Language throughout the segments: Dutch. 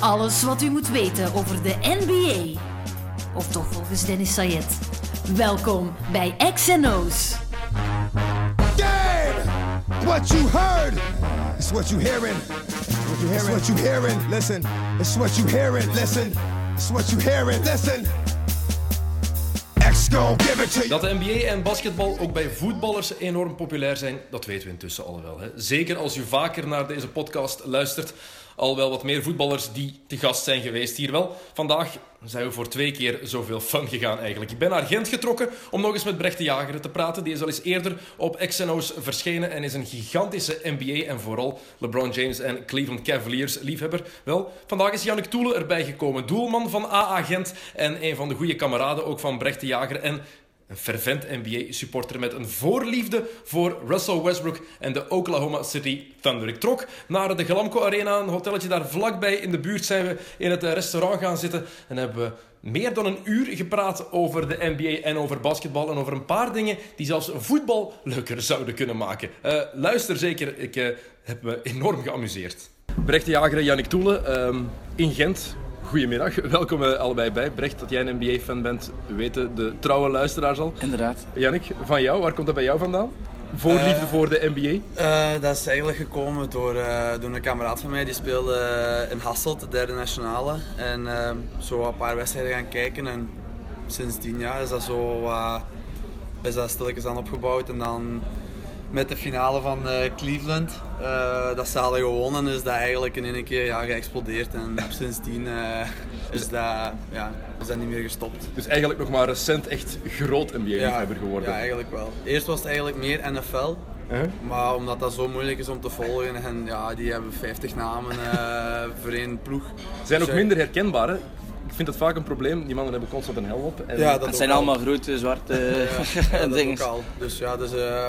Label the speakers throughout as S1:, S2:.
S1: Alles wat u moet weten over de NBA. Of toch volgens Dennis Sayed. Welkom bij XNO's.
S2: scared. What you heard is what you hearing. What you hearing? It's what you hearing. Listen, it's what you hearing. Listen, it's what you hearing. Listen. X gon' give it to you.
S3: Dat de NBA en basketbal ook bij voetballers enorm populair zijn, dat weten we intussen al wel. Hè? Zeker als u vaker naar deze podcast luistert. Al wel wat meer voetballers die te gast zijn geweest hier wel. Vandaag zijn we voor twee keer zoveel fun gegaan eigenlijk. Ik ben naar Gent getrokken om nog eens met Brecht de Jager te praten. Die is al eens eerder op XNO's verschenen en is een gigantische NBA en vooral LeBron James en Cleveland Cavaliers liefhebber. Wel, vandaag is Jannik Toele erbij gekomen. Doelman van AA Gent en een van de goede kameraden ook van Brecht de Jager. En een fervent NBA-supporter met een voorliefde voor Russell Westbrook en de Oklahoma City Thunder. Ik trok naar de Glamco Arena, een hotelletje daar vlakbij in de buurt zijn we in het eh, restaurant gaan zitten en hebben we meer dan een uur gepraat over de NBA en over basketbal en over een paar dingen die zelfs voetbal leuker zouden kunnen maken. Eh, luister zeker, ik eh, heb me enorm geamuseerd. Brecht de Jager en Jannik Toelen ehm, in Gent. Goedemiddag, welkom eh, allebei bij. Brecht, dat jij een NBA-fan bent, weten de trouwe luisteraars al.
S4: Inderdaad.
S3: Jannik, van jou, waar komt dat bij jou vandaan? Voorliefde voor de NBA.
S4: Eh, dat is eigenlijk gekomen door, eh, door een kameraad van mij die speelde eh, in Hasselt, de derde nationale. En eh, zo een paar wedstrijden gaan kijken en sinds tien jaar is dat zo eh, is dat stilletjes aan opgebouwd. En dan met de finale van eh, Cleveland, eh, dat ze hadden gewonnen, is dat eigenlijk in één keer ja, geëxplodeerd. En sindsdien eh, is, dat, ja, is dat niet meer gestopt.
S3: Dus eigenlijk nog maar recent echt groot NBA-liefhebber geworden.
S4: Ja, eigenlijk wel. Eerst was het eigenlijk meer NFL.
S3: Hè?
S4: Maar omdat dat zo moeilijk is om te volgen en ja, die hebben 50 namen eh, voor één ploeg.
S3: Zijn ook
S4: Dus, eh,
S3: minder herkenbaar, hè? Ik vind dat vaak een probleem. Die mannen hebben constant een helm op. En eh,
S4: Ja, dat
S5: Het zijn
S4: ook
S5: allemaal grote, zwarte
S4: ja, dat
S5: dingen.
S4: ook al. Dus ja, dus, eh,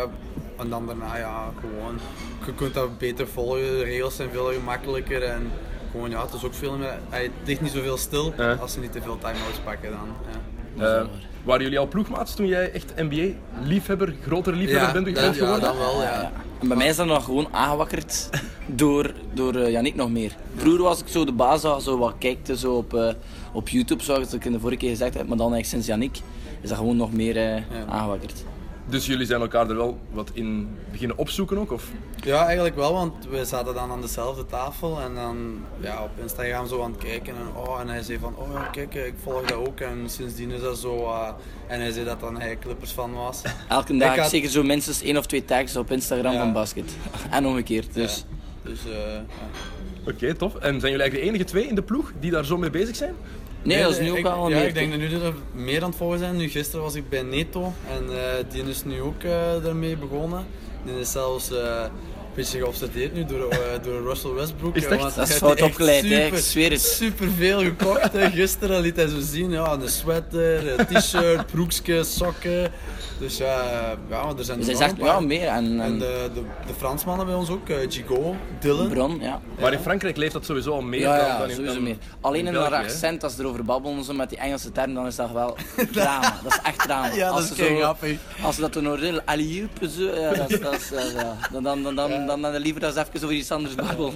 S4: en dan daarna ja, gewoon. Je kunt dat beter volgen, de regels zijn veel gemakkelijker en gewoon ja, het is ook veel meer. Hij het ligt niet zoveel stil
S3: Ja.
S4: als ze niet te veel time-outs pakken dan. Ja.
S3: Eh, waren jullie al ploegmaats toen jij echt NBA-liefhebber, groter liefhebber bent
S4: dat-
S3: bent
S4: ja,
S3: geworden?
S4: dan wel, ja.
S5: En bij mij is dat nog gewoon aangewakkerd door, door eh, Yannick nog meer. Vroeger was ik zo de baas dat zo wat kijkte zo op, eh, op YouTube, zoals ik in de vorige keer gezegd heb. Maar dan eigenlijk sinds Yannick is dat gewoon nog meer eh, aangewakkerd.
S3: Dus jullie zijn elkaar er wel wat in beginnen opzoeken ook? Of?
S4: Ja, eigenlijk wel, want we zaten dan aan dezelfde tafel en dan ja, op Instagram zo aan het kijken. En, oh, en hij zei van, oh ja, kijk, ik volg dat ook. En sindsdien is dat zo. eh, en hij zei dat dan hij Clippers fan was.
S5: Elke dag
S4: Ik had-
S5: zeker zo minstens één of twee tags op Instagram
S4: Ja.
S5: van basket. En omgekeerd. Dus
S4: Dus eh, ja.
S3: Oké, tof. En zijn jullie eigenlijk de enige twee in de ploeg die daar zo mee bezig zijn?
S5: nee, dat is nu
S4: ik-
S5: ook wel al
S4: Ja,
S5: meer.
S4: ik denk dat nu er meer aan het volgen zijn. Nu, gisteren was ik bij Neto en eh, die is nu ook eh, daarmee begonnen. Die is zelfs eh, een beetje geobsedeerd nu door, eh, door Russell Westbrook.
S3: Is het
S4: eh,
S3: echt?
S4: want
S5: Dat is
S4: hij
S5: fout
S4: heeft echt
S5: opgeleid, hè. Ik
S4: super-
S5: zweer het.
S4: Superveel gekocht. hè. Gisteren liet hij zo zien, ja, een sweater, een t-shirt, broekje, sokken. Dus ja, eh, ja maar er zijn
S5: Dus
S4: er
S5: hij
S4: nog
S5: zegt
S4: een paar.
S5: wel meer. En,
S4: En
S5: en
S4: de, de, de Fransmannen bij ons ook, eh, Gigot, Dylan.
S5: Bron, ja.
S3: Maar in Frankrijk leeft dat sowieso al meer
S5: Ja,
S3: dan,
S5: ja,
S3: dan in
S5: sowieso
S3: dan
S5: meer. Alleen in
S3: België,
S5: dat
S3: hè?
S5: accent, als ze erover babbelen zo met die Engelse term, dan is dat wel drama. dat is echt drama.
S4: Ja, dat
S5: als
S4: is
S5: ze
S4: kei
S5: zo-
S4: grappig.
S5: Als ze dat doen hoor, heel alley-oop, zo, ja, dat is- dat is, ja, ja. dan, dan, dan, dan, dan, dan liever dat ze even over iets anders babbelen.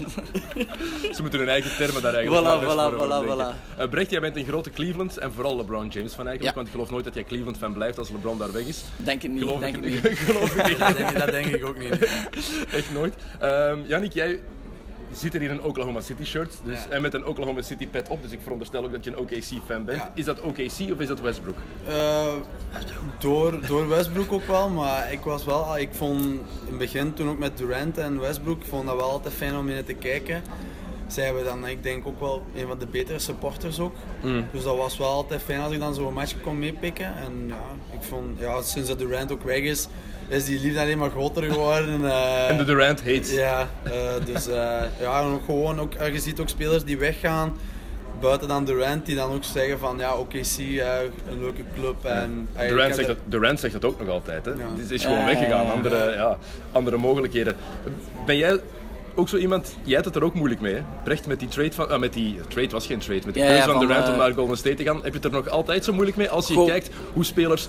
S3: Ze moeten hun eigen termen daar eigenlijk
S5: Voilà,
S3: maar best
S5: voilà,
S3: voor
S5: voilà,
S3: bedenken. Eh, Brecht, jij bent een grote Cleveland en vooral LeBron James van eigenlijk,
S5: Ja.
S3: want ik geloof nooit dat jij Cleveland fan blijft als LeBron daar weg is.
S5: Denk het niet,
S3: Geloof
S5: denk
S3: ik,
S5: het niet.
S3: geloof ik
S4: Dat denk, dat denk ik ook niet.
S3: echt nooit. Ehm Jannik, jij zit er in een Oklahoma City shirt dus,
S4: Ja.
S3: en met een Oklahoma City pet op, dus ik veronderstel ook dat je een OKC fan bent.
S4: Ja.
S3: Is dat OKC of is dat Westbrook?
S4: Eh, door, door Westbrook ook wel, maar ik was wel, ah, ik vond in het begin toen ook met Durant en Westbrook, ik vond dat wel altijd fijn om in te kijken. Zij hebben dan, ik denk ook wel een van de betere supporters ook.
S3: Mm.
S4: Dus dat was wel altijd fijn als ik dan zo'n match kon meepikken. En ja, ik vond, ja, sinds dat Durant ook weg is, is die liefde alleen maar groter geworden. eh.
S3: En de Durant hates.
S4: Ja, eh, dus eh, ja, en ook gewoon ook, eh, je ziet ook spelers die weggaan buiten dan Durant, die dan ook zeggen van ja, oké, zie eh, een leuke club en eh, ik heb
S3: Durant zegt, dat, Durant zegt dat ook nog altijd. Hè?
S4: Ja.
S3: Het is gewoon
S5: Ja, ja,
S3: weggegaan,
S5: ja.
S3: andere, ja, andere mogelijkheden. Ben jij ook zo iemand, jij had het er ook moeilijk mee, hè? Brecht met die trade van, ah, met die trade was geen trade, met de
S5: Ja,
S3: keuze
S5: ja,
S3: van
S5: van,
S3: Durant om
S5: eh,
S3: naar Golden State te gaan, heb je het er nog altijd zo moeilijk mee als je
S5: Goh.
S3: kijkt hoe spelers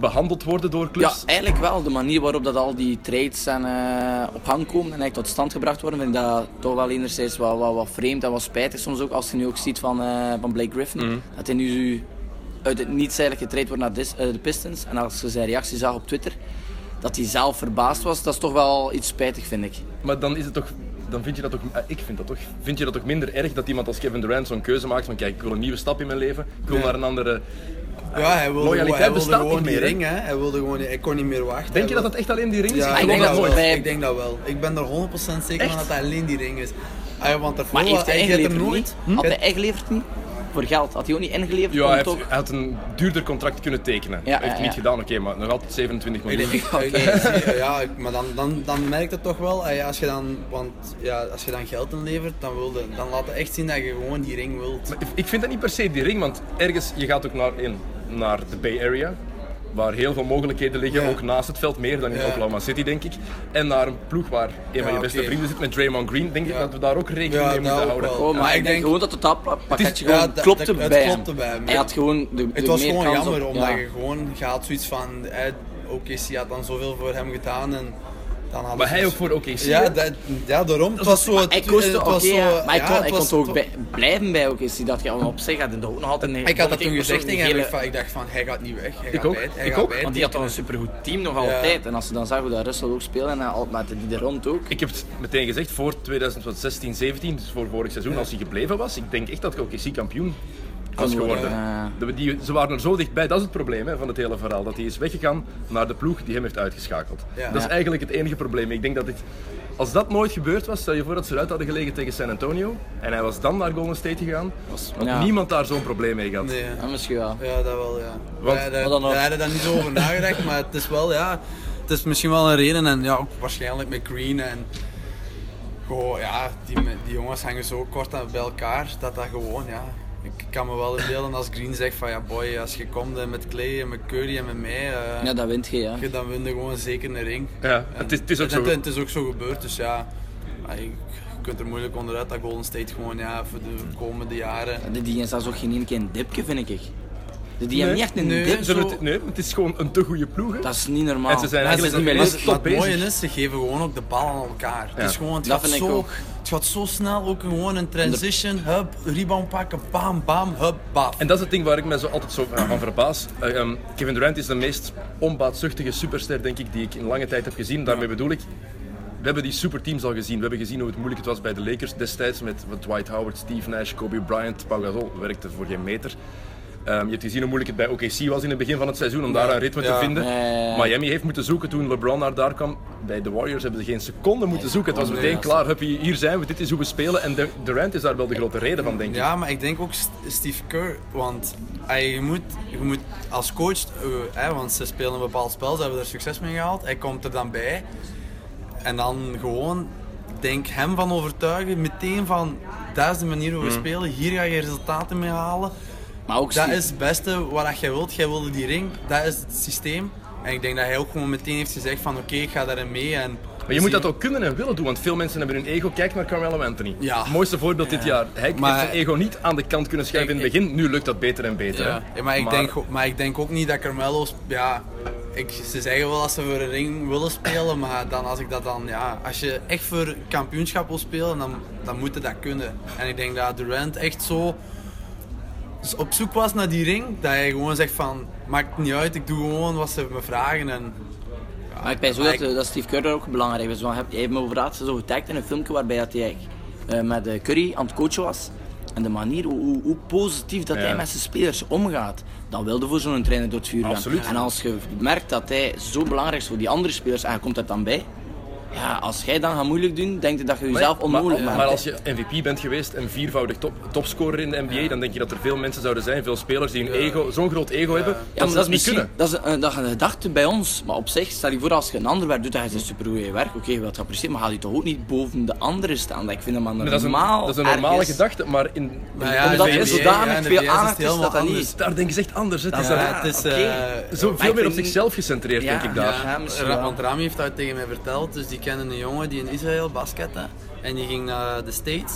S3: behandeld worden door
S5: Ja,
S3: clubs?
S5: eigenlijk wel. De manier waarop dat al die trades en, eh, op gang komen en eigenlijk tot stand gebracht worden, vind ik dat toch wel enerzijds wat, wat, wat vreemd en wat spijtig soms ook. Als je nu ook ziet van, eh, van Blake Griffin,
S4: Mhm.
S5: dat hij nu uit het niets eigenlijk getraind wordt naar Dis- eh, de Pistons. En als je zijn reactie zag op Twitter, dat hij zelf verbaasd was, dat is toch wel iets spijtig, vind ik.
S3: Maar dan is het toch. Dan vind je dat toch, eh, ik vind dat toch, vind je dat toch minder erg dat iemand als Kevin Durant zo'n keuze maakt van kijk, ik wil een nieuwe stap in mijn leven, ik wil
S4: Ja.
S3: naar een andere...
S4: Ja, hij wilde,
S3: Loyaliteit
S4: gewoon- hij wilde
S3: bestaat
S4: gewoon
S3: niet
S4: die
S3: meer, hè?
S4: ring, hè. Hij wilde gewoon, niet- hij kon niet meer wachten.
S3: Denk je
S4: Hij
S3: dat dat echt alleen die ring is?
S4: Ja,
S5: Ik
S4: ik,
S5: denk
S4: denk
S5: dat
S4: dat wel.
S5: bij-
S4: ik denk dat wel. Ik ben er 100% zeker van
S3: Echt?
S4: dat dat alleen die ring is. Ah, ja, want daarvoor
S5: Maar heeft hij
S4: je hebt
S5: ingeleverd
S4: er
S5: niet?
S4: nooit. Hm?
S5: Had
S4: je
S5: hij ingeleverd niet? Voor geld. Had hij ook niet ingeleverd?
S3: Ja,
S5: om
S3: hij,
S5: het
S3: heeft,
S5: ook-
S3: hij had een duurder contract hebt kunnen tekenen.
S5: Ja,
S3: hij heeft
S5: ja,
S3: het niet
S5: ja.
S3: gedaan, oké, maar nog altijd 27
S4: Ik
S3: miljoen.
S4: denk, ik- ik zie- ja, ik- maar dan, dan, dan merkt het toch wel, eh, ja, als je dan, want ja, als je dan geld inlevert, dan, wilde, dan laat het echt zien dat je gewoon die ring wilt.
S3: Ik- Ik vind dat niet per se die ring, want ergens, je gaat ook naar, in, naar de Bay Area, waar heel veel mogelijkheden liggen,
S4: Ja.
S3: ook naast het veld, meer dan in
S4: Ja.
S3: Oklahoma City, denk ik. En naar een ploeg waar een van je beste
S4: oké.
S3: vrienden zit met Draymond Green, denk ik
S4: Ja.
S3: dat we daar ook rekening
S4: Ja,
S3: mee moeten
S4: dat ook
S3: houden.
S4: wel.
S5: Oh, maar
S4: Ja,
S5: ik,
S4: ik
S5: denk
S4: denk-
S5: gewoon dat het dat
S4: Het
S5: pakketje
S4: is-
S5: gewoon
S4: ja, dat-
S5: klopte,
S4: dat- het
S5: bij
S4: klopte
S5: hem.
S4: bij hem,
S5: Hij
S4: ja.
S5: had gewoon de, de
S4: Het was
S5: meer
S4: gewoon
S5: kans op-
S4: jammer, omdat
S5: ja.
S4: je gewoon gaat zoiets van, eh, OKC had dan zoveel voor hem gedaan en dan hadden
S3: Maar
S4: ze-
S3: hij ook voor OKC.
S4: Ja, dat, ja, daarom. Het was zo...
S5: Maar
S4: het-
S5: Hij kostte,
S4: het
S5: eh, oké,
S4: was zo,
S5: ja, maar hij
S4: ja,
S5: kon,
S4: het
S5: hij kon
S4: was
S5: toch ook
S4: to-
S5: bij- blijven bij OKC. Dat je op zich had en dat ook nog altijd een
S4: Ik had dat toen gezegd
S5: persoonlijke
S4: tegen hem.
S5: hele-
S4: Ik van- Ik dacht van, hij gaat niet weg. Hij
S3: Ik
S4: gaat
S3: ook,
S4: bij- hij
S3: ik
S4: gaat
S3: ook.
S4: bij-
S5: Want die had toch een supergoed team nog altijd. En als ze dan zagen hoe dat Russell ook speelde en al- met die er rond ook.
S3: Ik heb het meteen gezegd, voor 2016, 17, dus voor vorig seizoen, als hij gebleven was, ik denk echt dat hij OKC kampioen was
S5: worden,
S3: geworden.
S5: ja.
S3: Dat we die, ze waren er zo dichtbij, dat is het probleem hè, van het hele verhaal. Dat hij is weggegaan naar de ploeg die hem heeft uitgeschakeld.
S4: Ja.
S3: Dat is
S5: Ja.
S3: eigenlijk het enige probleem. Ik denk dat dit, als dat nooit gebeurd was, stel je voor dat ze eruit hadden gelegen tegen San Antonio en hij was dan naar Golden State gegaan, had
S5: ja.
S3: niemand daar zo'n probleem mee gehad.
S4: Nee, ja.
S5: Ja, misschien wel.
S4: Ja, dat wel, ja.
S3: Want-
S4: ja,
S5: Maar
S4: daar,
S5: dan nog.
S4: daar hadden we dan niet zo over nagedacht, maar het is wel, ja... Het is misschien wel een reden en ja, ook waarschijnlijk met Green en... Goh, ja, die, me- die jongens hangen zo kort aan- bij elkaar, dat dat gewoon, ja... Ik kan me wel indelen als Green zegt van, ja boy, als je komt eh, met Clay en met Curry en met mij... eh,
S5: Ja, dat wint je, ja.
S4: Je- dan win je gewoon zeker een ring.
S3: Ja,
S4: En
S3: het is- het is ook
S4: en
S3: zo.
S4: het is ook zo gebeurd, dus ja, ja, je je kunt er moeilijk onderuit dat Golden State gewoon ja, voor de komende jaren.
S5: Die- Die is zelfs ook geen één keer een dipje, vind ik. Die, die hebben
S3: Nee.
S5: niet echt een
S4: Nee.
S5: dip.
S3: Ze hebben
S5: zo.
S3: het, nee, het is gewoon een te goede ploeg. hè.
S5: Dat is niet normaal.
S3: En ze zijn
S5: Dat is
S3: eigenlijk
S5: niet meer
S3: ook-
S5: leuk.
S3: top
S4: Maar het
S3: bezig.
S4: mooie is, ze geven gewoon ook de bal aan elkaar.
S3: Ja,
S4: Het, is gewoon, het,
S5: dat
S4: gaat
S5: vind ik
S4: zo,
S5: ook.
S4: het gaat zo snel, ook gewoon een transition, hup, rebound pakken, bam, bam, hup, baf.
S3: En dat is het ding waar ik me zo altijd zo aan verbaas. Eh, ehm, Kevin Durant is de meest onbaatzuchtige superster, denk ik, die ik in lange tijd heb gezien. Daarmee bedoel ik, we hebben die superteams al gezien. We hebben gezien hoe het moeilijk het was bij de Lakers destijds met Dwight Howard, Steve Nash, Kobe Bryant, Pau Gasol. Werkte voor geen meter. Ehm, je hebt gezien hoe moeilijk het bij OKC was in het begin van het seizoen om daar een ritme te
S4: Ja.
S3: vinden.
S5: Ja, ja, ja.
S3: Miami heeft moeten zoeken toen LeBron naar daar kwam. Bij de Warriors hebben ze geen seconde moeten zoeken. Het was
S5: seconde,
S3: meteen
S5: ja.
S3: klaar. Huppie, hier zijn we, dit is hoe we spelen. En de- Durant is daar wel de grote reden van, denk ik.
S4: Ja, maar ik denk ook St- Steve Kerr, want hij, je, moet, je moet als coach, eh, hè, want ze spelen een bepaald spel, ze hebben er succes mee gehaald, hij komt er dan bij. En dan gewoon, ik denk hem van overtuigen, meteen van, dat is de manier
S3: Mm.
S4: hoe we spelen, hier ga je resultaten mee halen.
S5: Maar ook
S4: Dat
S5: Steve-
S4: is het beste wat dat jij wilt, jij wilde die ring, dat is het systeem. En ik denk dat hij ook gewoon meteen heeft gezegd van, oké, ik ga daarin mee. En
S3: Maar je moet dat ook kunnen en willen doen, want veel mensen hebben hun ego. Kijk naar Carmelo Anthony.
S4: Ja.
S3: Het mooiste voorbeeld dit jaar. Hij
S4: Maar-
S3: heeft zijn ego niet aan de kant kunnen schuiven in het begin. Nu lukt dat beter en beter.
S4: Ja.
S3: hè.
S4: Ja, maar, ik Denk, ook- maar ik denk ook niet dat Carmelo's. Ja, ik, ze zeggen wel dat ze voor een ring willen spelen, maar dan als ik dat dan. Ja, als je echt voor kampioenschap wil spelen, dan, dan moet je dat kunnen. En ik denk dat Durant echt zo op zoek was naar die ring, dat hij gewoon zegt van maakt niet uit, ik doe gewoon wat ze me vragen. En,
S5: Maar ik ben zo
S4: Maar
S5: dat,
S4: ik-
S5: eh, dat Steve Kerr daar ook belangrijk is. Want hij hij heeft me over laatst zo getagd in een filmpje waarbij dat hij eh, met eh, Curry aan het coachen was. En de manier hoe, hoe, hoe positief dat
S3: Ja.
S5: hij met zijn spelers omgaat, dat wilde voor zo'n trainer door het vuur gaan.
S3: Absoluut.
S5: En als je merkt dat hij zo belangrijk is voor die andere spelers en je komt er dan bij, ja, als jij dan gaat moeilijk doen, denk je dat je jezelf onmogelijk
S3: maar,
S5: maakt.
S3: maar
S5: hè.
S3: als je MVP bent geweest en viervoudig top, topscorer in de NBA, dan denk je dat er veel mensen zouden zijn, veel spelers die een ego, zo'n groot ego hebben,
S5: Ja,
S3: dat
S5: maar
S3: ze
S5: dat is
S3: dat niet
S5: misschien
S3: kunnen.
S5: dat is een, dat is een gedachte bij ons. Maar op zich, stel je voor als je een ander werk doet, dan is het supergoeie werk. Oké, je wilt het appreciëren, maar gaat je toch ook niet boven de anderen staan? Dat ik vind dat maar
S3: Maar dat, is een,
S5: normaal.
S3: dat is een normale
S5: ergens.
S3: gedachte, maar in,
S4: Maar ja,
S5: Omdat
S4: in de
S5: er
S4: NBA
S5: zodanig
S4: ja, in de
S5: veel
S4: NBA is het
S5: aandacht is
S4: helemaal
S5: dat dat niet-
S4: anders.
S3: daar denken ze echt anders. hè. Het is
S4: Ja,
S3: daar-
S4: het is
S5: oké.
S4: eh,
S3: zo
S5: Maar
S3: veel
S5: ik
S3: meer op
S5: vind-
S3: zichzelf gecentreerd, denk ik daar.
S5: Ja, misschien wel.
S4: want Rami heeft dat tegen mij verteld. Dus die kende een jongen die in Israël baskette. En die ging naar de States.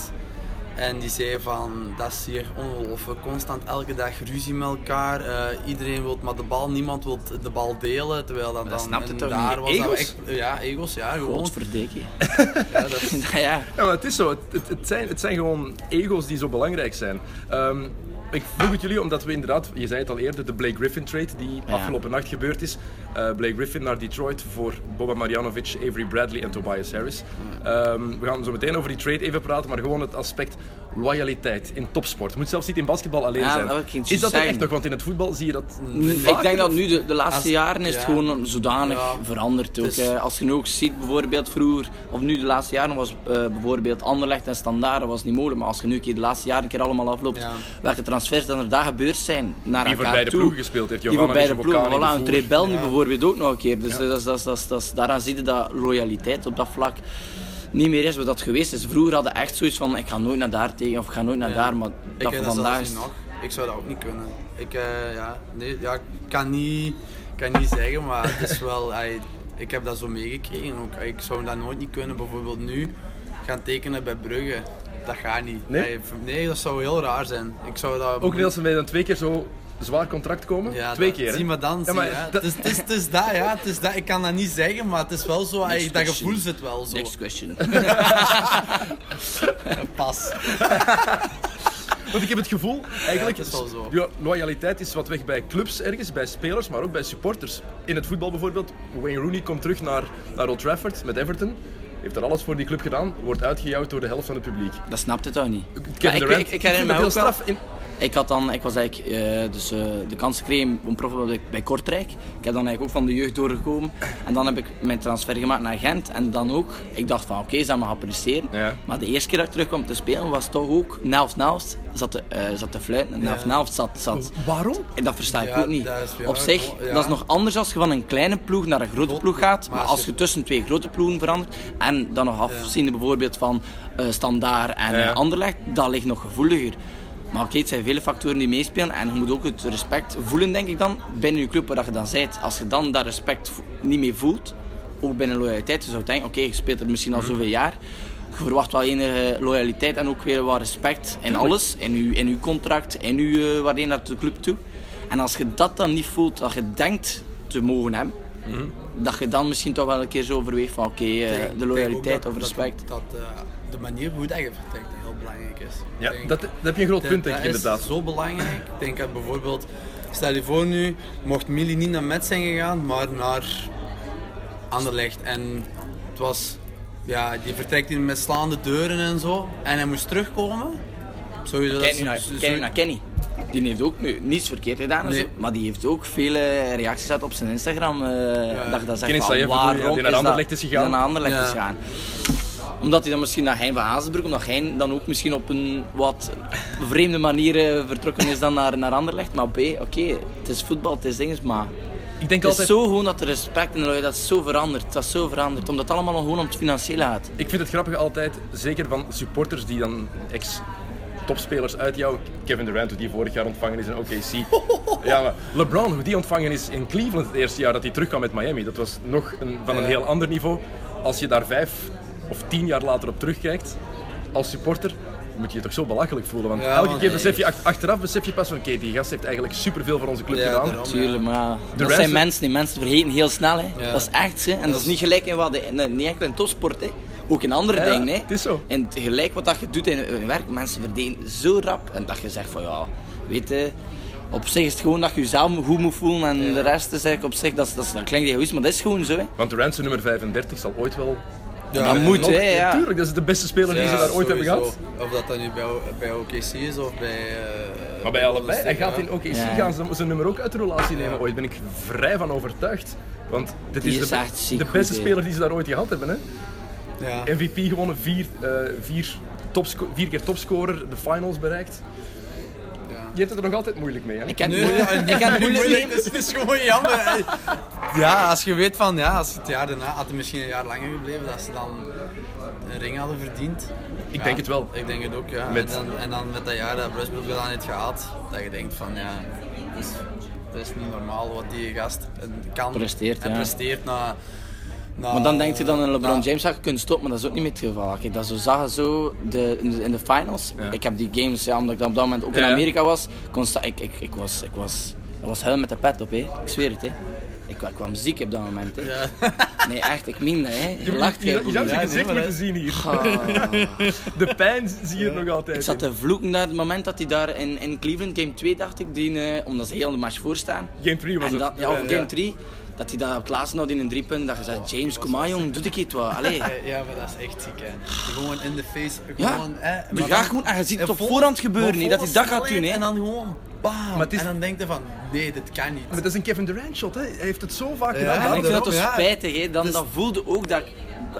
S4: En die zei van, dat is hier ongelooflijk. Constant elke dag ruzie met elkaar. eh, iedereen wil maar de bal, niemand wil de bal delen. Terwijl dat, dan
S5: snapt het
S4: en
S5: toch
S4: daar was
S5: niet?
S4: dat
S5: Egos?
S4: echt- ja, egos, ja, gewoon.
S5: Godverdikkie.
S4: Ja, dat is-
S5: ja,
S3: Ja, maar het is zo. Het, het, het zijn, het zijn gewoon ego's die zo belangrijk zijn. Ehm, ik vroeg het jullie omdat we inderdaad, je zei het al eerder, de Blake Griffin trade die
S5: Ja.
S3: afgelopen nacht gebeurd is. Eh, Blake Griffin naar Detroit voor Boba Marjanovic, Avery Bradley en Tobias Harris. Ehm, we gaan zo meteen over die trade even praten, maar gewoon het aspect loyaliteit in topsport. Het moet zelfs niet in basketbal alleen
S5: Ja,
S3: zijn.
S5: dat wil ik geen
S3: is dat er
S5: zijn.
S3: echt nog? Want in het voetbal zie je dat
S5: Ik denk dat nu de, de laatste
S4: Als-
S5: jaren is het
S4: ja.
S5: gewoon zodanig
S4: Ja.
S5: veranderd. Ook,
S4: Het is-
S5: hè. Als je nu ook ziet, bijvoorbeeld vroeger, of nu de laatste jaren was eh, bijvoorbeeld Anderlecht en Standaard, dat was niet mogelijk. Maar als je nu een keer de laatste jaren een keer allemaal afloopt,
S4: Ja.
S5: welke transfers dan er daar gebeurd zijn naar
S3: Die voor
S5: elkaar
S3: beide
S5: toe.
S3: ploegen gespeeld heeft.
S5: Die voor
S3: Jovanovic,
S5: beide ploegen,
S3: Bocani,
S5: voilà.
S3: De
S5: En
S3: Voer.
S5: Trebel nu bijvoorbeeld ook nog een keer. Dus eh, dat is- dat is- dat is- dat is- daaraan zie je dat loyaliteit op dat vlak niet meer is wat dat geweest is. Vroeger hadden echt zoiets van, ik ga nooit naar daar tegen, of ik ga nooit naar daar. Maar
S4: Ik
S5: dat
S4: ken
S5: van
S4: dat
S5: vandaag
S4: zelfs
S5: is...
S4: niet nog. Ik zou dat ook niet kunnen. Ik eh, ja, nee, ja, ik kan niet, kan niet zeggen, maar het is wel. ey, ik heb dat zo meegekregen ook. Ik zou dat nooit niet kunnen. Bijvoorbeeld nu gaan tekenen bij Brugge. Dat gaat niet.
S3: Nee?
S4: Ey, v- nee, dat zou heel raar zijn. Ik zou dat.
S3: Ook niet als ze mij dan twee keer zo zwaar contract komen.
S4: Ja,
S3: twee
S4: dat-
S3: keer. hè?
S4: Zie maar dan.
S3: Ja,
S4: zie
S3: maar
S4: je, hè.
S3: dat-
S4: Het is- het is- het is dat, ja. Het is dat. Ik kan dat niet zeggen, maar het is wel zo. ey,
S5: Next
S4: dat
S5: question.
S4: gevoel zit wel zo.
S5: Next question.
S4: Pas.
S3: Want ik heb het gevoel, eigenlijk,
S4: Ja, het is wel zo.
S3: ja, loyaliteit is wat weg bij clubs ergens, bij spelers, maar ook bij supporters. In het voetbal bijvoorbeeld, Wayne Rooney komt terug naar, naar Old Trafford met Everton. Heeft er alles voor die club gedaan, wordt uitgejouwd door de helft van het publiek.
S5: Dat snapt het ook niet.
S3: Kevin
S5: Maar ik,
S3: Durant,
S5: ik, ik
S3: vind
S5: herinner
S3: het
S5: me
S3: heel
S5: ook wel.
S3: straf. In,
S5: Ik, had dan, ik was eigenlijk eh, dus, eh, de kans gekregen om prof te worden bij Kortrijk. Ik heb dan eigenlijk ook van de jeugd doorgekomen. En dan heb ik mijn transfer gemaakt naar Gent. En dan ook, ik dacht van oké, ze hebben me gaan presteren.
S3: Ja.
S5: Maar de eerste keer dat ik terug kwam te spelen was toch ook Nelft Nelft zat te, eh, zat te fluiten. En Nelft Nelft zat, zat.
S3: waarom?
S5: En dat versta ik
S4: Ja,
S5: ook niet.
S4: dat is- ja,
S5: Op zich,
S4: ja.
S5: dat is nog anders als je van een kleine ploeg naar een grote
S4: Grote
S5: ploeg
S4: ploeg,
S5: gaat. Maar
S4: maar
S5: als
S4: als
S5: je tussen twee grote ploegen verandert en dan nog afziende bijvoorbeeld van eh Standaard en eh, Anderlecht, dat ligt nog gevoeliger. Maar oké, het zijn vele factoren die meespelen en je moet ook het respect voelen, denk ik dan, binnen je club waar dat je dan bent. Als je dan dat respect vo- niet meer voelt, ook binnen loyaliteit, je zou denken, oké, je speelt er misschien al zoveel jaar, je verwacht wel enige loyaliteit en ook weer wat respect in alles, in je, in uw contract, in uw eh, waarin naar de club toe. En als je dat dan niet voelt, dat je denkt te mogen hebben, dat je dan misschien toch wel een keer zo overweegt van oké,
S4: Ik
S5: eh,
S4: denk
S5: de
S4: ook
S5: loyaliteit
S4: dat-
S5: of
S4: dat-
S5: respect.
S4: Dat, eh, de manier hoe dat je vertrekt heel belangrijk is. Ik
S3: Ja,
S4: denk-
S3: dat, dat heb je een groot
S4: Dat-
S3: punt, denk ik,
S4: dat
S3: inderdaad.
S4: is zo belangrijk. Ik denk dat bijvoorbeeld, stel je voor nu, mocht Mili niet naar Met zijn gegaan, maar naar Anderlecht. En het was, ja, die vertrekt hier met slaande deuren en zo. En hij moest terugkomen. Sowieso,
S5: Kijk nu
S3: nou,
S5: naar,
S4: zo-
S5: kijk nu naar Kenny. Die heeft ook nu niets verkeerd gedaan, en
S4: Nee.
S5: zo, maar die heeft ook vele reacties gehad op zijn Instagram. eh dat je dan
S3: Kenny
S5: zegt van,
S3: Saeed bedoel je,
S5: waarom
S3: die naar
S5: dat-
S3: Anderlecht is gegaan?
S5: die naar Anderlecht
S4: Ja.
S5: is gegaan. Omdat hij dan misschien naar Hein van Hazenbroek, omdat Hein dan ook misschien op een wat vreemde manier eh, vertrokken is dan naar, naar Anderlecht. Maar B, oké, het is voetbal, het is dinges, maar
S3: Ik denk
S5: het is
S3: altijd...
S5: zo gewoon dat de respect en de loyaliteit is zo veranderd. Dat is zo veranderd, omdat het allemaal gewoon om het financiële gaat.
S3: Ik vind het grappig altijd, zeker van supporters die dan ex topspelers uit jou, Kevin Durant hoe die vorig jaar ontvangen is in OKC. Ja, maar LeBron hoe die ontvangen is in Cleveland het eerste jaar dat hij terugkwam met Miami, dat was nog een, van een heel ander niveau. Als je daar vijf of tien jaar later op terugkijkt als supporter, moet je je toch zo belachelijk voelen. Want
S4: Ja,
S3: elke
S4: want-
S3: keer besef je ach- achteraf besef je pas van, oké, die gast heeft eigenlijk superveel voor onze club
S4: Ja,
S3: gedaan.
S4: daarom.
S5: Tuurlijk, maar ja, dat
S3: rest
S5: zijn
S3: is-
S5: mensen die mensen vergeten heel snel. Hè.
S4: Ja.
S5: Dat is echt, hè. en dat, is niet gelijk in wat, de- in- niet enkel in topsport, hè. ook in andere
S3: Ja,
S5: dingen. Hè.
S3: het is zo.
S5: En gelijk wat dat je doet in je werk, mensen verdienen zo rap. En dat je zegt van ja, weet je, op zich is het gewoon dat je jezelf goed moet voelen en de rest is eigenlijk op zich, dat, is- dat, is- dat klinkt egoïst, maar dat is gewoon zo. Hè.
S3: Want Durant zijn nummer 35 zal ooit wel...
S4: Ja,
S5: dat
S4: en
S5: moet,
S3: Nog-
S5: hè, ja.
S3: Tuurlijk, dat is de beste speler die
S4: Ja,
S3: ze daar ooit hebben
S4: sowieso.
S3: gehad.
S4: Of dat dan nu bij, bij OKC is of bij... eh,
S3: Maar bij allebei. Hij gaat in
S4: Ja.
S3: OKC
S5: Ja.
S3: gaan ze zijn nummer ook uit de relatie nemen. Ooit ben ik vrij van overtuigd. Want dit
S5: Die
S3: is,
S5: is
S3: de,
S5: echt ziek
S3: de
S5: goed,
S3: beste
S5: hè.
S3: speler die ze daar ooit gehad hebben. Hè?
S4: Ja.
S3: MVP gewonnen, vier, eh, vier, topsco- vier keer topscorer, de finals bereikt. Je hebt het er nog altijd moeilijk mee. Hè?
S5: Ik heb het
S4: Nee,
S5: moeilijk-
S4: ja,
S5: ik heb het moeilijk mee.
S4: Het is, het is gewoon jammer. Ja, als je weet van, ja, als het jaar daarna, had hij misschien een jaar langer gebleven, dat ze dan een ring hadden verdiend.
S3: Ik denk het wel.
S4: Ik denk het ook, ja.
S3: Met-
S4: En, dan, en dan met dat jaar dat Brusbrook gedaan heeft gehaald, dat je denkt van, ja, dat is, dat is niet normaal wat die gast en kan.
S5: Presteert,
S4: en
S5: ja.
S4: presteert na Nou,
S5: maar dan denkt je dan in LeBron
S4: nou.
S5: James zou je kunnen stoppen, maar dat is ook niet meer het geval. Als ik dat zo zag, zo de, in, de, in de finals, ik heb die games, ja, omdat ik dan op dat moment ook
S3: Ja,
S5: in
S3: ja.
S5: Amerika was, consta- ik, ik, ik was, ik was, ik was helemaal met de pet op, hè. ik zweer het. Hè. Ik, ik kwam ziek op dat moment. Hè. Nee, echt, ik meen dat. Hè. Je lacht
S3: Je zou
S5: hè.
S3: zijn gezicht moeten zien hier. De pijn zie je nog altijd.
S5: Ah. Ik zat te vloeken naar het moment dat hij daar in, in Cleveland, game 2 dacht ik, die, eh, omdat ze heel de match voorstaan.
S3: Game 3 was
S5: En dat,
S3: het.
S5: ja, of game 3, dat hij daar op Klaassen had in een driepunt, dat je zei, James, kom maar jong, doe ik het wel. Allee.
S4: Eh, Ja, maar dat is echt ziek, hè. Gewoon in de face.
S5: Ja,
S4: Gewoon, hè.
S5: maar
S4: Maar
S5: ja,
S4: dan-
S5: gewoon, en je ziet het
S4: en
S5: op
S4: vol-
S5: voorhand gebeuren,
S4: maar
S5: hè, dat hij
S4: vol
S5: dat gaat doen, hè.
S4: snelheid En dan gewoon, bam.
S3: het is-
S4: En dan denk je van, nee, dit kan niet.
S3: Maar dat is een Kevin Durant shot, hè. hij heeft het zo vaak
S4: Ja,
S5: En
S3: gedaan.
S5: ik vind dat
S4: daarom,
S5: dus
S4: ja.
S5: spijtig, hè. Dan, dan voelde ook dat,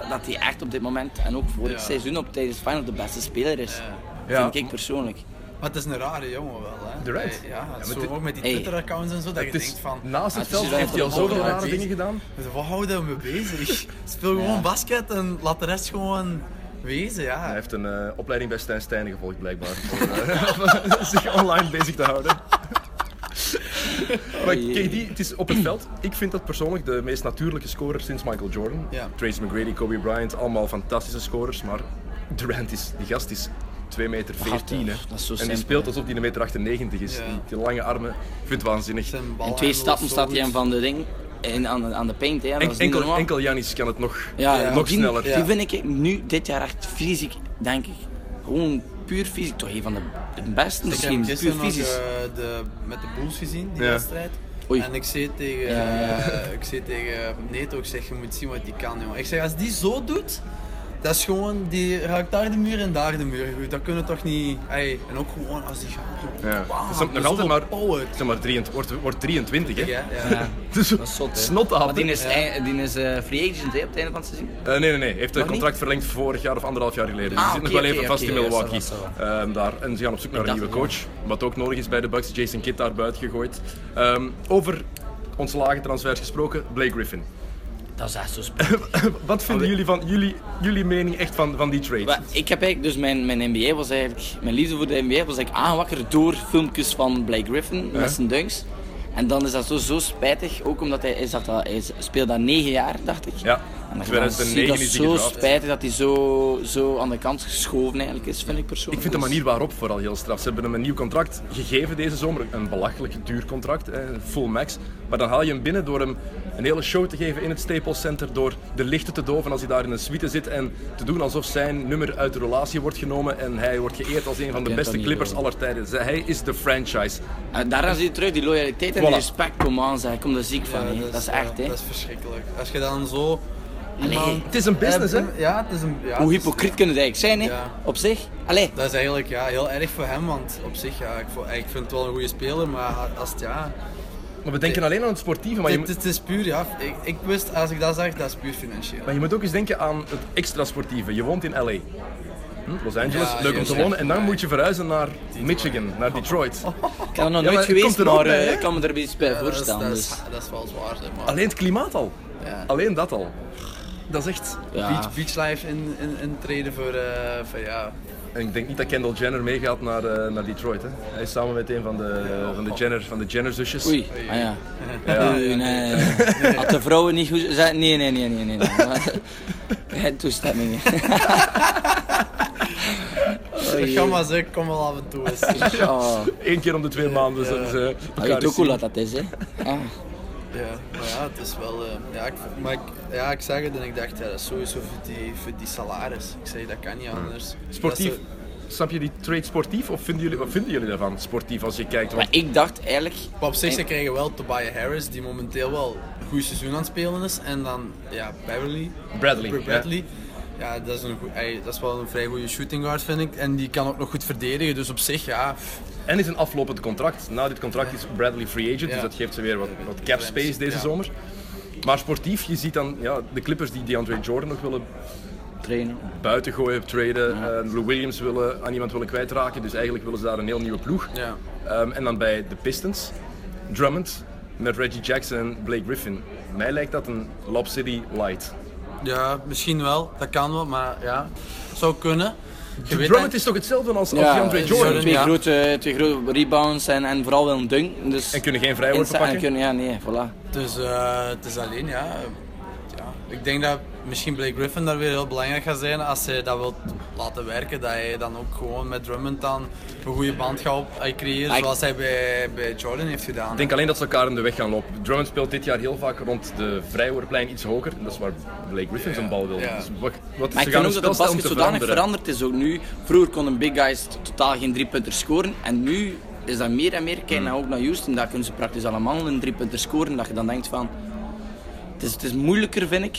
S5: dat hij echt op dit moment, en ook vorig seizoen op tijdens Final, de beste speler is.
S3: Ja.
S5: Vind ik persoonlijk.
S4: Maar het is een rare jongen wel, hè. Eh,
S3: Durant?
S4: Ja, ja,
S3: maar
S4: zo
S3: dit-
S4: ook met die
S5: Hey.
S4: Twitter-accounts en zo, dat je
S3: Het is-
S4: denkt van...
S3: naast het
S5: het is
S3: veld
S5: wel
S3: heeft hij al
S5: van de
S3: zoveel
S5: boven
S3: rare
S5: bezig.
S3: dingen gedaan.
S4: Waar houden we mee bezig? Speel gewoon basket en laat de rest gewoon wezen, ja.
S3: Hij heeft een eh, opleiding bij Stijn Stijnen gevolgd, blijkbaar. Om eh, zich online bezig te houden. Maar KD, het is op het veld. Ik vind dat persoonlijk de meest natuurlijke scorer sinds Michael Jordan.
S4: Ja.
S3: Tracy McGrady, Kobe Bryant, allemaal fantastische scorers. Maar Durant is, die gast is 2 meter 14. hè.
S5: Hard, hè. Dat is zo
S3: en die
S5: simpel,
S3: speelt alsof hij 1,98 meter 98 is.
S4: Ja.
S3: Die, die lange armen, ik vind het waanzinnig.
S4: Zijn bal
S5: In twee
S4: handelen
S5: stappen
S4: zo
S5: staat hij
S4: goed.
S5: hem van de ring in, aan, aan de paint, hè. Dat
S3: En-
S5: is niet
S3: enkel,
S5: normaal.
S3: enkel Janis kan het nog,
S5: Ja,
S3: nog
S5: maar die,
S3: sneller.
S5: Die vind ik nu dit jaar echt fysiek, denk ik. Gewoon puur fysiek. Toch een van de, de beste
S4: Ik heb
S5: misschien, puur
S4: gisteren nog
S5: fysisch.
S4: eh, de, met de Bulls gezien, die
S3: Ja.
S4: wedstrijd.
S5: Oei.
S4: En ik zei tegen, eh, ik zei tegen Neto, ik zeg, je moet zien wat die kan, jongen. Ik zeg, als die zo doet, dat is gewoon, die raakt daar de muur en daar de muur. Goed, dat kunnen we toch niet... Ey, en ook gewoon als die gaat...
S3: Ja.
S4: Wow,
S3: Het is nog altijd
S4: met zoveel
S3: maar,
S4: power.
S3: zeg maar 23, wordt, wordt 23, hè?
S4: Ja, ja.
S3: Dus
S5: Dat is zot, hè.
S3: snotapen.
S5: Maar die is, ei- die is eh, free agent hè, op het einde van het seizoen.
S3: Eh, nee, nee, nee. Heeft het
S5: niet?
S3: contract verlengd vorig jaar of anderhalf jaar geleden. Dus
S5: Ah,
S3: die zit nog
S5: oké,
S3: wel even
S5: oké,
S3: vast
S5: oké,
S3: in
S5: ja,
S3: Milwaukee.
S5: zo, zo.
S3: Ehm, daar. En ze gaan op zoek naar een
S5: dacht
S3: nieuwe
S5: het,
S3: coach. Wat ook nodig is bij de Bucks. Jason Kidd daar buiten gegooid. Ehm, over ontslagen transfers gesproken, Blake Griffin.
S5: Dat is echt zo spannend.
S3: Wat vinden jullie van jullie, jullie mening echt van, van die trade?
S5: Maar ik heb eigenlijk, dus mijn, mijn NBA was eigenlijk, mijn liefde voor de NBA was eigenlijk aangewakkerd door filmpjes van Blake Griffin met zijn dunks. En dan is dat zo, zo spijtig, ook omdat hij, is dat, hij is- speelt dat negen jaar, dacht ik.
S3: Ja,
S5: En dan
S3: 2009
S5: zie je dat
S3: is hij
S5: zo
S3: gedraft.
S5: spijtig dat hij zo, zo aan de kant geschoven eigenlijk is, vind ik
S3: Ik
S5: persoonlijk.
S3: vind de
S5: Dus-
S3: manier waarop vooral heel straf. Ze hebben hem een nieuw contract gegeven deze zomer. Een belachelijk duur contract, eh, full max. Maar dan haal je hem binnen door hem een hele show te geven in het Staples Center. Door de lichten te doven als hij daar in een suite zit. En te doen alsof zijn nummer uit de relatie wordt genomen. En hij wordt geëerd als een van de
S5: Anthony
S3: beste clippers
S5: Brown.
S3: aller tijden. Zij- Hij is de franchise.
S5: En eh, daaraan zie je terug die loyaliteit en
S3: Voilà.
S5: die respect, kom aan zeg, ik kom er ziek van.
S4: Ja,
S5: hè. dat, is
S4: ja,
S5: echt hè.
S4: Dat is verschrikkelijk. Als je dan zo...
S5: Allee.
S4: iemand-
S3: Het is een business, hè?
S4: Eh, Ja, het is een... Ja,
S5: Hoe
S4: het is-
S5: hypocriet kunnen het eigenlijk zijn hè,
S4: Ja.
S5: op zich. Allee,
S4: Dat is eigenlijk ja, heel erg voor hem, want op zich, ja, ik, vo- ik vind het wel een goede speler, maar als het ja...
S3: Maar we denken alleen aan het sportieve. Maar je,
S4: het,
S3: moet-
S4: het is puur, ja. Ik, ik wist, als ik dat zag, dat is puur financieel.
S3: maar je moet ook eens denken aan het extra sportieve. Je woont in L.A. Hm, Los Angeles,
S4: Ja, Oh.
S3: leuk
S4: ja,
S3: om te
S4: ja.
S3: wonen. En dan moet je verhuizen naar Michigan, naar Detroit.
S5: ik ben er nog
S3: Ja,
S5: nooit
S3: maar het
S5: geweest,
S3: komt er ook
S5: maar
S3: bij,
S5: eh,
S3: hè?
S5: ik kan me er iets bij
S4: Ja, dat, is,
S5: voorstellen.
S4: dat,
S5: dus.
S4: is, dat is wel zwaar, zeg maar.
S3: Alleen het klimaat al.
S4: Ja.
S3: Alleen dat al. Dat is echt...
S5: Ja.
S4: Beach, beachlife in, in, intreden voor, eh, voor ja...
S3: En ik denk niet dat Kendall Jenner meegaat naar, eh, naar Detroit. Hè. Hij is samen met een van de, van de, Jenner, van de Jenner zusjes.
S5: Oei, ah ja. Oei, nee. Had de vrouwen niet goed zijn? Nee, nee, nee, nee, nee. nee. Geen toestemming.
S4: Ik ga maar zeggen, kom wel af en toe eens.
S5: Oh,
S3: Eén keer om de twee maanden. Dus, dat is, eh,
S5: je
S3: elkaar
S5: weet
S3: eens
S5: ook hoe
S3: zien.
S5: laat dat is, hè? Ah.
S4: Ja, maar ja, het is wel... eh, ja, ik, maar ik, ja, ik zag het en ik dacht, ja, dat is sowieso voor die, voor die salaris. Ik zei, dat kan niet anders.
S3: Sportief.
S4: Dat is-
S3: Snap je die trade sportief? Of vinden jullie, wat vinden jullie daarvan, sportief, als je kijkt?
S5: Maar
S3: Want
S5: ik dacht eigenlijk,
S4: Maar op zich, ze krijgen wel Tobias Harris, die momenteel wel een goed seizoen aan het spelen is. En dan, ja, Beverly.
S3: Bradley,
S4: Br- Bradley. Ja, dat, is een goe- hij- dat is wel een vrij goede shooting guard, vind ik. En die kan ook nog goed verdedigen, dus op zich, ja. pff,
S3: en is een aflopend contract. Na dit contract is Bradley free agent, dus
S4: Ja.
S3: dat geeft ze weer wat, wat cap space deze
S4: Ja.
S3: zomer. Maar sportief, je ziet dan ja, de Clippers die DeAndre Jordan nog willen
S5: trainen.
S3: buiten gooien, traden. Eh, Lou Williams willen, aan iemand willen kwijtraken, dus eigenlijk willen ze daar een heel nieuwe ploeg.
S4: Ja.
S3: Ehm, en dan bij de Pistons, Drummond met Reggie Jackson en Blake Griffin. Mij lijkt dat een Lob City light.
S4: ja, misschien wel. Dat kan wel, maar ja, zou kunnen. Je weet
S3: Drummond
S4: dat-
S3: is toch hetzelfde als, als
S5: Ja,
S3: DeAndre
S5: eh,
S3: Jordan?
S5: Twee,
S4: ja.
S5: grote, twee grote rebounds en, en vooral wel een dunk. Dus
S3: En kunnen geen vrijworpen
S5: Insta- en
S3: pakken?
S5: kunnen, ja, nee, voilà.
S4: Dus eh, het is alleen, ja. eh, ja ik denk dat misschien Blake Griffin daar weer heel belangrijk gaat zijn als hij dat wilt laten werken. Dat hij dan ook gewoon met Drummond dan een goede band gaat op, eh, creëren
S5: Ik-
S4: zoals hij bij, bij Jordan heeft gedaan.
S3: Ik denk alleen dat ze elkaar in de weg gaan lopen. Drummond speelt dit jaar heel vaak rond de Vrijwoordplein iets hoger. En dat is waar Blake Griffin zijn bal wil.
S4: ja.
S3: Dus wat, wat
S5: Maar
S3: ze
S5: ik
S3: gaan
S5: vind
S3: hun
S5: ook dat de
S3: spelstijl
S5: basket
S3: moeten
S5: zodanig
S3: veranderen.
S5: veranderd is ook nu. Vroeger konden big guys t- totaal geen driepunter scoren. En nu is dat meer en meer.
S3: Hmm.
S5: Kijk nou ook naar Houston, daar kunnen ze praktisch allemaal een driepunter scoren. Dat je dan denkt van... Het is, het is moeilijker, vind ik.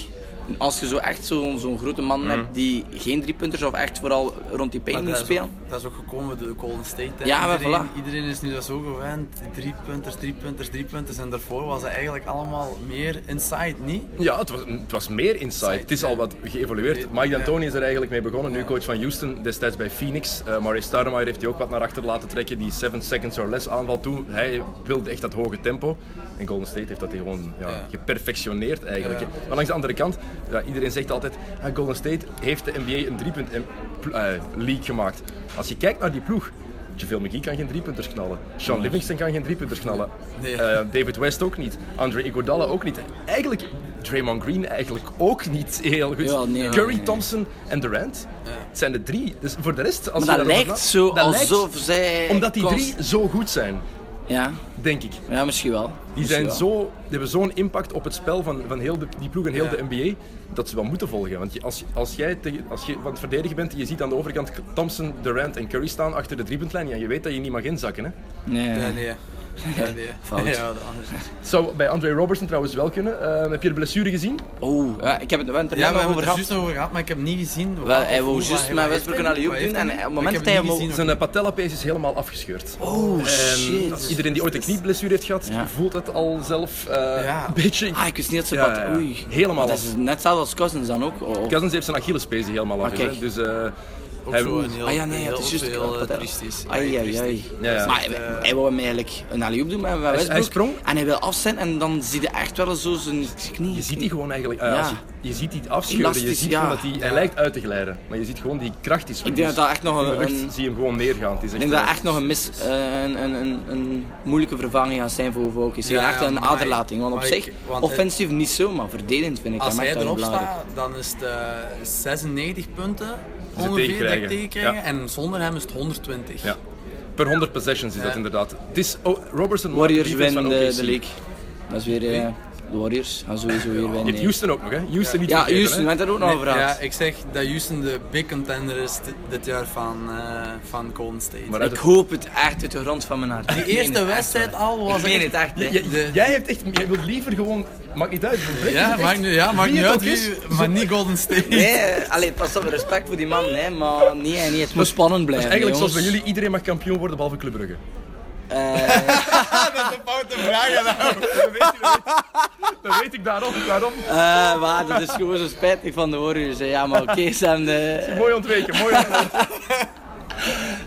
S5: Als je zo echt zo'n zo'n grote man
S3: Hmm.
S5: hebt die geen driepunters of echt vooral rond die paint
S4: Maar
S5: moet
S4: dat, is ook,
S5: spelen.
S4: dat is ook gekomen door de Golden State. hè.
S5: Ja, maar
S4: iedereen,
S5: voilà.
S4: iedereen is nu dat zo gewend. Drie punters, drie punters, drie punters. En daarvoor was het eigenlijk allemaal meer inside, niet?
S3: Ja, het was, het was meer inside. Het is al wat geëvolueerd. Mike D'Antoni is er eigenlijk mee begonnen, nu coach van Houston, destijds bij Phoenix. Eh Murray Stoudemire heeft hij ook wat naar achter laten trekken, die 7 seconds or less aanval toe. Hij wilde echt dat hoge tempo. En Golden State heeft dat hier gewoon ja, geperfectioneerd eigenlijk. hè. Maar langs de andere kant, ja, iedereen zegt altijd, "Ah, Golden State heeft de NBA een driepunt em- pl- eh, league gemaakt. Als je kijkt naar die ploeg, JaVale McGee kan geen driepunters knallen. Sean Livingston kan geen driepunters knallen.
S4: Nee.
S3: Eh, David West ook niet. Andre Iguodala ook niet. Eigenlijk Draymond Green eigenlijk ook niet heel goed.
S5: Ja, nee,
S3: Curry,
S5: nee.
S3: Thompson en Durant. Het zijn de drie. Dus voor de rest... Als je
S5: Maar dat
S3: daarover
S5: lijkt
S3: praat,
S5: zo
S3: dat lijkt-
S5: alsof zij...
S3: Omdat die
S5: kost-
S3: drie zo goed zijn,
S5: Ja,
S3: denk ik.
S5: ja misschien wel.
S3: Die,
S5: Misschien
S3: zijn
S5: wel.
S3: zo, die hebben zo'n impact op het spel van, van heel de, die ploeg en heel de NBA, dat ze wel moeten volgen. Want je- als, als, jij tegen- als je van het verdedigen bent, je ziet aan de overkant Thompson, Durant en Curry staan achter de driepuntlijn. Ja, je weet dat je niet mag inzakken. Hè?
S5: Nee,
S4: Ja, nee. Ja, nee.
S5: Fout.
S4: Ja, dat anders.
S3: Het zou bij Andre Robertson trouwens wel kunnen. Eh, heb je de blessure gezien?
S5: Oeh, Oh, ja, ik heb het er net
S4: Ja, we
S5: nog
S4: hebben
S5: over
S4: het er
S5: gehad.
S4: juist nog over gehad, maar ik heb niet gezien.
S5: Wel, hij wou
S4: Hoe,
S5: juist
S4: waar-
S5: met
S4: waar
S5: Westbrook
S4: heeft
S5: een alley-oop
S4: hij hem?
S5: doen en op het
S4: Ik
S5: moment
S4: heb hem
S5: dat hij
S4: niet
S5: hem
S4: gezien,
S3: Zijn patellapees is helemaal afgescheurd.
S5: Oh
S3: En
S5: shit.
S3: iedereen die ooit een knieblessure heeft gehad,
S5: Ja.
S3: voelt het al zelf eh,
S4: Ja.
S3: een beetje.
S5: Ah, ik wist niet dat ze
S3: Ja,
S5: dat...
S3: ja, ja.
S5: Oei.
S3: Helemaal
S5: Dat is net hetzelfde als Cousins dan ook. Oh, of-
S3: Cousins heeft zijn Achillespees helemaal af.
S5: Ah,
S3: is, hè.
S5: kijk.
S3: Dus eh,
S4: Ook
S3: hij-
S4: zo een heel,
S5: Ah ja, nee,
S4: heel,
S5: het is
S4: heel,
S5: juist
S4: heel eh,
S5: Patella.
S4: triestisch.
S5: Ai, ai, ai.
S4: Triestisch.
S3: Ja, ja.
S5: Maar hij, hij wou hem eigenlijk een alley-oop doen met Westbrook.
S3: hij sprong.
S5: En hij wil afzetten en dan zie je echt wel zo zijn knie.
S3: je ziet die gewoon eigenlijk. eh,
S5: Ja.
S3: als je, je ziet die afscheuren. Je
S5: Elastisch,
S3: ziet
S5: ja.
S3: gewoon dat hij, hij lijkt uit te glijden. Maar je ziet gewoon die kracht is.
S5: Ik denk dat dat echt nog
S3: In de
S5: een-
S3: lucht
S5: een-
S3: zie je hem gewoon neergaan. Het is
S5: Ik denk dat echt nog een, mis, eh, een, een, een, een moeilijke vervanging gaat zijn voor Vokis.
S4: Ja,
S5: echt een
S4: maar
S5: aderlating. Want op
S4: maar
S5: zich,
S4: ik- want het-
S5: offensief niet zo, maar verdedigend vind ik
S4: Als
S5: hem echt
S4: hij
S5: wel
S4: erop
S5: belangrijk.
S4: staat, dan is het eh, 96 punten
S3: het
S4: ongeveer dat
S3: tegenkrijgen.
S4: ik tegenkrijg.
S3: Ja.
S4: En zonder hem is het 120.
S3: Ja. Per 100 possessions is dat
S4: Ja.
S3: inderdaad. Het is oh, Robertson. maakt
S5: Warriors
S3: defense
S5: winnen
S3: van
S5: de,
S3: OKC.
S5: de league. Dat is weer eh, de Warriors. Gaan sowieso weer
S3: Je
S5: winnen.
S3: hebt Houston ook nog, hè? Houston niet
S5: Ja,
S3: vergeten,
S5: Houston, we
S3: hè.
S5: hebben het daar ook nog over gehad.
S4: Ja, ik zeg dat Houston de big contender is dit, dit jaar van, eh van Golden State.
S3: Maar uit
S5: Ik
S3: het-
S5: hoop het echt uit de grond van mijn hart.
S4: die
S5: Ik meen
S4: eerste
S5: het echt,
S4: wedstrijd
S5: hoor.
S4: al was
S5: Ik meen
S4: echt-
S5: het echt. hè.
S4: Ja, de-
S3: Jij hebt echt, jij wilt liever gewoon, maakt niet uit.
S4: ja, maakt nu, ja, maakt
S3: Wie het
S4: niet uit,
S3: ook is,
S4: wie- maar niet Golden State.
S5: Nee, eh, allee, pas op, respect voor die man, hè, maar nee, nee, het moet spannend blijven.
S3: Dus Eigenlijk zoals bij
S5: jongens.
S3: jullie, iedereen mag kampioen worden behalve Club Brugge. Dan weet ik daarom, daarom.
S5: Eh, maar dat is gewoon zo spijtig van de Warriors. hè. Ja, maar oké, Sam, de-
S3: Mooi ontweken, mooi ontweken.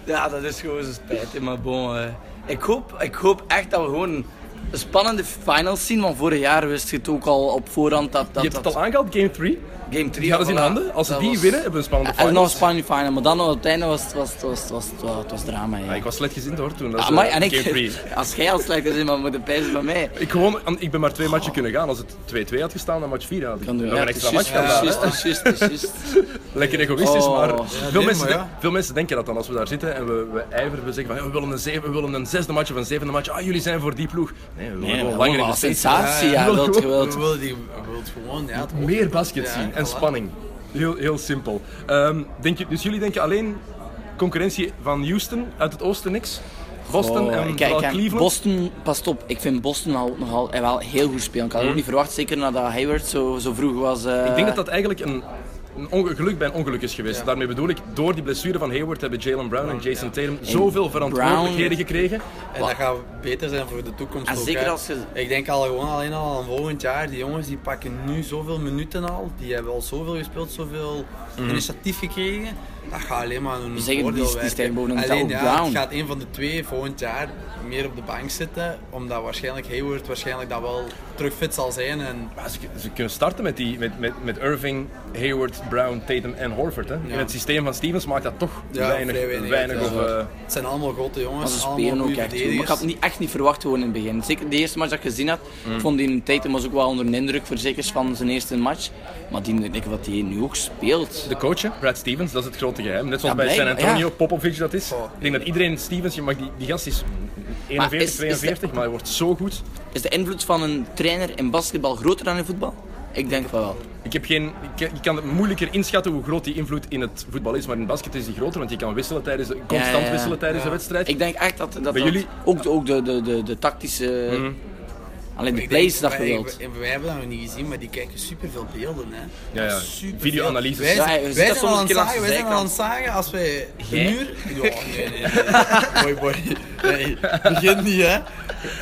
S5: Ja, dat is gewoon zo spijtig. Maar bon, eh, ik, hoop, ik hoop echt dat we gewoon een spannende finals zien. Want vorig jaar wist je het ook al op voorhand dat dat,
S3: Je hebt het
S5: dat
S3: al aangehaald, game 3.
S5: game 3
S3: Die hadden ze in handen. Als ze die winnen, hebben we een spannende
S5: En nog een
S3: finals.
S5: spannende final, maar dan op het einde was het was, het- was, het- was, het- was, het- was drama. Ja.
S3: Ja, ik was slecht gezind hoor toen. Dat is,
S5: Amai,
S3: eh,
S5: Ah, en
S3: game
S5: ik,
S3: 3.
S5: als jij al slecht is, maar moet de pijzen van mij.
S3: Ik, gewoon, aan- ik ben maar twee matchen kunnen gaan. Als het 2-2 had gestaan, dan match 4 had ik
S5: Kan
S3: nog
S5: doen.
S3: een
S5: Ja,
S3: extra
S5: het
S3: match
S5: is
S3: gaan
S5: juist,
S3: gaan.
S5: het is juist, het is juist, het is juist.
S3: Lekker egoïstisch,
S5: Oh.
S3: maar,
S5: Ja,
S3: veel,
S4: nee,
S3: mensen
S4: maar ja.
S3: de- veel mensen denken dat dan als we daar zitten en we, we ijveren. We zeggen van ja, we willen een, zeven, we willen een zesde match of een zevende match. Ah, jullie zijn voor die ploeg. Nee, we willen
S5: Nee,
S3: gewoon
S5: gewoon
S3: langer in
S5: wel
S3: de
S5: een
S3: steeds.
S5: sensatie, ja. wilt je
S4: We
S5: wilt.
S4: willen die, we willen het gewoon, ja. het-
S3: Meer basket
S4: Ja,
S3: zien en
S4: voilà.
S3: spanning. Heel, heel simpel. Ehm, denk je, dus jullie denken alleen concurrentie van Houston, uit het oosten niks. Boston
S5: Oh,
S3: en
S5: ik- ik-
S3: vooral
S5: ik-
S3: Cleveland.
S5: Boston, pas op, ik vind Boston al, nogal eh, wel heel goed spelen. Ik had ook niet verwacht, zeker nadat Hayward zo, zo vroeg was. eh,
S3: Ik denk dat dat eigenlijk een, een onge- geluk bij een ongeluk is geweest. Daarmee bedoel ik, door die blessure van Hayward hebben Jalen Brown en Jason Tatum zoveel verantwoordelijkheden
S5: Brown-
S3: gekregen.
S4: En dat gaat beter zijn voor de toekomst
S5: En
S4: ook,
S5: Ah, zeker
S4: hè.
S5: als je-
S4: Ik denk al gewoon alleen al aan volgend jaar. Die jongens die pakken nu zoveel minuten al. Die hebben al zoveel gespeeld, zoveel initiatief gekregen. dat gaat alleen maar een
S5: Je zegt, Mhm. die-
S4: voordeel
S5: die
S4: werken.
S5: stijgen boven een
S4: Alleen
S5: Tel
S4: ja,
S5: Brown.
S4: het gaat een van de twee volgend jaar meer op de bank zitten, omdat waarschijnlijk Hayward waarschijnlijk dat wel terug fit zal zijn. En
S3: Maar ze, ze kunnen starten met, die, met, met, met Irving, Hayward, Brown, Tatum en Horford. Hè. In het systeem van Stevens maakt dat toch
S4: Ja,
S3: weinig,
S4: vrij weinig
S3: weinig,
S4: uit,
S3: of...
S4: ja.
S3: eh,
S4: het zijn allemaal grote
S5: Maar
S4: jongens,
S5: ze spelen
S4: allemaal
S5: ook
S4: goede
S5: echt goed. Maar ik
S4: verdedigers.
S5: had het niet, echt niet verwacht gewoon in het begin. Zeker de eerste match dat ik gezien had, vond die een Tatum was ook wel onder de indruk voor zekers van zijn eerste match. Maar die, ik denk wat hij nu ook speelt.
S3: de coach, hè, Brad Stevens, dat is het grote geheim. Net zoals
S5: Ja,
S3: bij San
S5: blijkbaar,
S3: Antonio,
S5: ja.
S3: Popovich dat is. Ik denk dat iedereen Stevens, je mag die, die gast is 41,
S5: Maar is- is de-
S3: 42, maar hij wordt zo goed.
S5: Is de invloed van een trainer in basketbal groter dan in voetbal? Ik denk van wel.
S3: Ik heb geen, ik, ik kan het moeilijker inschatten hoe groot die invloed in het voetbal is, maar in basket is die groter, want je kan wisselen tijdens de, constant
S5: Ja, ja, ja.
S3: wisselen tijdens de wedstrijd.
S5: Ik denk echt dat dat, dat
S3: jullie- Mhm.
S5: ook, de, ook de, de, de, de tactische... Alleen de
S4: Ik
S5: plays
S4: denk-
S5: dat je
S4: wij-
S5: wilt.
S4: wij- wij hebben dat nog niet gezien, maar die kijken superveel beelden. Hè.
S3: Ja, ja.
S4: Superveel.
S3: Videoanalyses.
S4: Wij,
S5: Ja, je
S4: wij
S5: ziet
S4: zijn
S5: dat soms
S4: al aan
S5: een
S4: het
S5: keer langs
S4: zagen,
S5: de
S4: wij zijn al aan
S5: zijkant.
S4: het zagen als wij
S5: Jij?
S4: de muur... Ja, nee, nee, nee. Boy, boy. Nee, begin niet, hè.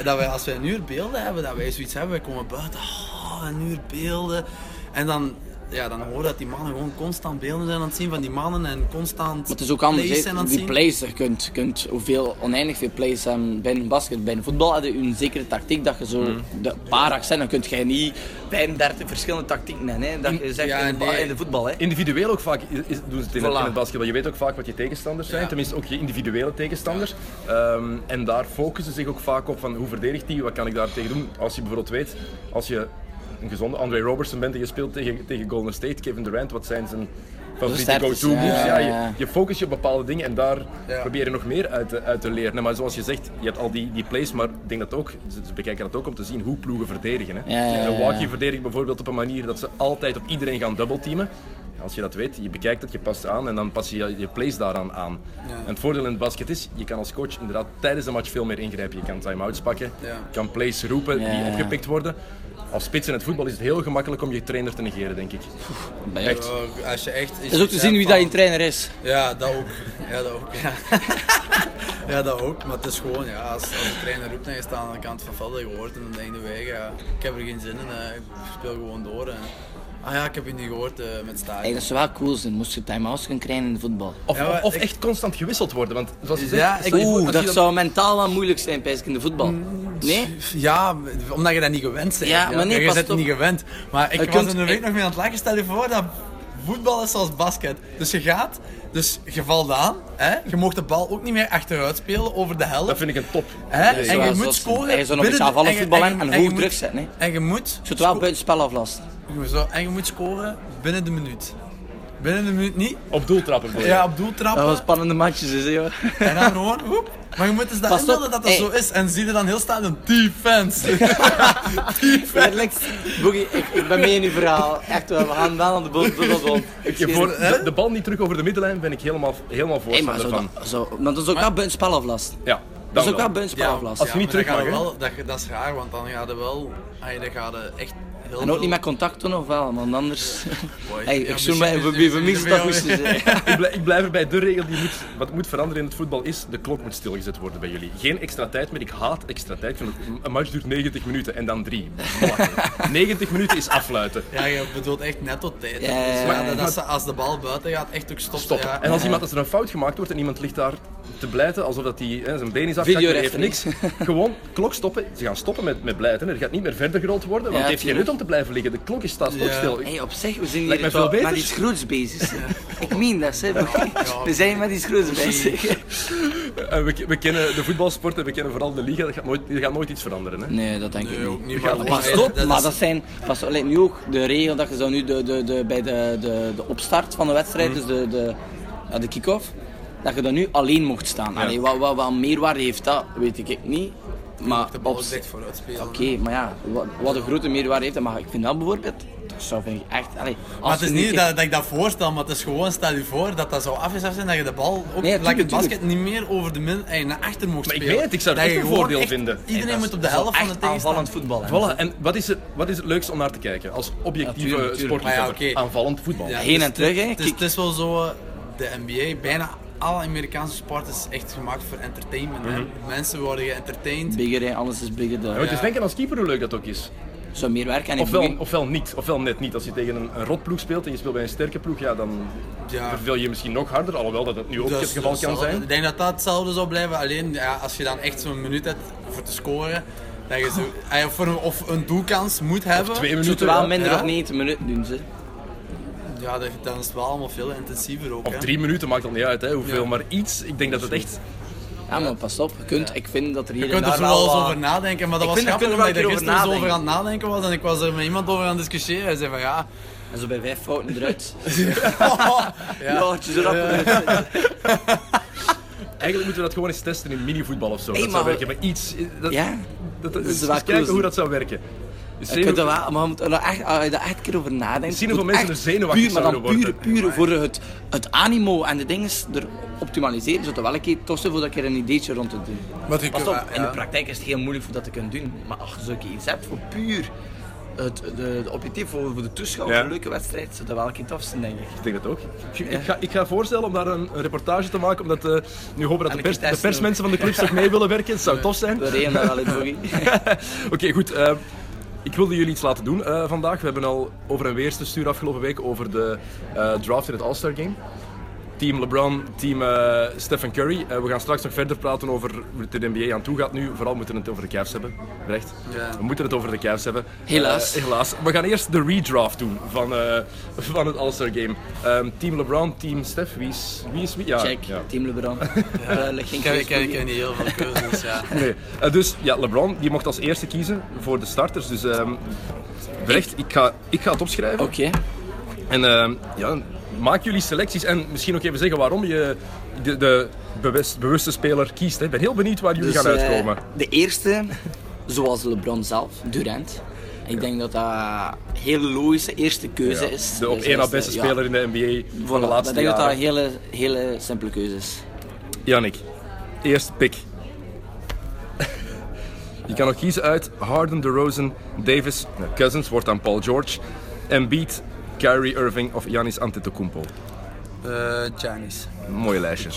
S4: Dat wij, als wij een uur beelden hebben, dat wij zoiets hebben, wij komen buiten, oh, een uur beelden. En dan... Ja, dan hoor je dat die mannen gewoon constant beelden zijn aan het zien van die mannen en constant
S5: Maar het is ook anders.
S4: plays
S5: hè.
S4: zijn aan het
S5: die
S4: zien.
S5: plays, je kunt, kunt hoeveel, oneindig veel plays hebben bij een basket. Bij een voetbal had je een zekere tactiek dat je zo
S3: Mhm.
S5: de paar accenten, dan kun je niet 35 verschillende tactieken hebben. Hè, dat je zegt
S4: Ja,
S5: in, de ba-
S4: nee.
S5: in de voetbal. Hè.
S3: Individueel ook vaak is- is- doen ze het in, het-
S5: Voilà.
S3: in het basketbal. Je weet ook vaak wat je tegenstanders zijn,
S4: Ja.
S3: tenminste ook je individuele tegenstanders. Ehm, en daar focussen ze zich ook vaak op van hoe verdedigt die, wat kan ik daar tegen doen. Als je bijvoorbeeld weet, als je een gezonde Andre Robertson bent en je speelt tegen, tegen Golden State, Kevin Durant, wat zijn zijn favoriete
S5: sterktes,
S3: go-to moves?
S5: ja.
S3: Ja, je, je focus je op bepaalde dingen en daar
S4: Ja.
S3: probeer je nog meer uit te, uit te leren. Nee, Maar zoals je zegt, je hebt al die, die plays, maar ik denk dat ook, ze ze bekijken dat ook om te zien hoe ploegen verdedigen. Hè.
S5: Ja, ja, ja, ja.
S3: Milwaukee verdedigt bijvoorbeeld op een manier dat ze altijd op iedereen gaan dubbelteamen. Als je dat weet, je bekijkt het, je past aan en dan pas je je plays daaraan aan. En het voordeel in het basket is, je kan als coach inderdaad tijdens de match veel meer ingrijpen. Je kan time-outs pakken,
S4: Ja.
S3: je kan plays roepen
S5: Ja, ja, ja.
S3: die opgepikt worden. Als spits in het voetbal is het heel gemakkelijk om je trainer te negeren, denk ik.
S5: Bij-
S3: Echt.
S4: Ja, Als je echt...
S5: Het is ook te zien wie dat je trainer is.
S4: Ja, dat ook. Ja, dat ook. Ja. ja, dat ook. Maar het is gewoon, ja, als, als de trainer roept en je staat aan de kant van het veld en je hoort en dan denk je, wij, ja, ik heb er geen zin in, hè. ik speel gewoon door. En, ah ja, ik heb je niet gehoord eh, met
S5: Hey,
S4: staken.
S5: dat zou wel cool zijn, moest je time-outs kunnen krijgen in de voetbal.
S3: Of,
S4: Ja, maar
S3: of
S4: ik-
S3: echt constant gewisseld worden, want zoals je zegt...
S4: Ja,
S3: stel je voor
S5: Oeh,
S3: als
S5: dat
S3: je
S5: zou mentaal wel moeilijk zijn, pijs ik, in de voetbal.
S4: Mm.
S5: Nee?
S4: Ja, omdat je dat niet gewend bent.
S5: Ja, maar nee,
S4: je
S5: pas
S4: bent het
S5: op.
S4: niet gewend. Maar ik
S5: Je
S4: was
S5: kunt-
S4: in de week
S5: ik-
S4: nog mee aan het lachen. Stel je voor dat voetbal is zoals basket. Dus je gaat, dus je valt aan. Hè? Je mag de bal ook niet meer achteruit spelen over de helft.
S3: Dat vind ik een top.
S4: Hè?
S5: Nee,
S4: en je
S5: zoals-
S4: moet
S5: zoals-
S4: scoren.
S5: en je zou nog
S4: binnen
S5: eens aanvallen
S4: de- je-
S5: voetballen
S4: je-
S5: en
S4: je
S5: hoog
S4: moet-
S5: druk zetten, hè.
S4: En je moet,
S5: Je zou het wel
S4: sco-
S5: buitenspel aflasten.
S4: je zou- en je moet scoren binnen de minuut. Binnen de minuut niet.
S3: Op doeltrappen voor je.
S4: Ja, op doel trappen.
S5: Dat was spannende matches, is, hè, hoor.
S4: En dan gewoon, woep. Maar je moet eens dat
S5: Pas
S4: inbeelden
S5: op,
S4: dat dat
S5: hey.
S4: zo is. En zie je dan heel staan een defense.
S5: Letterlijk. Boogie, ik, ik ben mee in uw verhaal. Echt waar, we gaan wel aan de bond. tot aan de bond.
S3: Ik- je voor- de, de bal niet terug over de middenlijn ben ik helemaal, helemaal
S5: Hé, maar
S3: voorstander
S5: zo,
S3: van.
S5: dat, zo, maar dat is ook wel buitenspel aflast.
S3: Ja,
S5: Dat is
S3: dan
S5: ook
S3: wel.
S5: wel buitenspel aflast.
S3: als je niet
S4: maar
S3: terug
S4: dan
S3: mag,
S4: gaat
S3: hè?
S4: wel, dat, dat is raar, want dan gaat er wel... Hey, dan gaat er echt heel
S5: En ook niet met contact doen, of wel? Want anders...
S4: Boy,
S5: Hey,
S4: ja,
S5: ik
S4: misschien
S5: zoen mij, we
S4: is-
S5: we- we
S4: is- is-
S5: missen dat
S4: is-
S5: goed te zeggen.
S3: ik, blijf, ik blijf erbij de regel die moet, wat moet veranderen in het voetbal is, de klok moet stilgezet worden bij jullie. Geen extra tijd meer, ik haat extra tijd. Ik vind het- een match duurt 90 minuten en dan drie. Belachelijk. 90 minuten is affluiten.
S4: Ja, je bedoelt echt net tot tijd.
S5: Ja, ja, ja.
S4: Dus dat- dat ze- als de bal buiten gaat, echt ook stopt.
S3: Stop.
S4: Ja.
S3: En als, iemand, als er een fout gemaakt wordt en iemand ligt daar te blijten, alsof dat hij hè, zijn been is afgezakt, maar hij heeft niks.
S5: Videoreferee.
S3: Gewoon, klok stoppen. Ze gaan stoppen met, met blijten. Er gaat niet meer verder gerold worden, want
S5: Ja,
S3: het heeft geen nut
S5: tuurlijk.
S3: om te blijven liggen. De klok is staat ook
S4: Ja.
S3: stil.
S5: Hey, op zich, we zijn
S3: Lijkt
S5: hier
S3: mij
S5: toch
S3: veel
S5: met
S3: beter.
S5: iets groots bezig. zeg. Ik meen dat, hè. Boogie. We zijn met iets groots bezig.
S3: En we, we kennen de voetbalsport en we kennen vooral de liga. Dat gaat nooit, er gaat nooit iets veranderen. Hè?
S5: Nee, dat denk
S4: Nee,
S5: ik
S4: ook
S5: niet.
S4: niet, maar
S5: Pas
S4: gewoon-
S5: op,
S4: dat
S5: maar
S4: is-
S5: dat zijn. Pas op, lijkt nu ook de regel dat je zo nu de, de, de, bij de, de, de opstart van de wedstrijd,
S4: Mhm.
S5: dus de, de, ja, de kick-off, dat je dan nu alleen mocht staan. Allee, wat, wat, wat meerwaarde heeft dat, weet ik niet. Maar
S4: de bal
S5: op
S4: is
S5: zich-
S4: echt vooruit spelen.
S5: Oké, maar ja, wat, wat een grote meerwaarde heeft dat. Maar ik vind dat bijvoorbeeld, dat zou vind ik echt. Allee, als
S4: Maar het is
S5: je nu
S4: niet
S5: kijkt-
S4: dat, dat ik dat voorstel, maar het is gewoon, stel je voor dat dat zou afgeschaft zijn, dat je de bal ook
S5: Nee,
S4: like het
S5: tuurlijk,
S4: basket niet meer over de min en naar achter mocht
S3: Maar ik
S4: spelen.
S3: weet het, ik zou het
S4: Dat
S3: echt
S4: je
S3: een
S4: gewoon
S3: voordeel vinden.
S4: Iedereen
S5: dat
S4: moet
S5: is-
S4: op de
S5: dat is wel
S4: helft van de
S5: echt aanvallend
S4: tegenstander.
S5: voetbal. hè.
S3: Voilà, en wat is, het, wat is het leukste om naar te kijken als
S5: Ja,
S3: objectieve
S5: tuurlijk, tuurlijk.
S3: sportliefhebber?
S4: Maar ja, oké.
S3: Aanvallend voetbal.
S4: Ja,
S5: Heen
S4: het is-
S5: en terug, hè.
S4: Het is,
S5: Kijk.
S4: het is wel zo, eh, de NBA, bijna alle Amerikaanse sport is echt gemaakt voor
S3: Mhm.
S4: entertainment. hè. Mensen worden geëntertained.
S5: Bigger, hè, alles is bigger.
S3: Ja,
S5: daar.
S3: Moet je eens denken als keeper hoe leuk dat ook is.
S5: zou meer werk aan
S3: Ofwel,
S5: Boegie-
S3: ofwel niet, ofwel net niet. Als je tegen een, een rotploeg speelt en je speelt bij een sterke ploeg, ja, dan
S4: Ja.
S3: verveel je misschien nog harder. Alhoewel dat het nu ook
S4: Dus-
S3: het geval
S4: dus
S3: kan
S4: hetzelfde.
S3: zijn.
S4: Ik denk dat dat hetzelfde zou blijven. Alleen ja, als je dan echt zo'n minuut hebt voor te scoren, dat je zo, eh, of, voor een, of een doelkans moet hebben.
S3: Ah. Twee
S5: Ze moeten
S3: minuten.
S5: wel
S3: ja.
S5: minder
S4: Ja.
S5: dan 90 minuten doen ze.
S4: Ja, dat, dan is het wel allemaal veel intensiever ook.
S3: Of
S4: hè.
S3: drie minuten maakt dan niet uit, hè, hoeveel,
S4: Ja.
S3: maar iets. Ik denk dat het echt...
S5: Ja, maar pas op. Je kunt, Ik vind dat er hier
S4: Je
S5: en
S4: kunt er
S5: daar
S4: zo wel
S5: wel
S4: eens
S5: wat-
S4: over nadenken, maar dat
S5: Ik
S4: was
S5: vind, daar
S4: grappig
S5: kunnen
S4: omdat
S5: we
S4: ik er
S5: wel
S4: gisteren
S5: een keer
S4: zo
S5: over
S4: over aan het nadenken was en ik was er met iemand over aan het discussiëren. Hij zei van ja,
S5: En zo bij vijf fouten eruit.
S4: Ja.
S5: ja, het is erop.
S3: Eigenlijk moeten we dat gewoon eens testen in minivoetbal of zo.
S5: Nee,
S3: dat zou
S5: maar-
S3: werken. Maar iets... eh, Dat,
S5: Ja.
S3: dat, dat,
S5: is
S3: eens
S5: wel
S3: kijken
S5: cool.
S3: hoe dat zou werken. Dus
S5: Je kunt er wel, maar je moet er nou echt, als je daar echt een keer over nadenken.
S3: Misschien hoeveel
S5: moet
S3: mensen
S5: echt
S3: er zenuwachtig
S5: puur, maar dan
S3: zouden
S5: puur,
S3: worden.
S5: puur voor het, het animo en de dingen er optimaliseren. Zodat er wel een keer tof zijn voor dat keer een ideetje rond te doen.
S4: Wat ik-
S5: Pas op, in de
S4: ja.
S5: praktijk is het heel moeilijk voor dat te kunnen doen. Maar als je zo'n iets hebt voor puur het de, de objectief voor, voor de toeschouwer,
S3: Ja.
S5: voor een leuke wedstrijd, zou dat wel een keer tof zijn, denk ik.
S3: Ik denk dat ook. Ik, ik ga, ik ga voorstellen om daar een, een reportage te maken, omdat eh, nu hopen we dat
S5: En
S3: de, pers,
S5: een keer
S3: de
S5: testen
S3: persmensen van de clubs toch mee willen werken. Het zou tof zijn.
S5: We reden daar wel in, Boogie.
S3: Oké, goed. eh, ik wilde jullie iets laten doen eh, vandaag. We hebben al over en weer te sturen afgelopen week over de eh, draft in het All-Star Game. Team LeBron, team eh, Stephen Curry. Eh, we gaan straks nog verder praten over hoe het in de NBA aan toe gaat nu. Vooral moeten we het over de Cavs hebben. Recht.
S4: Ja.
S3: We moeten het over de Cavs hebben.
S5: Helaas.
S3: Eh, helaas. We gaan eerst de redraft doen van, eh, van het All-Star Game. Ehm, team LeBron, team Steph. Wie is wie? Is, wie? Ja,
S5: Check,
S3: ja.
S5: Team LeBron. Eh, leg geen
S4: ik heb,
S5: keus,
S4: ik, heb, ik
S5: Boogie.
S4: heb niet heel veel keuzes. Ja.
S3: Nee. Eh, dus ja, LeBron die mocht als eerste kiezen voor de starters. Dus ehm Brecht, ik ga, ik ga het opschrijven.
S5: Oké.
S3: En ehm, ja, maak jullie selecties. En misschien ook even zeggen waarom je de, de bewust, bewuste speler kiest. hè. Ik ben heel benieuwd waar jullie
S5: Dus,
S3: gaan
S5: eh,
S3: uitkomen.
S5: de eerste, zoals LeBron zelf, Durant. Ik denk dat dat een hele logische eerste keuze
S3: Ja.
S5: is.
S3: De op
S5: Dus
S3: één
S5: dat
S3: na
S5: is
S3: beste
S5: de- ja,
S3: speler in de NBA
S5: voilà.
S3: van de laatste
S5: Ik denk dat dat een
S3: jaren.
S5: hele, hele simpele keuze is.
S3: Jannik, eerste pick. Je kan nog kiezen uit Harden, DeRozan, Davis, nou, Cousins wordt aan Paul George, Embiid, Kyrie Irving of Giannis Antetokounmpo.
S4: Eh Chinese.
S3: Mooie lijstje.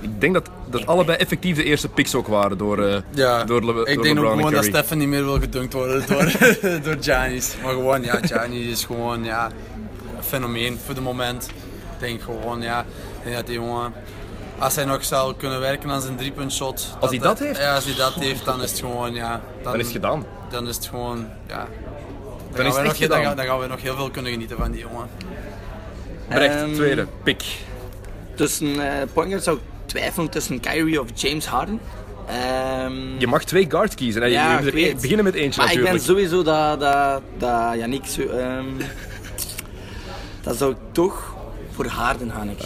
S3: Ik denk dat, dat allebei effectief de eerste picks ook waren door, eh,
S4: Ja,
S3: door, Le- door
S4: ik denk
S3: LeBron
S4: ook
S3: en
S4: gewoon dat
S3: Curry.
S4: Stefan niet meer wil gedunkt worden door, door Giannis. Maar gewoon, ja, Giannis is gewoon ja, een fenomeen voor de moment. Ik denk gewoon, ja, ik denk dat die jongen, als hij nog zou kunnen werken aan zijn driepunt shot.
S3: hij dat heeft?
S4: Ja, als hij dat heeft, dan is het gewoon, ja.
S3: Dan is het gedaan.
S4: Dan is het gewoon, ja.
S3: Dan
S4: gaan
S3: is
S4: we
S3: het
S4: nog,
S3: echt
S4: dan,
S3: gedaan.
S4: gaan- dan gaan we nog heel veel kunnen genieten van die jongen.
S3: Brecht,
S5: Ehm,
S3: tweede pick.
S5: Tussen eh point guard zou ik twijfelen tussen Kyrie of James Harden. Ehm,
S3: Je mag twee guards kiezen. hè. Je- je moet
S5: ik
S3: er één-
S5: weet.
S3: beginnen met eentje
S5: maar
S3: natuurlijk.
S5: ik ben sowieso dat, dat, dat Yannick... Zo, ehm, dat zou ik toch voor Harden gaan. Ik.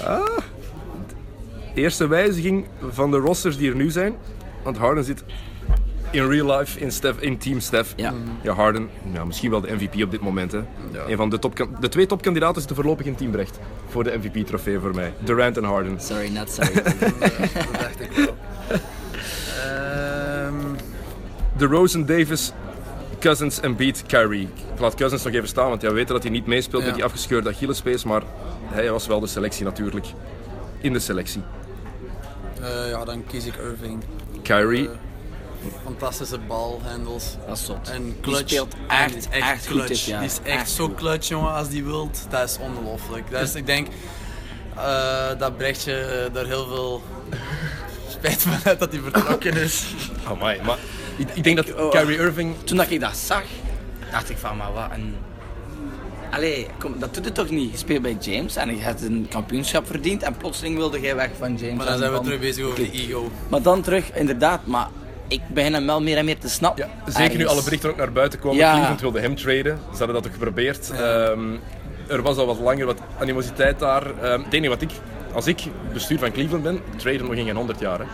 S3: Eerste wijziging van de rosters die er nu zijn. Want Harden zit in real life in, Steph, in team Steph.
S5: Ja.
S3: ja Harden, nou, misschien wel de MVP op dit moment. Hè. Een van de, topkan- de twee topkandidaten zitten voorlopig in team Brecht. Voor de MVP-trofee voor mij. Durant en Harden.
S5: Sorry, not sorry.
S4: Dat dacht ik wel. Ehm,
S3: De Rosen Davis, Cousins en Beat Kyrie. Ik laat Cousins nog even staan, want ja, we weten dat hij niet meespeelt met
S4: Ja.
S3: die afgescheurde Achillespees. Maar hij was wel de selectie natuurlijk. In de selectie.
S4: eh, ja, dan kies ik Irving.
S3: Kyrie,
S4: Fantastische balhandels.
S5: Dat is zot.
S4: En
S5: Die
S4: clutch.
S5: speelt
S4: En
S5: echt,
S4: die is
S5: echt goed dit jaar.
S4: Die is echt,
S5: Echt
S4: zo
S5: goed. Dus-
S4: clutch, jongen, als die wilt. Dat is ongelooflijk. Dat is, ik denk eh, dat Brechtje eh, daar heel veel spijt van heeft dat hij vertrokken is.
S3: Eh, Amai, maar ik, ik denk dat
S5: oh.
S3: Kyrie Irving...
S5: Toen dat ik dat zag, dacht ik van, maar wat een... Allee, kom, dat doet het toch niet? Je speelt bij James en je hebt een kampioenschap verdiend en plotseling wilde jij weg van James.
S4: Maar dan
S5: En
S4: zijn we
S5: van-
S4: terug bezig over de ego.
S5: Maar dan terug, inderdaad, maar ik begin hem wel meer en meer te snappen.
S3: Ja, Nou, zeker nu
S5: Ergens.
S3: alle berichten ook naar buiten komen.
S5: Ja.
S3: Cleveland wilde hem traden. Ze hadden dat ook geprobeerd. Ehm, er was al wat langer wat animositeit daar. Ehm het enige wat ik... Als ik bestuur van Cleveland ben, traden nog in geen 100 jaar. Hè.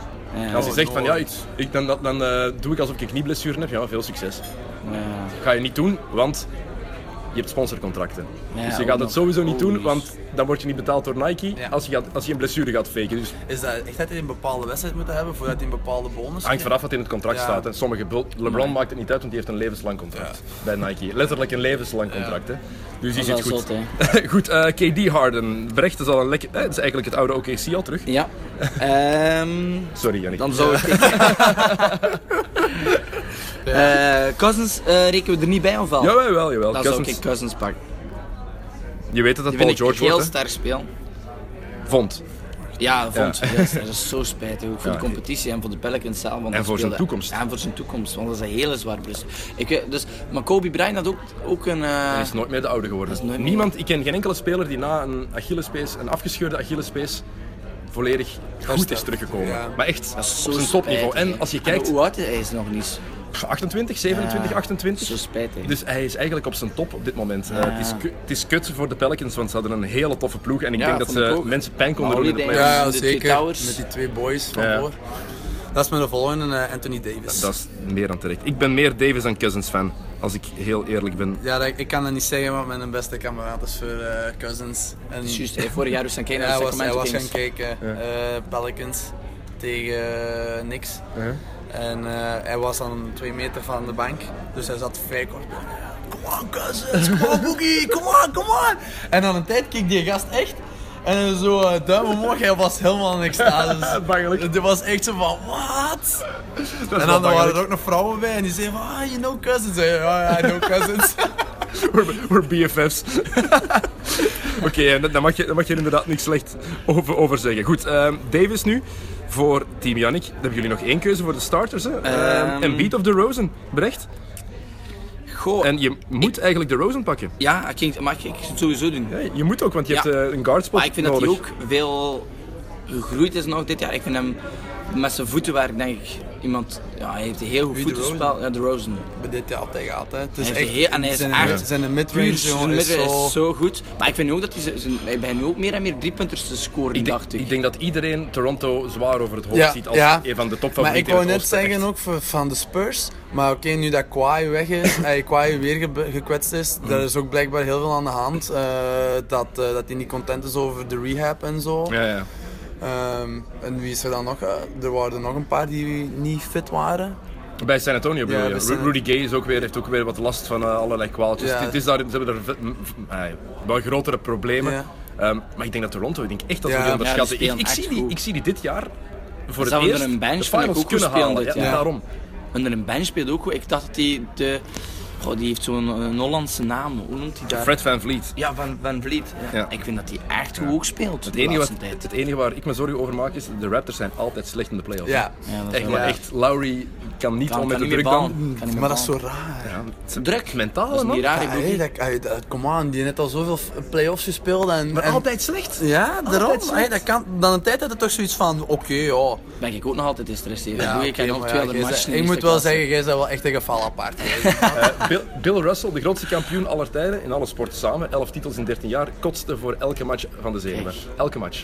S3: En
S5: oh,
S3: als hij zegt van ja, ik, ik- dan, dan, dan, eh, doe ik alsof ik een knieblessure heb, ja, veel succes.
S5: Ja.
S3: Ga je niet doen, want je hebt sponsorcontracten.
S5: Ja, oh,
S3: dus je
S5: ook
S3: gaat
S5: nog.
S3: het sowieso niet doen,
S5: Oei.
S3: want dan word je niet betaald door Nike
S4: Ja.
S3: als, je gaat, als je een blessure gaat faken. Dus
S4: Is dat echt dat hij een bepaalde wedstrijd moet hebben voordat hij een bepaalde bonus
S3: hangt vanaf wat in het contract
S4: Ja.
S3: staat. Hè. Sommige bul- LeBron maakt het niet uit, want die heeft een levenslang contract bij Nike. Letterlijk een levenslang contract. Hè. Dus die
S5: Dat
S3: zit
S5: is wel
S3: goed.
S5: zot,
S3: goed, eh, KD Harden. Brecht is al een lekker. eh, Het is eigenlijk het oude OKC al terug.
S5: Ja. Ehm,
S3: Sorry, Jannik.
S5: dan zou ik... Eh, cousins eh, rekenen we er niet bij of wel?
S3: Jawel, jawel, jawel.
S5: Dan zou
S3: Cousins,
S5: ik Cousins pakken.
S3: Je weet dat dat
S5: Die
S3: Paul
S5: vind ik
S3: George
S5: heel
S3: wordt, hè?
S5: sterk speel.
S3: Vond.
S5: Ja, vond ze heel sterk. Dat is zo spijtig. Ook voor
S3: Ja,
S5: de competitie en voor de Pelicans zelf. Want
S3: En
S5: dat
S3: voor zijn
S5: speelde-
S3: toekomst.
S5: Ja, en voor zijn toekomst, want dat is een hele zwaar brust. Ik, weet- dus, maar Kobe Bryant had ook, ook een... eh,
S3: Hij is nooit meer de oude geworden.
S5: nooit meer-
S3: Niemand, ik ken geen enkele speler die na een Achillespees, een afgescheurde Achillespees, volledig goed is teruggekomen.
S4: Ja.
S3: Maar echt, op
S5: dat is zo
S3: zijn topniveau.
S5: spijtig, hè.
S3: En als je kijkt,
S5: Hoe oud is hij is nog niet?
S3: pff, 28, 27,
S5: Ja,
S3: 28.
S5: Zo spijtig.
S3: Dus hij is eigenlijk op zijn top op dit moment. Eh, het, is, ku- het is kut voor de Pelicans, want ze hadden een hele toffe ploeg. En ik
S5: Ja,
S3: denk dat
S5: vond ik
S3: ze
S5: ook.
S3: mensen pijn konden doen in de
S5: Holiday.
S3: playoffs.
S5: Ja,
S4: Ja,
S5: de twee
S4: zeker.
S5: towers.
S4: Met die twee boys van
S3: Ja.
S4: voor. Dat is mijn volgende, eh, Anthony Davis.
S3: Dat is meer dan terecht. Ik ben meer Davis dan Cousins fan, als ik heel eerlijk ben.
S4: Ja, dat- ik kan dat niet zeggen, want mijn beste kameraad is voor eh, Cousins. En
S5: Dus juist, hij vorig jaar was gaan kijken
S4: Ja,
S5: naar
S4: hij
S5: de
S4: was, hij
S5: Sacramento
S4: was gaan
S5: Kings.
S4: kijken. eh, Pelicans tegen eh, niks. En eh, hij was aan twee meter van de bank, dus hij zat vrij kort bij. Come on, cousins, come on, Boogie, come on, come on. En aan een tijd keek die gast echt. En zo eh, duim omhoog, hij was helemaal in extase.
S3: Bangelijk.
S4: Dit was echt zo van, wat?
S3: Dat is
S4: En
S3: wel
S4: dan waren
S3: bangelijk.
S4: er ook nog vrouwen bij en die zeiden van, ah, you know cousins. Ja, ja, I know cousins.
S3: We're, we're BFF's. Oké, en dat- daar mag, je- daar mag je inderdaad niks slecht over, over zeggen. Goed, ehm, Davis nu voor Team Yannick. Dan hebben jullie nog één keuze voor de starters. Hè? Ehm,
S5: Ehm.
S3: en Beat of the Rosen, Brecht.
S5: Goh,
S3: En je moet eigenlijk de Rosen pakken.
S5: ja, ik ging, maar ik, ik zou het sowieso doen.
S3: Ja, je moet ook, want je
S5: Ja.
S3: hebt eh, een guardspot
S5: Maar ik vind
S3: nodig.
S5: dat hij ook veel gegroeid is nog dit jaar. Ik vind hem met zijn voetenwerk, denk ik, iemand... Ja, hij heeft een heel goed
S4: Wie, de
S5: voetenspel. Ja, de Rosen.
S4: Bij dit jaar altijd gaat, hè. Het is
S5: Hij
S4: echt,
S5: heeft heel- en hij is
S4: zijn,
S5: echt
S4: zijn midrange,
S5: Puur
S4: jongen,
S5: zijn
S4: is
S5: midden
S4: zo-
S5: is zo goed. Maar ik vind ook dat hij, zijn- zijn- hij begint nu ook meer en meer driepunters te scoren,
S3: Ik denk,
S5: dacht ik.
S3: ik denk dat iedereen Toronto zwaar over het hoofd ziet als een van de topfavorieten.
S4: Maar ik
S3: in
S4: wou
S3: het
S4: net
S3: Oosten, echt.
S4: zeggen ook van, van de Spurs. Maar oké, nu dat Kwai weg is, en Kwai weer gebe- gekwetst is,
S3: Mm.
S4: daar is ook blijkbaar heel veel aan de hand. eh, dat eh, dat hij niet content is over de rehab en zo.
S3: Ja, ja.
S4: Ehm, en wie is er dan nog? Eh, er waren er nog een paar die niet fit waren.
S3: Bij San Antonio bedoel
S4: Ja,
S3: je.
S4: bij
S3: Ru-
S4: San-
S3: Rudy Gay is ook weer, heeft ook weer wat last van eh, allerlei kwaaltjes.
S4: Ja.
S3: Het is daar, ze hebben daar ve- m- v- ah, ja, wel grotere problemen.
S4: Ja.
S3: Ehm, maar ik denk dat Toronto, ik denk echt dat
S4: Ja,
S3: we die
S4: ja,
S3: onderschatten.
S5: die
S3: ik, ik,
S5: spelen
S3: zie
S5: echt
S3: die,
S5: goed.
S3: ik zie die dit jaar voor het
S5: Zouden we
S3: eerst
S5: er een bench
S3: de
S5: van
S3: finals
S5: ook
S3: kunnen
S5: goed
S3: halen.
S5: spelen dit
S3: ja,
S5: jaar?
S3: daarom.
S5: Onder een bench speelt ook goed. Ik dacht dat hij de... Goh, die heeft zo'n een Hollandse naam. Hoe noemt hij dat?
S3: Fred Van Vliet.
S5: Ja, Van, van Vliet. Ja.
S3: Ja.
S5: Ik vind dat hij echt goed ook speelt
S3: Het
S5: de
S3: enige, wat,
S5: laatste tijd.
S3: het enige waar ik me zorgen over maak is, de Raptors zijn altijd slecht in de playoffs.
S4: Ja.
S5: Ja, dat is
S3: Echt,
S5: wel-
S3: maar
S4: Ja.
S3: echt, Lowry kan niet
S5: Kan-
S3: om met
S5: kan
S3: de druk
S5: niet meer
S3: dan.
S5: ballen. Kan niet meer
S4: Maar dat is zo
S5: ballen.
S4: raar.
S3: Ja, het-
S5: Druk.
S3: Mentaal,
S5: Dat is
S3: man.
S5: niet raar,
S4: Ja,
S5: ik
S4: hey, dat, hey, dat- come on, die heeft al zoveel f- playoffs gespeeld. En,
S3: Maar
S4: en-
S3: altijd slecht.
S4: Ja, daarom.
S3: slecht.
S4: Hey, dat kan, dan een tijd had het toch zoiets van: oké, ja.
S5: ben ik ook nog altijd gestresteerd.
S4: Ja,
S5: Ja, ik
S4: oké,
S5: heb nog
S4: maar ja,
S5: 200
S4: jij
S5: matchen
S4: zei-
S5: in
S4: Ik
S5: eerste
S4: moet wel
S5: klasse.
S4: zeggen, jij bent wel echt een geval apart. geweest.
S3: Eh, Bill, Bill Russell, de grootste kampioen aller tijden in alle sporten samen, 11 titels in 13 jaar, kotste voor elke match van de zeven. Elke match.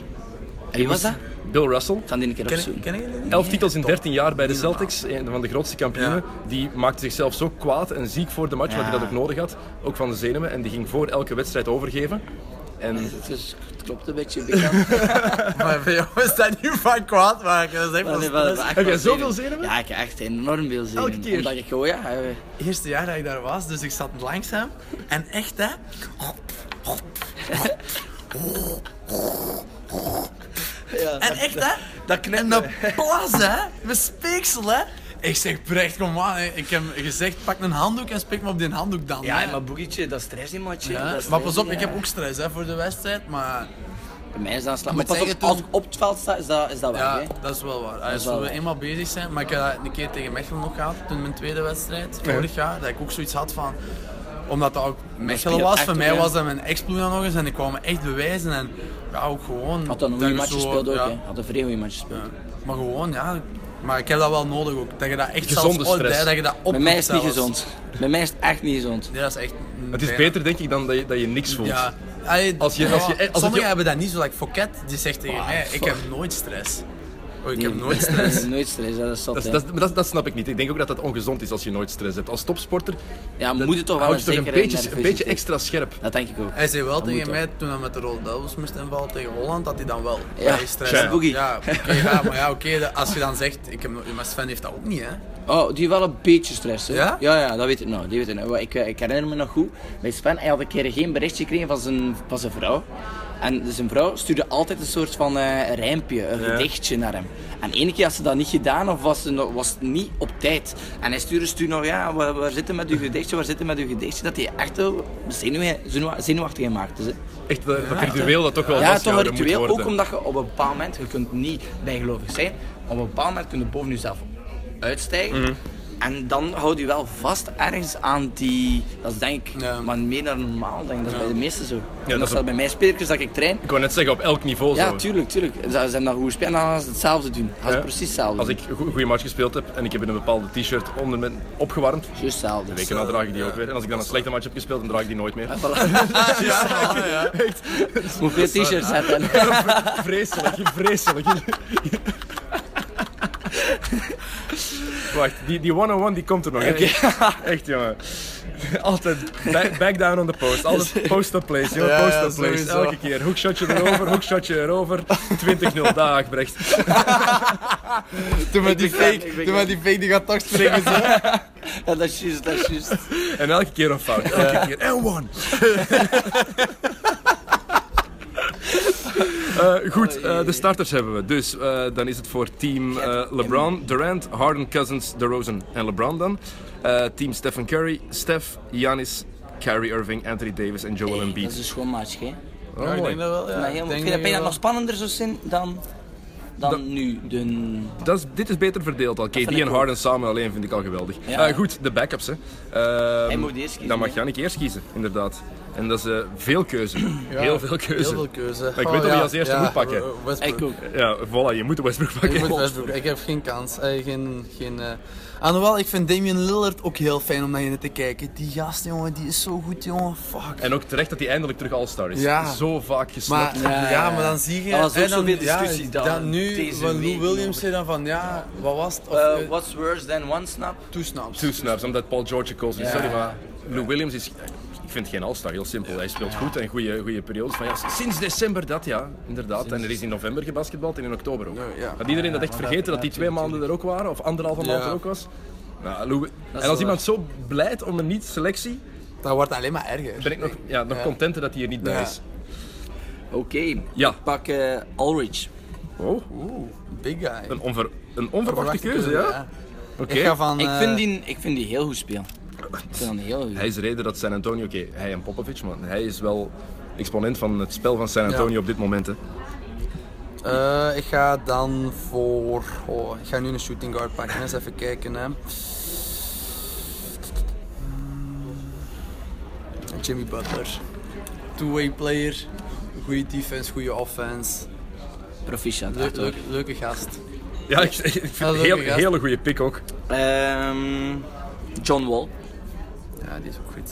S3: Dus
S5: Wie was dat?
S3: Bill Russell,
S5: Ik ga die een keer opzoeken.
S4: Kennen jullie die?
S3: 11 titels in 13 jaar bij de Celtics, een van de grootste kampioenen. Die maakte zichzelf zo kwaad en ziek voor de match, wat hij dat ook nodig had, ook van de zenuwen. En die ging voor elke wedstrijd overgeven. En
S5: Dus het klopt een beetje. bekend.
S4: Maar bij jou is dat niet van kwaad maken. Dat is echt
S5: Maar
S4: wel
S5: nee, wel-
S4: stress.
S5: wel echt
S3: Heb
S5: wel
S3: jij zoveel zenuwen?
S5: Ja, ik heb echt enorm veel zin
S3: Elke keer?
S5: Omdat ik gewoon, ja... eh,
S4: Het eerste jaar dat ik daar was, dus ik zat langzaam. En echt, hè. En echt, hè. Dat knipt. En de plas, hè. Mijn speeksel, hè. Ik zeg, Brecht, kom aan. hè. Ik heb gezegd, pak een handdoek en spreek me op die handdoek dan.
S5: Ja,
S4: hè.
S5: maar boekietje, dat stress in matje.
S4: Ja, Maar pas op, ik heb ook stress hè, voor de wedstrijd, maar...
S5: Bij mij is dat een slag.
S4: Ik
S5: Maar
S4: moet
S5: pas op,
S4: zeggen,
S5: als ik
S4: toen-
S5: op het veld sta, is dat, is dat weg.
S4: Ja,
S5: hè.
S4: dat is wel waar. Als
S5: wel
S4: we
S5: waar.
S4: eenmaal bezig zijn, maar ik heb dat een keer tegen Mechelen nog gehad, toen mijn tweede wedstrijd, vorig jaar, dat ik ook zoiets had van omdat dat ook Mechelen
S5: speelt
S4: was,
S5: echt
S4: voor
S5: ook,
S4: mij
S5: hè.
S4: was dat mijn ex-ploeg dan nog eens en ik kwam me echt bewijzen en ja, ook gewoon...
S5: Had dan een
S4: dat
S5: goede
S4: je
S5: match
S4: zo-
S5: gespeeld ook.
S4: ja,
S5: hè. Had een vrij goede match gespeeld.
S4: Maar gewoon, ja, maar ik heb dat wel nodig ook, dat je dat echt
S3: Gezonde
S4: zelfs ooit,
S3: stress.
S4: hè, dat je dat op
S5: Bij mij is het niet gezond. Bij mij is het echt niet gezond.
S4: Nee, dat is echt...
S3: het is beter, denk ik, dan dat je, dat je niks voelt.
S4: Ja. Allee,
S3: Als je- als je-
S4: ja,
S3: als het
S4: sommigen
S3: je-
S4: hebben dat niet, zoals like Fouquet, die zegt tegen mij, ik
S5: Ah, fuck.
S4: heb nooit stress. Oh, ik heb
S5: Nee.
S4: nooit stress.
S5: Nee, nooit stress, hè, dat is zot.
S3: Dat, is-
S5: hè.
S3: dat, is- maar dat, dat snap ik niet. Ik denk ook dat dat ongezond is als je nooit stress hebt. Als topsporter
S5: Ja, moet het toch wel
S3: houd je
S5: een
S3: toch een
S5: zekere
S3: beetje, een beetje
S5: nervositeit.
S3: extra scherp.
S5: Dat denk ik ook.
S4: Hij zei wel
S5: Dat
S4: tegen
S5: moet
S4: mij toen hij met de Rode Duivels moest invallen tegen Holland, dat hij dan wel
S5: Ja,
S4: bij stress
S5: Sven
S4: had.
S5: Boogie.
S4: Ja, oké, ja, maar ja, oké, dat- als je dan zegt, ik heb, no- maar Sven heeft dat ook niet, hè?
S5: Oh, die wel een beetje stress, hè?
S4: Ja?
S5: Ja, ja, dat weet ik nou. Die weet ik nou. Ik, eh, ik herinner me nog goed, bij Sven, hij had een keer geen berichtje gekregen van zijn, dus van zijn vrouw. En zijn vrouw stuurde altijd een soort van eh rijmpje, een gedichtje naar hem. En ene keer had ze dat niet gedaan of was, ze nog- was het niet op tijd. En hij stuurde stuur nog, ja, waar, waar zitten met uw gedichtje, waar zitten met uw gedichtje. Dat hij echt wel zenuw, zenuw- zenuwachtig gemaakt is. hè.
S3: Echt dat, dat ritueel dat toch wel
S5: Ja, toch een
S3: vastgehouden moet
S5: ritueel.
S3: worden.
S5: Ook omdat je op een bepaald moment, je kunt niet bijgelovig zijn, op een bepaald moment kun je boven jezelf uitstijgen.
S3: Mhm.
S5: En dan houd je wel vast ergens aan die, dat is denk ik,
S4: Ja.
S5: maar meer dan normaal, denk ik. Dat is bij de meesten zo. en
S3: dat
S5: dat
S3: is
S5: is wel bij mijn spelers dat ik train.
S3: Ik wou net zeggen, op elk niveau
S5: Ja,
S3: zo.
S5: tuurlijk, tuurlijk. Ze ze hebben daar goed gespeeld en dan gaan ze hetzelfde doen. Gaan ze
S3: Ja.
S5: precies hetzelfde
S3: Als
S5: doen.
S3: ik een goede match gespeeld heb en ik heb in een bepaalde t-shirt onder me opgewarmd,
S5: Juist hetzelfde.
S3: weken na draag ik die ook weer. En als ik dan een slechte match heb gespeeld, dan draag ik die nooit meer.
S5: Hoeveel t-shirts zetten?
S3: Vreselijk, vreselijk. Wacht, die, die one-on-one die komt er nog. hè? Echt, jongen. Altijd back, back down on the post. Altijd post-up place, jongen.
S4: Ja, ja,
S3: Post-up place.
S4: sowieso.
S3: Elke keer. Hoekshotje erover, hoekshotje erover. 20-0 dag, Brecht.
S4: Toen met die
S5: begrijp,
S4: fake,
S5: ik
S4: toen met
S5: begrijp.
S4: die fake die gaat toch springen zo.
S5: Ja, dat is juist, dat is juist.
S3: En elke keer een fout. Elke keer. En one. Eh, goed, eh, de starters hebben we. Dus eh, dan is het voor team eh, LeBron, Durant, Harden, Cousins, DeRozan en LeBron dan. Eh, team Stephen Curry, Steph, Giannis, Kyrie Irving, Anthony Davis en Joel
S5: Hey, dat
S3: Embiid.
S5: is een schoon match, hè?
S3: Oh,
S4: ik
S3: mooi.
S4: denk dat wel, ja.
S5: Maar
S4: Ik
S5: helemaal,
S4: denk
S5: vind je dat bijna
S4: wel.
S5: nog spannender zou zijn dan, dan nu? De...
S3: Dat is, dit is beter verdeeld al. KD
S5: vind ik
S3: en
S5: ook.
S3: Harden samen alleen vind ik al geweldig.
S5: Ja.
S3: Eh, goed, de backups. Hè. Ehm,
S5: Hij moet eerst kiezen,
S3: Dan mag
S5: hè.
S3: Jannik eerst kiezen, inderdaad. En dat is eh, veel keuze. Heel veel keuze.
S4: Heel veel keuze. Oh,
S3: ik weet dat wie als eerste moet pakken.
S4: eh, Westbrook.
S5: Ik ook.
S3: Ja, voilà, je moet de Westbrook pakken.
S4: Ik moet Westbrook. Ik heb geen kans. Eh, geen, geen, eh. Alhoewel, ik vind Damian Lillard ook heel fijn om naar je te kijken. Die gast, jongen, die is zo goed, jongen. Fuck.
S3: En ook terecht dat hij eindelijk terug All-Star is.
S4: Ja.
S3: Zo vaak gesnapt.
S4: Maar, ja,
S5: Ja,
S4: maar dan zie je...
S5: Dat was ook
S4: en dan,
S5: zoveel discussie
S4: ja,
S5: dan
S4: dan nu,
S5: deze
S4: van Lou
S5: week
S4: Williams
S5: nog.
S4: zei dan van, ja, wat was het? Of, eh,
S5: what's worse than one snap?
S4: Two snaps.
S3: Two snaps, omdat Paul George gekozen is.
S4: Ja.
S3: Sorry, maar Lou Williams is... Ik vind geen All-Star, heel simpel. Hij speelt goed en goede, goede periodes. Van, ja, sinds december dat, ja, inderdaad. En er is in november gebasketbald en in oktober ook.
S4: ja.
S3: Had iedereen dat echt vergeten, dat die twee maanden er ook waren? Of anderhalve maand
S4: Ja.
S3: er ook was? Nou, Lou- en
S5: wel
S3: als iemand zo blijdt om een niet-selectie,
S4: Dat wordt alleen maar erger.
S3: ben ik nog, ja, nog contenter dat hij er niet bij
S4: Ja.
S3: is.
S5: Oké,
S3: Ja.
S5: ik pak eh Ulrich.
S3: Oh,
S4: Big guy.
S3: een, onver, een onverwachte keuze, ja. Oké.
S4: Ik ga van...
S5: Ik,
S4: eh,
S5: vind die, ik vind die heel goed spelen. Ik vind hem heel goed.
S3: Hij is de reden dat San Antonio, oké, hij en Popovic, maar hij is wel exponent van het spel van San Antonio
S4: Ja.
S3: op dit moment. Hè.
S4: eh, ik ga dan voor... Oh, ik ga nu een shooting guard pakken. Eens even kijken, hè. Jimmy Butler. Two-way player. Goede defense, goede offense.
S5: Proficiat,
S4: Leuk-
S5: echt hoor.
S4: leuk- leuke gast.
S3: Ja, ik, ik vind
S4: Dat
S3: het
S4: is
S3: een heel,
S4: ook een gast.
S3: hele goede pick ook.
S5: Ehm, John Wall.
S4: Ja, die is ook goed.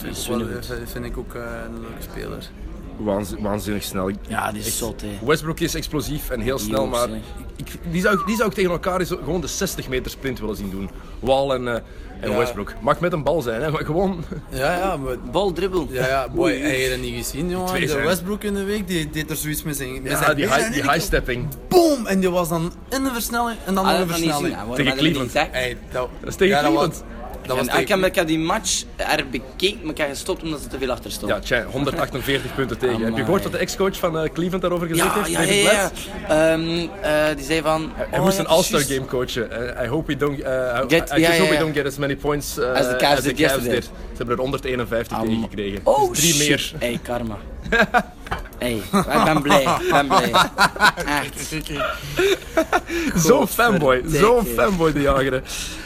S5: Die is
S4: Wel,
S5: wel goed.
S4: eh, vind ik ook eh, een leuke speler.
S3: Waanzin- waanzinnig snel.
S5: Ja, die is zot, hè.
S3: Westbrook is explosief en heel snel,
S5: Jongens,
S3: maar
S5: hè.
S3: ik, die, zou, ik- die zou ik tegen elkaar eens gewoon de 60 meter sprint willen zien doen. Wall en, eh, en
S4: Ja.
S3: Westbrook. Mag met een bal zijn, hè, maar gewoon...
S4: Ja, ja, maar...
S5: Bal dribbel.
S4: Ja, ja, boy, heb je dat niet gezien, jongen?
S3: twee
S4: De
S3: zijn-
S4: Westbrook in de week, die deed er zoiets mee zijn. met
S3: Ja,
S4: zijn
S3: die
S4: benen
S3: high-
S4: en
S3: die
S4: ik-
S3: high-stepping.
S4: Boom! En die was dan in de versnelling en dan
S5: Ah,
S4: in
S5: dat
S4: de
S5: kan niet zien,
S4: versnelling.
S5: ja, hoor.
S3: Tegen
S5: Maar dat heb ik
S3: Cleveland.
S5: niet gezegd.
S4: Hey, dat,
S3: is tegen
S4: ja, dat was-
S3: Cleveland.
S4: Dat was
S5: En ik, heb,
S4: tegen-
S5: ik heb die match er bekeken, maar ik heb gestopt omdat ze te veel achter stond.
S3: Ja, tja, 148 punten tegen. Heb je
S5: Amai.
S3: gehoord wat de ex-coach van eh, Cleveland daarover gezegd
S5: ja,
S3: heeft?
S5: ja,
S3: David
S5: ja, ja.
S3: Blatt?
S5: Ehm, eh, die zei van...
S3: Hij moest een All-Star game coachen. Eh, I hope we don't, eh, I-
S5: Get-
S3: I, just
S5: ja, ja,
S3: hope we
S5: ja.
S3: don't get as many points eh,
S5: As the Cavs did yesterday.
S3: did. Ze hebben er 151 tegen gekregen.
S5: Oh,
S3: dus drie
S5: shit.
S3: meer.
S5: Hey, karma. hey, ik ben blij. Ik ben blij. Echt.
S3: Zo'n fanboy.
S5: Godverdikke.
S3: Zo'n fanboy de jager. hè.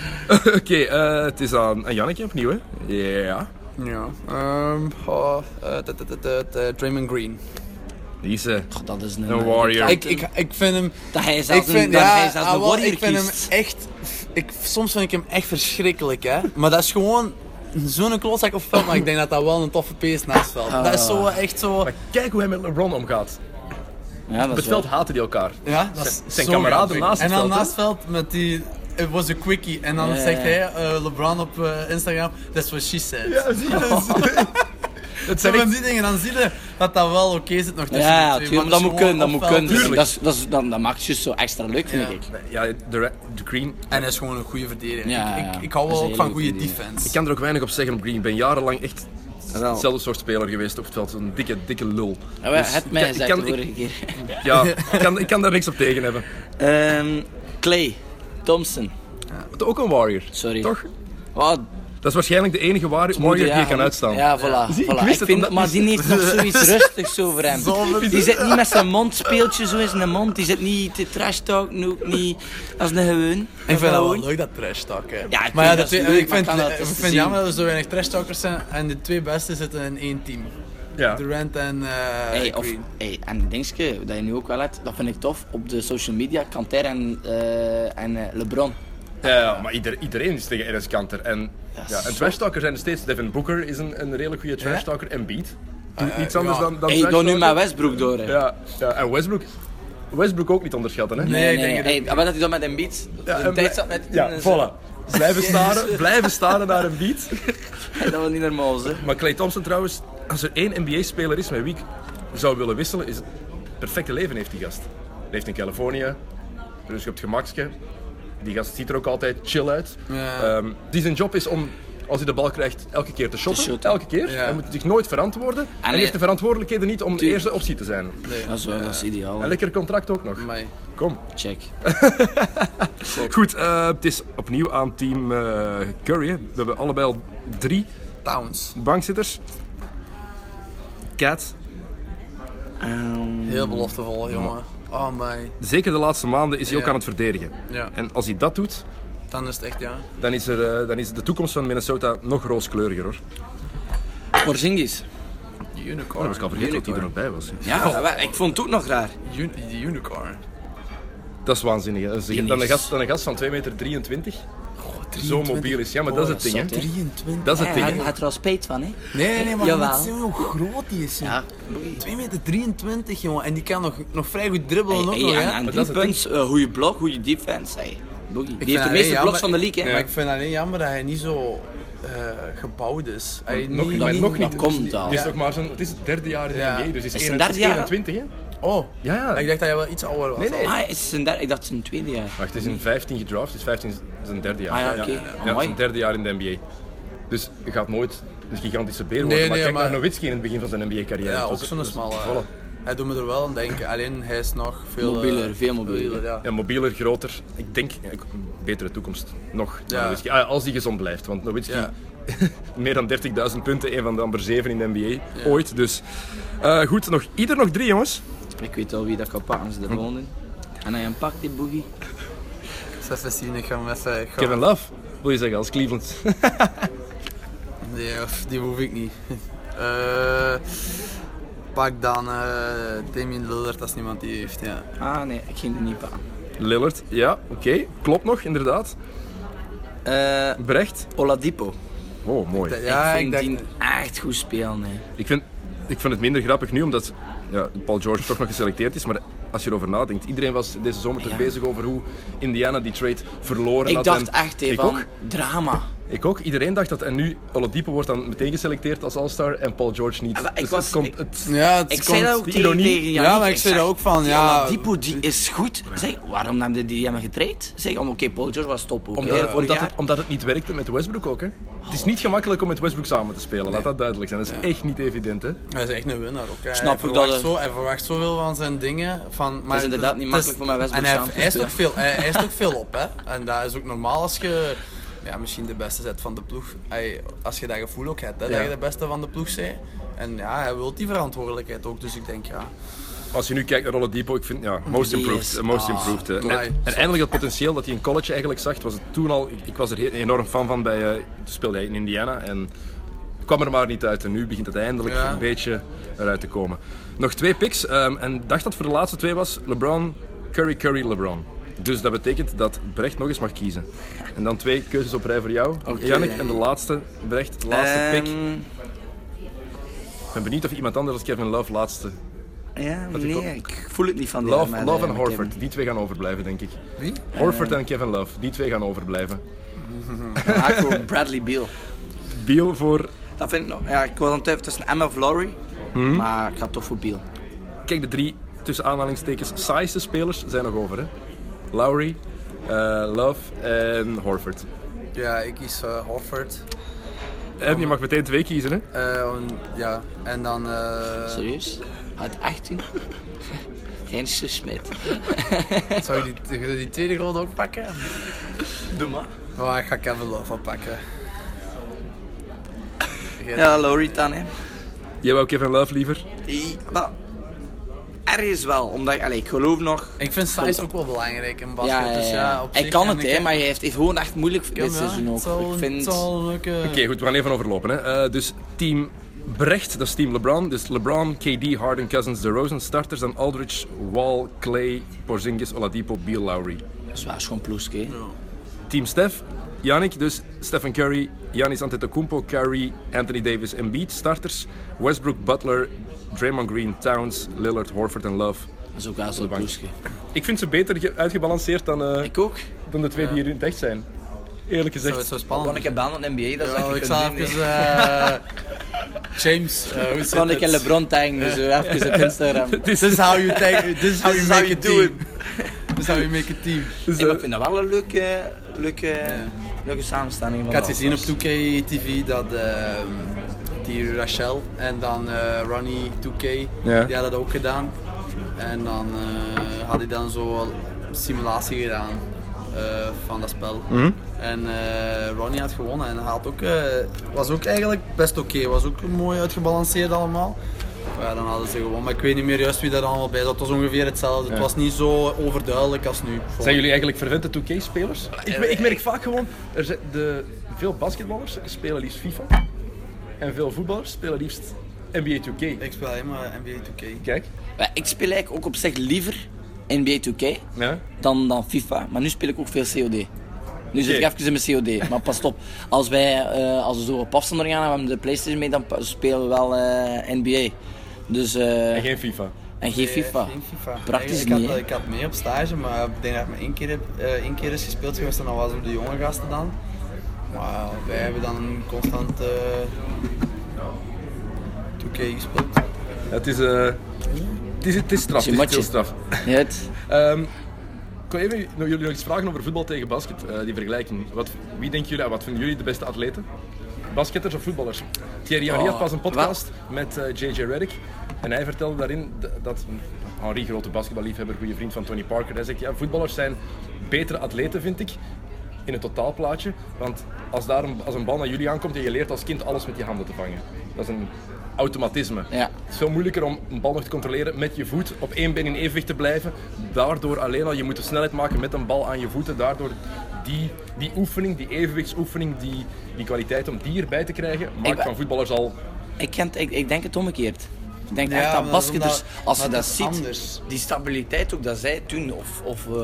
S3: Oké, eh, het is aan aan Janneke opnieuw, hè? Ja.
S4: Ja. Ehm, oh, eh, tut, tut, tut, tut, eh, Draymond Green.
S3: Die is... eh,
S5: God, dat is een...
S3: Een warrior.
S4: Ik, ik, ik vind hem...
S5: Dat hij zelfs een, dat hij zelfs een
S4: ah, wel,
S5: warrior
S4: ik vind
S5: kiest.
S4: hem echt... Ik, soms vind ik hem echt verschrikkelijk, hè. Maar dat is gewoon zo'n klootzak of film, maar ik denk dat dat wel een toffe pees naast veld.
S5: Ah.
S4: Dat is zo eh, echt zo...
S3: maar kijk hoe hij met LeBron omgaat.
S5: Ja,
S3: Op
S5: dat
S3: het
S5: is wel...
S3: veld haten die elkaar.
S4: Ja, dat is
S3: zijn
S4: zo
S3: kameraden
S4: grappig.
S3: naast het
S4: En dan
S3: veld, hè?
S4: naast het veld met die... It was a quickie. En dan
S5: Ja, ja,
S4: zegt
S5: ja.
S4: hij, eh, LeBron op eh, Instagram, that's what she said.
S3: zie je Het
S4: Zo
S3: zijn
S4: van
S3: echt-
S4: die dingen, dan zie je dat dat wel oké zit nog tussen
S5: Ja,
S4: de twee.
S5: tuurlijk, maar dat
S4: het
S5: moet
S4: is
S5: kunnen, dat
S4: gewoon
S5: moet
S4: op veld.
S5: kunnen.
S3: Tuurlijk.
S5: Dat, is- dat, is- dat, dat maakt het juist zo extra leuk, vind
S4: Ja.
S5: ik. Nou,
S3: Ja, de, re- de Green...
S4: En hij is gewoon een goede verdediger.
S5: Ja,
S4: ik,
S5: ja.
S4: ik, ik hou
S5: Dat
S4: wel
S5: is
S4: ook
S5: een
S4: van
S5: hele
S4: goede
S5: goede
S4: defense.
S3: Ik kan er ook weinig op zeggen op Green. Ik ben jarenlang echt...
S5: Wel.
S3: Hetzelfde soort speler geweest op het veld, een dikke, dikke lul.
S5: Ja, maar
S3: Dus
S5: het
S3: ik
S5: mij
S3: kan- ik
S5: gezegd
S3: kan-
S5: de
S3: ik-
S5: vorige keer.
S3: Ja, ik kan, ik kan daar niks op tegen hebben.
S5: Ehm, Clay Thompson.
S3: Ook een Warrior.
S5: Sorry.
S3: Toch?
S5: Wat?
S3: Dat is waarschijnlijk de enige Warrior, warrior die je kan uitstaan.
S5: Ja, voilà.
S3: Zie, ik
S5: voilà.
S3: wist het,
S5: Ik vind-
S3: omdat-
S5: maar die heeft nog zoiets rustigs over hem. Die zit niet met zijn mond speeltje zo in zijn mond. Die zit niet te trash talken ook niet. Dat is een gewoon.
S4: Ik vind dat wel
S5: Gewoon.
S4: leuk, dat trash talk. Hè.
S5: Ja, ik
S4: maar ja,
S5: vind dat
S4: de twee-
S5: leuk,
S4: ik
S5: maar
S4: vind,
S5: kan dat
S4: ik
S5: eens
S4: vind
S5: zien?
S4: jammer dat er zo weinig trash talkers zijn en de twee beste zitten in één team.
S3: Ja.
S4: Durant en eh
S5: Hey, of,
S4: Green.
S5: hey, en dingetje, dat je nu ook wel hebt, dat vind ik tof. Op de social media, Kanter en, eh, en eh, LeBron.
S3: Ja, ja, maar ieder- iedereen is tegen Enes Kanter. En, ja, en trash talkers zijn er steeds. Devin Booker is een, een redelijk goede trash talker. En Beat. Doet iets anders
S4: ja.
S3: dan, dan
S5: Ah, Hey, ik
S3: trash
S5: doe nu
S3: talken.
S5: met Westbrook door. hè.
S3: Ja, ja, en Westbrook. Westbrook ook niet onderschatten, hè?
S5: Nee,
S4: ik
S5: nee,
S4: denk
S5: nee.
S4: het
S5: Hey, ah, maar dat hij dan met een beat.
S3: Ja,
S5: de
S3: en
S5: tijd
S3: blij-
S5: zat met.
S3: Ja, voilà. Blijven staren, blijven staren naar een beat.
S5: Dat was niet normaal, zeg.
S3: Maar Clay Thompson trouwens, als er één NBA-speler is met wie ik zou willen wisselen, is het perfecte leven heeft die gast. Hij leeft in Californië, dus op het gemakske. Die gast ziet er ook altijd chill uit.
S4: Ja.
S3: Ehm, die zijn job is om, als hij de bal krijgt, elke keer te shotten.
S5: shotten.
S3: Elke keer.
S4: Ja.
S3: Hij moet zich nooit verantwoorden. En hij
S5: hij-
S3: heeft de verantwoordelijkheden niet om de
S5: Tuurlijk.
S3: eerste optie te zijn.
S5: Dat is, wel- dat is ideaal.
S3: Een
S5: hè.
S3: lekker contract ook nog.
S4: Amai.
S3: Kom.
S5: Check.
S3: Goed, eh, het is opnieuw aan team eh, Curry. hè. We hebben allebei al drie
S4: Towns.
S3: bankzitters. Cat,
S5: Ehm,
S4: Heel beloftevol, jongen. Oh my.
S3: zeker de laatste maanden, is hij
S4: Ja.
S3: ook aan het verdedigen.
S4: Ja.
S3: En als hij dat doet,
S4: Dan is het echt, ja.
S3: dan is, er, eh, dan is de toekomst van Minnesota nog rooskleuriger hoor.
S5: Porzingis.
S4: Die
S3: Oh,
S4: unicorn.
S3: dat was ik al vergeten dat hij er nog bij was.
S5: Ja, wel, ik vond het ook nog raar.
S4: Un- die unicorn.
S3: Dat is waanzinnig. hè. Dat is-
S5: Die
S3: dan, een
S5: is-
S3: gast, dan een gast van 2,23 meter, zo mobiel is. Ja, maar dat is het ding hè.
S4: 23.
S3: Dat is het
S5: Hij
S3: ding
S5: hij
S3: hè.
S5: had er al spijt van, hè?
S4: Nee, nee, maar je
S5: Jawel.
S4: moet zien hoe groot die is.
S5: Ja.
S4: Ja. 2 meter 23, jongen. En die kan nog, nog vrij goed dribbelen ook
S5: Hey,
S4: nog,
S5: hey,
S4: hè.
S5: aan, aan
S3: Maar
S5: drie
S3: dat is het
S5: punts, eh, goede blok, goede defense. Hey. Boogie. Die
S4: vind
S5: heeft de
S4: alleen
S5: meeste
S4: jammer-
S5: bloks van de league, hè?
S4: Maar ik vind alleen jammer dat hij niet zo eh, gebouwd is. Hij
S3: Nog,
S4: niet,
S3: maar
S4: niet-
S3: nog niet.
S5: dat komt al.
S3: Het is nog maar zo'n, het is het derde jaar in de
S4: Ja.
S3: NBA, dus het is,
S5: Is het
S3: 21
S5: derde jaar?
S3: 21 hè.
S4: Oh,
S3: Ja, ja.
S4: ik dacht dat hij wel iets ouder was.
S3: Nee, nee.
S5: Ah, is het zijn derde? Ik dacht zijn tweede jaar.
S3: Wacht, het is in 15 gedraft, het is 15 z- zijn derde jaar.
S5: Ah ja, oké.
S3: ja, het is
S5: Amai.
S3: zijn derde jaar in de NBA. Dus je gaat nooit een gigantische beer worden.
S4: Nee,
S3: maar
S4: nee,
S3: kijk
S4: maar-
S3: naar Nowitzki in het begin van zijn NBA-carrière.
S4: Ja, ook zo'n smalle.
S3: Voilà.
S4: Hij doet me er wel aan denken, alleen hij is nog veel... eh,
S5: Mobieler, veel mobieler.
S4: ja.
S3: Ja, mobieler, groter. Ik denk, ja, ik- betere toekomst nog. dan
S4: Ja.
S3: Nowitzki. Ah, als hij gezond blijft, want Nowitzki...
S4: Ja.
S3: meer dan 30.000 punten, een van de amper 7 in de NBA ooit. Dus eh, goed, nog, ieder nog drie jongens.
S5: Ik weet al wie dat kan pakken als
S3: Hm.
S5: ze er wonen. En hij pakt die boogie.
S4: Eens Even zien, ik ga hem even... ik ga-
S3: Kevin Love, wil je zeggen, als Cleveland.
S4: Nee, of, die hoef ik niet. Eh, pak dan eh Damien Lillard als niemand die heeft, ja.
S5: Ah nee, ik ging er niet pakken.
S3: Lillard, ja, oké. Klopt nog, inderdaad.
S5: Eh
S3: Brecht.
S5: Oladipo.
S3: Oh, mooi.
S4: Ja,
S5: ik
S4: ik
S5: vind
S4: denk...
S5: die echt goed spelen. Hè.
S3: Ik vind, ik vind het minder grappig nu, omdat ja, Paul George toch nog geselecteerd is. Maar als je erover nadenkt, iedereen was deze zomer toch
S5: Ja.
S3: bezig over hoe Indiana die trade verloren
S5: Ik
S3: had.
S5: dacht
S3: en-
S5: echt hè,
S3: ik
S5: van
S3: ook.
S5: drama. Ah,
S3: Ik ook. Iedereen dacht dat. En nu, Oladipo wordt dan meteen geselecteerd als All-Star en Paul George niet.
S5: Ah, maar ik
S3: Dus
S5: was-
S3: het komt,
S5: ik-
S3: het,
S4: Ja, het
S5: Ik
S4: komt-
S5: zei dat ook
S3: die
S5: tegen,
S3: ironie.
S5: tegen Yannick.
S4: Ja, maar ik zei
S5: zeg,
S4: dat ook van,
S5: die
S4: ja.
S5: Oladipo die is goed. Zeg, waarom hebben die, die hem getraind? Zeg, om- oké, Paul George was top ook.
S3: omdat,
S5: hè,
S3: het,
S5: vorig
S3: omdat,
S5: jaar.
S3: het, omdat het niet werkte met Westbrook ook. Hè. Het is niet gemakkelijk om met Westbrook samen te spelen, laat dat duidelijk zijn. Dat is echt niet evident. Hè.
S4: Hij is echt een winnaar ook. Hij
S5: Snap ik
S4: verwacht
S5: dat, hè.
S4: Zo, hij verwacht zoveel van zijn dingen. Van, maar
S5: is inderdaad niet
S4: het
S5: makkelijk voor mijn Westbrook
S4: En hij,
S5: samen te
S4: hij eist ook
S5: spelen.
S4: veel, hij eist ook veel op. Hè? En dat is ook normaal als je ja, misschien de beste zet van de ploeg. Hij- als je dat gevoel ook hebt, hè,
S3: Ja.
S4: dat je de beste van de ploeg bent. En ja, hij wil die verantwoordelijkheid ook. Dus ik denk, ja,
S3: Als je nu kijkt naar Oladipo, ik vind ja, most
S5: Die
S3: improved.
S5: is-
S3: eh, most
S5: ah,
S3: improved eh.
S4: amai.
S3: en, en eindelijk dat potentieel dat hij in college eigenlijk zag, het was het toen al. Ik, ik was er heel- enorm fan van bij. eh, toen speelde hij in Indiana en kwam er maar niet uit. En nu begint het eindelijk
S4: Ja.
S3: een beetje eruit te komen. Nog twee picks ehm, en ik dacht dat voor de laatste twee was LeBron, Curry, Curry, LeBron. Dus dat betekent dat Brecht nog eens mag kiezen. En dan twee keuzes op rij voor jou.
S5: Oké.
S3: Jannik en de laatste, Brecht, laatste pick.
S5: Ehm,
S3: Ik ben benieuwd of iemand anders als Kevin Love laatste.
S5: Ja,
S3: ik
S5: nee,
S3: ook-
S5: ik voel het niet van die
S3: Love,
S5: maar,
S3: Love
S5: eh,
S3: en
S5: maar ik heb-
S3: Horford, die twee gaan overblijven denk ik.
S4: wie?
S3: Horford
S5: Eh.
S3: en Kevin Love, die twee gaan overblijven.
S5: Maar ik voor Bradley Beal.
S3: Beal voor.
S5: Dat vind ik nog. Ja, ik was aan het twijfelen tussen Emma of Lowry, maar ik ga toch voor Beal.
S3: Kijk, de drie tussen aanhalingstekens saaiste spelers zijn nog over. Hè? Lowry, eh, Love en Horford.
S4: Ja, ik kies eh, Horford.
S3: En Eh, je mag meteen twee kiezen. Hè?
S4: Eh, en- ja, en dan... eh,
S5: Serieus? Uit 18? Hensje Smit.
S4: Zou je die, die tweede rol ook pakken?
S5: Doe maar.
S4: Oh, ik ga Kevin Love oppakken.
S5: Ja, Laurie dan, hè.
S3: Jij wou Kevin Love liever?
S5: Die- Dat... Ergens wel, omdat ik, allee, ik geloof nog...
S4: Ik vind size ook wel belangrijk in basket.
S5: Ja, ja,
S4: Dus ja,
S5: ja.
S4: op
S5: Hij
S4: zich
S5: kan
S4: en
S5: het,
S4: ik-
S5: hè, maar hij heeft, heeft gewoon echt moeilijk
S4: Ja,
S5: dit
S4: maar
S5: seizoen
S4: Het
S5: ook.
S4: zal,
S5: Ik
S4: het
S5: vind...
S4: zal eh, lukken.
S3: Oké, goed, we gaan even overlopen. Hè. Eh, dus team Brecht, dat is team LeBron. Dus LeBron, KD, Harden, Cousins, DeRozan. Starters dan Aldridge, Wall, Clay, Porzingis, Oladipo, Beal, Lowry.
S5: Dat is wel gewoon ploeske, hè.
S3: Team Stef, Yannick, dus Stephen Curry, Giannis Antetokounmpo, Curry, Anthony Davis, Embiid. Starters Westbrook, Butler, Draymond Green, Towns, Lillard, Horford en Love.
S5: Dat is ook wel zo'n ploeske.
S3: Ik vind ze beter ge- uitgebalanceerd dan, eh,
S5: Ik ook.
S3: dan de twee die hier in het echt zijn. Eerlijk
S4: Zo,
S3: gezegd.
S4: zo
S5: Gewoon
S4: spannend.
S5: een keer bellen op de NBA, dat is
S4: Ja,
S5: wat je
S4: ik
S5: kunt
S4: zal
S5: doen, hè.
S4: even... eh, James, eh, hoe zit
S5: Gewoon een keer
S4: het?
S5: LeBron taggen, dus eh, even op Instagram.
S4: This is how you take... This is how you
S5: is how
S4: make a
S5: you do
S4: team. This is how you make a team.
S3: Dus,
S5: Hey, maar
S3: eh,
S5: ik vind dat wel een leuke, leuke, leuke samenstelling.
S4: Ik had gezien op 2K TV dat ehm, die Rachel en dan eh, Ronnie 2K,
S3: Ja.
S4: die hadden dat ook gedaan. En dan eh, had hij dan zo een simulatie gedaan eh, van dat spel.
S3: Mhm.
S4: En eh, Ronnie had gewonnen en hij had ook, eh, was ook eigenlijk best oké. Was ook mooi uitgebalanceerd allemaal. Maar Ja, dan hadden ze gewonnen. Maar ik weet niet meer juist wie daar allemaal bij zat. Het was ongeveer hetzelfde. Het was niet zo overduidelijk als nu.
S3: Zijn jullie eigenlijk vervente 2K-spelers? Ik, ik merk vaak gewoon, er zijn de, veel basketballers spelen liefst FIFA. En veel voetballers spelen liefst NBA 2K.
S4: Ik speel helemaal NBA 2K.
S3: Kijk.
S5: Maar ik speel eigenlijk ook op zich liever NBA 2K
S3: Ja.
S5: dan, dan FIFA. Maar nu speel ik ook veel COD. Nu zit
S3: Oké.
S5: ik even in mijn COD. Maar pas op, als, wij, eh, als we zo op afstand gaan en we hebben de PlayStation mee, dan pa- spelen we wel eh, NBA. Dus, eh,
S3: En geen FIFA.
S5: en geen FIFA.
S4: Geen FIFA.
S5: Praktisch
S4: ik, had,
S5: niet, hè?
S4: ik had mee op stage, maar ik denk dat ik maar één keer, heb, eh, één keer is gespeeld geweest en dat was door de jonge gasten dan. Maar wij hebben dan constant eh 2K gespeeld.
S3: Het is, eh, het is, het is straf. Het is
S5: Matje.
S3: heel straf.
S5: Ja, het-
S3: Ehm ik wil even nog- jullie nog iets vragen over voetbal tegen basket, eh, die vergelijking. Wat, wie denken jullie, ah, wat vinden jullie de beste atleten? Basketters of voetballers? Thierry Henry had pas een podcast met eh, JJ Redick. En hij vertelde daarin d- dat Henry, grote basketballiefhebber, goede vriend van Tony Parker, hij zegt ja, voetballers zijn betere atleten, vind ik, in het totaalplaatje. Want als, daar een, als een bal naar jullie aankomt en je leert als kind alles met je handen te vangen. Dat is een automatisme.
S5: Ja.
S3: Het is veel moeilijker om een bal nog te controleren met je voet, op één been in evenwicht te blijven. Daardoor alleen al, je moet de snelheid maken met een bal aan je voeten. Daardoor die, die oefening, die evenwichtsoefening, die, die kwaliteit om die erbij te krijgen, maakt
S5: wa-
S3: van voetballers al...
S5: ik, ken het- ik, ik denk het omgekeerd. Ik denk
S4: Ja,
S5: echt
S4: maar
S5: dat
S4: dat
S5: basketters,
S4: is omdat-
S5: als je
S4: maar
S5: dat
S4: het is
S5: ziet,
S4: anders.
S5: die stabiliteit ook dat zij toen, of, of eh,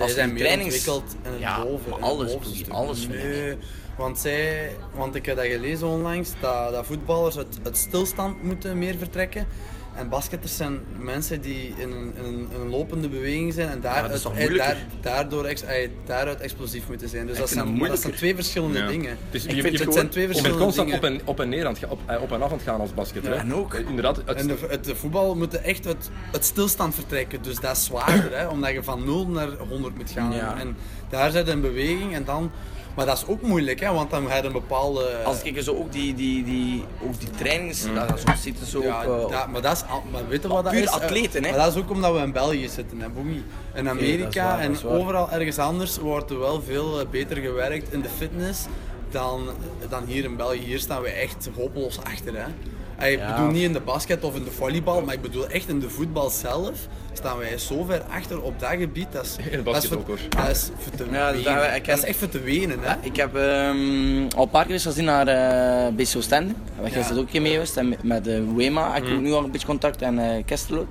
S5: als
S4: zijn
S5: die
S4: meer ontwikkeld in het
S5: ja,
S4: boven.
S5: maar
S4: in het
S5: alles,
S4: bovenste
S5: broer,
S4: stuk.
S5: alles. vind ik.
S4: Nee, want, zij, want ik heb dat gelezen onlangs, dat, dat voetballers uit, uit stilstand moeten meer vertrekken. En basketters zijn mensen die in een, in een, in een lopende beweging zijn en daar,
S5: dat is toch
S4: eh, daar-
S5: moeilijker?
S4: daardoor ex- eh, daaruit explosief moeten zijn. Dus dat
S5: vind dat
S4: zijn, dat zijn
S5: moeilijker.
S4: twee verschillende dingen.
S3: Dus je,
S5: vind
S3: je
S5: het
S3: bent
S5: zijn
S3: gewoon-
S4: twee
S3: je bent
S4: verschillende
S3: constant
S4: dingen.
S3: op en, op en neer aan het, ga- op, eh, op en af aan het gaan als basketter. hè? Eh,
S5: en ook.
S3: Inderdaad, het-
S4: En de, het, de voetbal moeten echt uit, uit stilstand vertrekken. Dus dat is zwaarder, hè, omdat je van 0 naar 100 moet gaan.
S5: Ja.
S4: En daar zit een beweging en dan. Maar dat is ook moeilijk, hè, want dan ga je een bepaalde.
S5: Als ik zo ook die, die, die, ook die trainings, dat dat zo zitten zo
S4: Ja,
S5: op, eh,
S4: dat- maar dat is, al- maar weet je wat dat
S5: Puur
S4: is?
S5: atleten, hè?
S4: Maar dat is ook omdat we in België zitten, hè, Boogie. In Amerika
S5: dat is waar, dat is
S4: en
S5: waar.
S4: overal ergens anders wordt er wel veel eh, beter gewerkt in de fitness dan, dan hier in België. Hier staan we echt hopeloos achter, hè. Ey, Ik bedoel niet in de basket of in de volleybal, maar ik bedoel echt in de voetbal zelf staan wij zo ver achter op dat gebied. Dat is,
S3: In de
S4: dat is
S3: basket
S4: voor-
S3: ook, hoor.
S4: Dat is, voor te
S5: Ja, dus dat-
S4: wenen.
S5: ik
S4: dat
S5: ken-
S4: is echt voor te wenen, hè.
S5: Ik heb ehm, al een paar keer eens gezien naar eh BCO Stende. Waar jij zit ook mee geweest. En met- met eh, Wema heb ik ook nu al een beetje contact en eh Kestelo.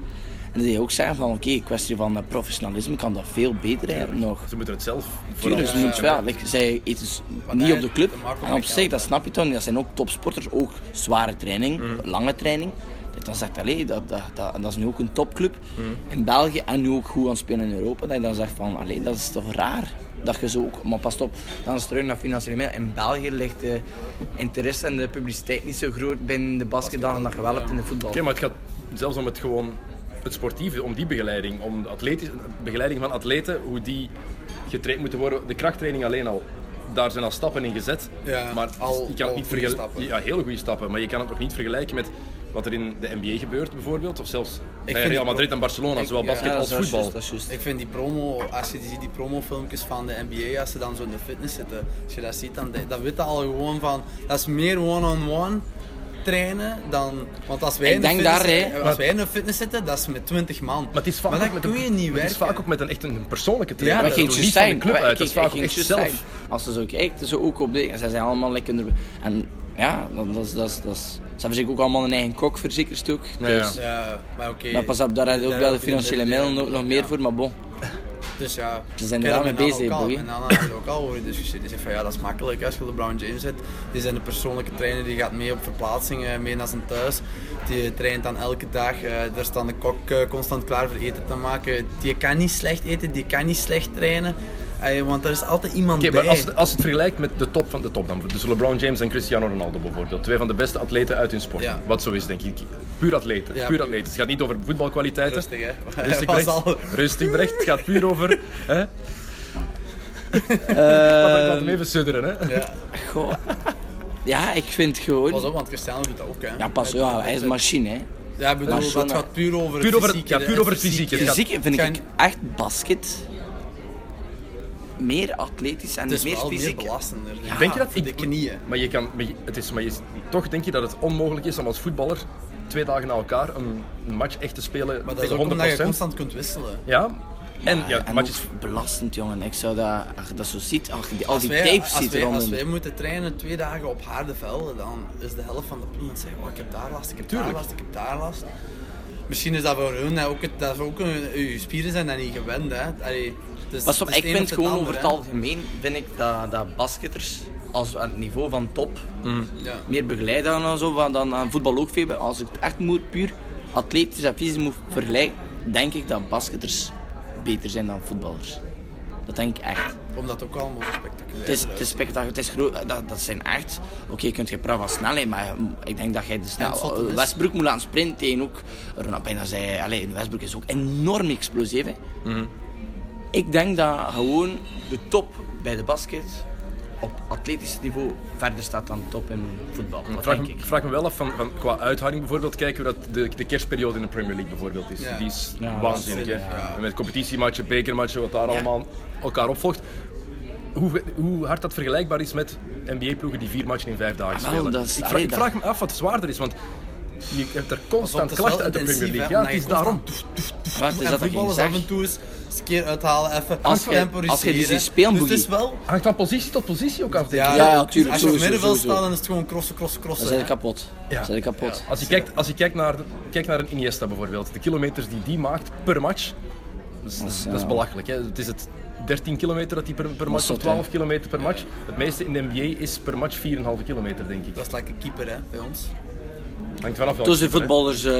S5: En die ook zeggen van oké, kwestie van eh, professionalisme kan dat veel beter eigenlijk nog.
S3: ze moeten het zelf vooral-
S5: Tuurlijk, ze moeten wel. like, zij eten s- niet
S4: daar
S5: op de
S4: heeft
S5: club.
S4: te maken
S5: En
S4: met
S5: op zich, dat snap je toch. niet. Dat zijn ook topsporters, ook zware training, lange training. Dat Dan zegt allee, dat, dat, dat, dat is nu ook een topclub in België en nu ook goed aan het spelen in Europa. Dat je dan zegt van, allee, dat is toch raar dat je zo ook... Maar pas op, dan is het terug naar financiële middelen. In België ligt de interesse en de publiciteit niet zo groot binnen de basket dan dat je wel hebt in de voetbal.
S3: Oké, maar het gaat zelfs om het gewoon het sportieve, om die begeleiding, om de atletisch- begeleiding van atleten, hoe die getraind moeten worden. De krachttraining alleen al, daar zijn al stappen in gezet.
S4: Ja,
S3: maar het is-
S4: al-
S3: je kan het
S4: al
S3: niet
S4: goede
S3: vergel-
S4: stappen.
S3: Ja, heel goede stappen, maar je kan het nog niet vergelijken met wat er in de NBA gebeurt bijvoorbeeld. Of zelfs bij
S4: vind
S3: Real
S4: die
S3: Madrid en Barcelona, zowel
S4: ja,
S3: basket
S5: Ja,
S3: als
S5: dat is
S3: voetbal.
S5: juist, dat is juist.
S4: Ik vind die promo, als je ziet die promofilmpjes van de NBA, als ze dan zo in de fitness zitten, als je dat ziet, dan, dan weet dat al gewoon van, dat is meer one-on-one trainen dan, want als wij,
S5: Ik
S4: in de
S5: denk
S4: fitness,
S5: daar, hè.
S4: als
S3: Maar-
S4: wij in de fitness zitten, dat is met 20 man.
S3: Maar het is vaak, ook
S4: dat
S3: met
S4: kun
S3: een,
S4: je niet
S3: maar het
S4: werken.
S3: is vaak ook met een, echt een, een persoonlijke
S5: Ja,
S3: trainer.
S5: maar
S3: Ja,
S5: geen
S3: niet van de
S5: Justijn.
S3: club uit. Dat is vaak ook echt zelf.
S5: Als ze zo kijkt, zo ook op de. En zij zijn allemaal lekker. onder- En ja, dat, dat, is- dat, is- dat is. Ze hebben zich ook allemaal een eigen kok verzekerd ook.
S3: Ja,
S5: Dus-
S3: ja.
S4: Ja, maar oké.
S5: Maar pas op, daar heb je ook
S4: Daar
S5: wel de
S4: heb je
S5: financiële
S4: de-
S5: middelen ook nog meer voor. Maar bon,
S4: Dus ja,
S5: Ze zijn
S4: ik
S5: er
S4: heb
S5: wel
S4: dat
S5: mee
S4: met
S5: bezig,
S4: Nana ook al-
S5: Boeie.
S4: Met Nana heb ik ook al over discussie. Die zegt van ja, dat is makkelijk als je LeBron James hebt. Die zijn een persoonlijke trainer, die gaat mee op verplaatsingen, mee naar zijn thuis. Die traint dan elke dag. eh daar staat de kok eh, constant klaar voor eten te maken. Die kan niet slecht eten, die kan niet slecht trainen. Eh, want er is altijd iemand
S3: Oké,
S4: bij.
S3: maar als, het- als het vergelijkt met de top van de top dan, dus LeBron James en Cristiano Ronaldo bijvoorbeeld, twee van de beste atleten uit hun sport,
S4: Ja.
S3: wat zo is denk ik, puur atleten,
S4: Ja,
S3: puur
S4: puur.
S3: atleten. Het gaat niet over voetbalkwaliteiten,
S4: Rustig, hè.
S3: rustig
S4: Was
S3: Brecht,
S4: al-
S3: rustig Brecht, het gaat puur over, hè? Laat laat hem even sudderen, hè?
S5: goh. ja, ik vind
S4: Pas
S5: gewoon.
S4: op, want Cristiano doet dat ook, hè.
S5: Ja, pas ja, hij is een machine. Hè.
S4: Ja, ik bedoel,
S5: Barcelona.
S4: dat gaat puur over
S3: Puur
S4: het
S3: over het-
S4: fysiek.
S3: ja,
S4: hè.
S3: puur over het fysiek, hè.
S5: Fysiek vind
S4: Kan-
S5: ik echt basket meer atletisch en
S4: Het is
S5: meer
S4: wel meer
S5: fysiek.
S4: belastender.
S3: Denk je dat?
S4: Voor de knieën.
S3: Maar je kan, maar je- het is, maar je, toch denk je dat het onmogelijk is om als voetballer twee dagen na elkaar een, een match echt te spelen
S4: Maar dat is
S3: tegen
S4: ook
S3: 100%.
S4: omdat je constant kunt wisselen.
S3: Ja, en ja, de
S5: en
S3: match is
S5: ook belastend, jongen. Ik zou dat, als je dat zo ziet, als je die- al
S4: Als
S5: die
S4: wij,
S5: tapes
S4: als
S5: ziet
S4: wij- Als
S5: rondom.
S4: wij moeten trainen twee dagen op harde velden, dan is de helft van de ploeg aan het zeggen, oh, ik heb daar last, ik heb
S3: Tuurlijk.
S4: daar last, ik heb daar last. Misschien is dat voor hun hè, ook, het, dat is ook een, uw spieren zijn dat niet gewend. Hè. Allee, het is-
S5: Pas op,
S4: het is
S5: ik
S4: het een
S5: vind
S4: of
S5: gewoon
S4: ander,
S5: over het
S4: hè.
S5: algemeen vind ik dat, dat basketters als aan het niveau van top
S4: Ja.
S5: meer begeleid aan en zo van, dan aan voetbal ook veel. Als ik het echt moet puur atletisch en fysisch moet vergelijken, denk ik dat basketters beter zijn dan voetballers. Dat denk ik echt.
S4: Omdat het ook allemaal zo spectaculair
S5: Het is,
S4: is.
S5: het is spectaculair, het is groot. Dat, dat zijn echt. Oké, je kunt je praten van snelheid, maar ik denk dat jij
S4: En
S5: de
S4: het
S5: snel. Eh,
S4: vatten is-
S5: Westbroek moet aan sprinten tegen ook. Ronald bijna zei. Allee, Westbroek is ook enorm explosief. Hè.
S3: Mhm.
S5: Ik denk dat gewoon de top bij de basket op atletisch niveau verder staat dan de top in voetbal. Dat
S3: vraag,
S5: denk
S3: me-
S5: ik.
S3: vraag me wel af van, van qua uithouding bijvoorbeeld kijken hoe dat de, de kerstperiode in de Premier League bijvoorbeeld is.
S4: Ja.
S3: Die is
S5: Ja, dat
S3: waanzinnig.
S4: is-
S3: hè. En Met competitiematchen, bekermatchen, wat daar allemaal elkaar opvolgt. Hoe, hoe hard dat vergelijkbaar is met NBA-ploegen die vier matchen in vijf dagen
S5: Ah, wel,
S3: spelen.
S5: dat is-
S3: ik, vraag,
S5: allee,
S3: ik
S5: dat-
S3: vraag me af wat zwaarder is, want je hebt er constant
S4: is wel
S3: klachten uit de Premier
S4: intensief,
S3: League.
S4: hè,
S3: Ja, het is
S4: omdat je
S3: daarom.
S5: Maar het is
S4: en
S5: dat ik geen
S4: voetballers
S5: zeg.
S4: af en toe eens eens een keer uithalen, even
S5: Als je-
S4: temporiseren.
S5: als je die ziet spelen,
S4: dus het
S5: Boogie.
S4: is wel...
S3: Hangt van positie tot positie ook af. denk ik.
S4: Ja,
S5: Ja, ja, tuurlijk,
S4: Als je op
S5: sowieso,
S4: middenveld
S5: sowieso.
S4: staat, dan is het gewoon crossen, crossen,
S5: Dan
S4: crossen.
S5: zijn
S4: hè.
S5: ze kapot. Dan zijn ze kapot.
S3: Als je kijkt, als je kijkt, naar, kijkt naar een Iniesta bijvoorbeeld, de kilometers die die maakt per match, dat is, dat is,
S5: eh,
S3: dat is belachelijk. Hè? Het is het 13 kilometer dat hij per, per match,
S5: zot,
S3: of 12 kilometer per match. Het meeste in de NBA is per match 4,5 kilometer, denk ik.
S4: Dat is lekker keeper, hè, bij ons.
S3: Hangt vanaf welke
S5: Dus de
S3: keeper, hè.
S5: voetballers. eh,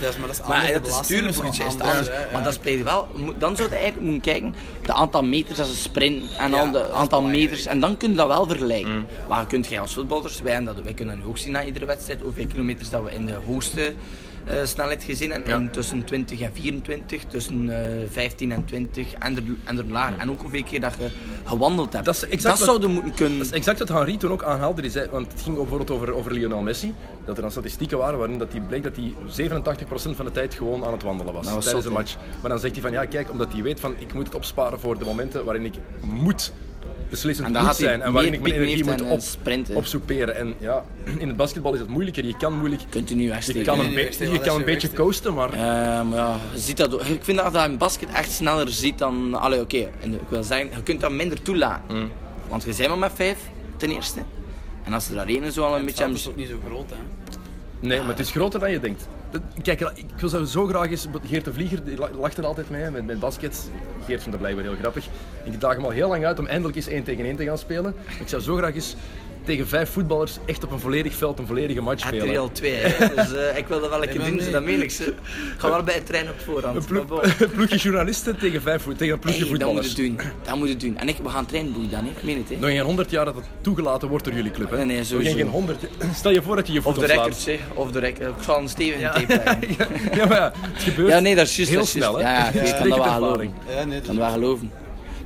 S4: Dat is, maar dat is
S5: Maar
S4: andere
S5: dat is
S4: belastingen
S5: natuurlijk voor
S4: van
S5: iets is het
S4: anderen,
S5: anders.
S4: hè, ja.
S5: Maar dat speelt wel. mo- Dan zou je eigenlijk moeten kijken de aantal meters als ze sprint en
S4: Ja,
S5: al
S4: dat
S5: de
S4: is
S5: aantal
S4: belangrijk.
S5: meters. En dan kun je dat wel vergelijken. Maar kun jij als voetballers, wij, en dat, wij kunnen nu ook zien na iedere wedstrijd hoeveel kilometers dat we in de hoogste eh, snelheid gezien hebben. En Tussen 20 en 24, tussen eh, 15 en 20 en er, en er laag. En ook hoeveel keer dat je gewandeld hebt.
S3: Dat is exact wat-
S5: zouden moeten kunnen.
S3: Dat is exact wat Henri toen ook aanhaalde. Die zei, want het ging bijvoorbeeld over, over Lionel Messi. Dat er dan statistieken waren waarin dat die bleek dat hij 87% van de tijd gewoon aan het wandelen was
S5: was
S3: tijdens
S5: Nou, zot,
S3: een match. Maar dan zegt hij van ja, kijk, omdat hij weet van ik moet het opsparen voor de momenten waarin ik moet beslissend
S5: En dan
S3: moet
S5: gaat hij
S3: zijn en waarin
S5: meer
S3: ik mijn energie
S5: piekneeft
S3: moet
S5: en,
S3: op,
S5: eh, sprinten.
S3: opsoeperen. En ja, in het basketbal is het moeilijker. Je kan moeilijk.
S5: Continu
S3: Je
S5: wegsteken.
S3: kan
S4: Nee,
S3: een,
S4: nee,
S3: beetje-
S4: nee,
S3: je
S4: nee,
S3: kan een
S4: nee,
S3: beetje
S4: nee.
S3: coasten, maar
S5: Ehm, ja, je ziet dat, ook- ik vind dat je dat in basket echt sneller ziet dan... Allee, oké, en ik wil zeggen, je kunt dat minder toelaten. Want je bent maar met vijf, ten eerste. En als er daar één zo al een beetje...
S4: Dat is
S5: aan-
S4: ook niet zo groot, hè.
S3: Nee, maar het is groter dan je denkt. Dat- Kijk, ik zou zo graag eens... Geert de Vlieger die la- lacht er altijd mee, hè, met, met basket. Geert vindt dat blijkbaar heel grappig. Ik daag hem al heel lang uit om eindelijk eens één tegen één te gaan spelen. Ik zou zo graag eens tegen vijf voetballers echt op een volledig veld een volledige match
S5: Het
S3: spelen.
S5: is al twee, hè. dus eh, ik wil dat wel een keer
S4: maar
S5: doen,
S4: nee.
S5: dus dat meen ik. ze. Ik ga wel bij het trein op voorhand.
S3: Ploeg-
S5: maar bon.
S3: ploegje journalisten tegen, vijf, voet- tegen een ploegje
S5: Hey, dat moet
S3: voetballers.
S5: je doen, dat moet je doen. En ik, we gaan trainboeken dan, hè. ik meen het. Hè.
S3: Nog geen 100 jaar dat het toegelaten wordt door jullie club. Hè?
S5: Nee, nee,
S3: Nog
S5: sowieso.
S3: Geen 100 jaar. Stel je voor dat je je voet
S5: Of de
S3: ontslaat.
S5: records, hè. of de records. Ik zal een stevige tape leggen.
S3: Ja, maar ja, het gebeurt
S5: Ja, nee, dat is juist.
S3: heel
S5: dat is juist.
S3: snel. Hè?
S5: Ja, ja, ik kan
S3: Stekende
S5: dat wel
S3: ervaring.
S5: geloven.
S4: Ja, nee, dat
S5: Kan dat wel geloven.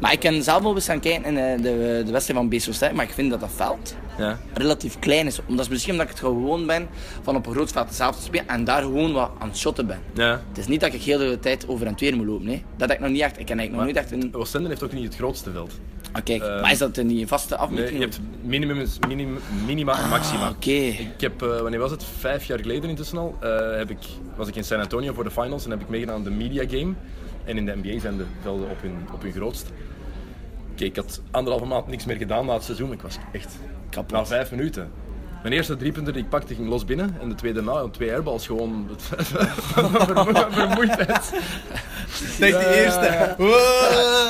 S5: Maar ik kan zelf wel eens gaan kijken in eh, de, de wedstrijd van BSO maar ik vind dat dat veld
S3: Ja.
S5: relatief klein is. Omdat is misschien omdat ik het gewoon ben van op een groot veld zelf te spelen en daar gewoon wat aan het shotten ben.
S3: Ja.
S5: Het is niet dat ik heel de tijd over en het weer moet lopen. Hè. Dat heb ik nog niet echt. Ik ken eigenlijk nog niet echt een...
S3: Oostende heeft ook niet het grootste veld.
S5: Ah, kijk, maar is dat niet een vaste afmeting?
S3: Nee, je hebt minimum, minim, minima en maxima.
S5: Ah, Oké.
S3: Ik heb, eh, wanneer was het? Vijf jaar geleden intussen al, eh, heb ik, was ik in San Antonio voor de finals en heb ik meegedaan aan de media game. En in de NBA zijn de velden op hun, op hun grootst. Kijk, ik had anderhalve maand niks meer gedaan na het seizoen. Ik was echt
S5: Kapot.
S3: Na vijf minuten. Mijn eerste driepunter die ik pakte ging los binnen en de tweede na, twee airballs gewoon het- vermoe- vermoeidheid.
S4: Zeg de eerste. Wow,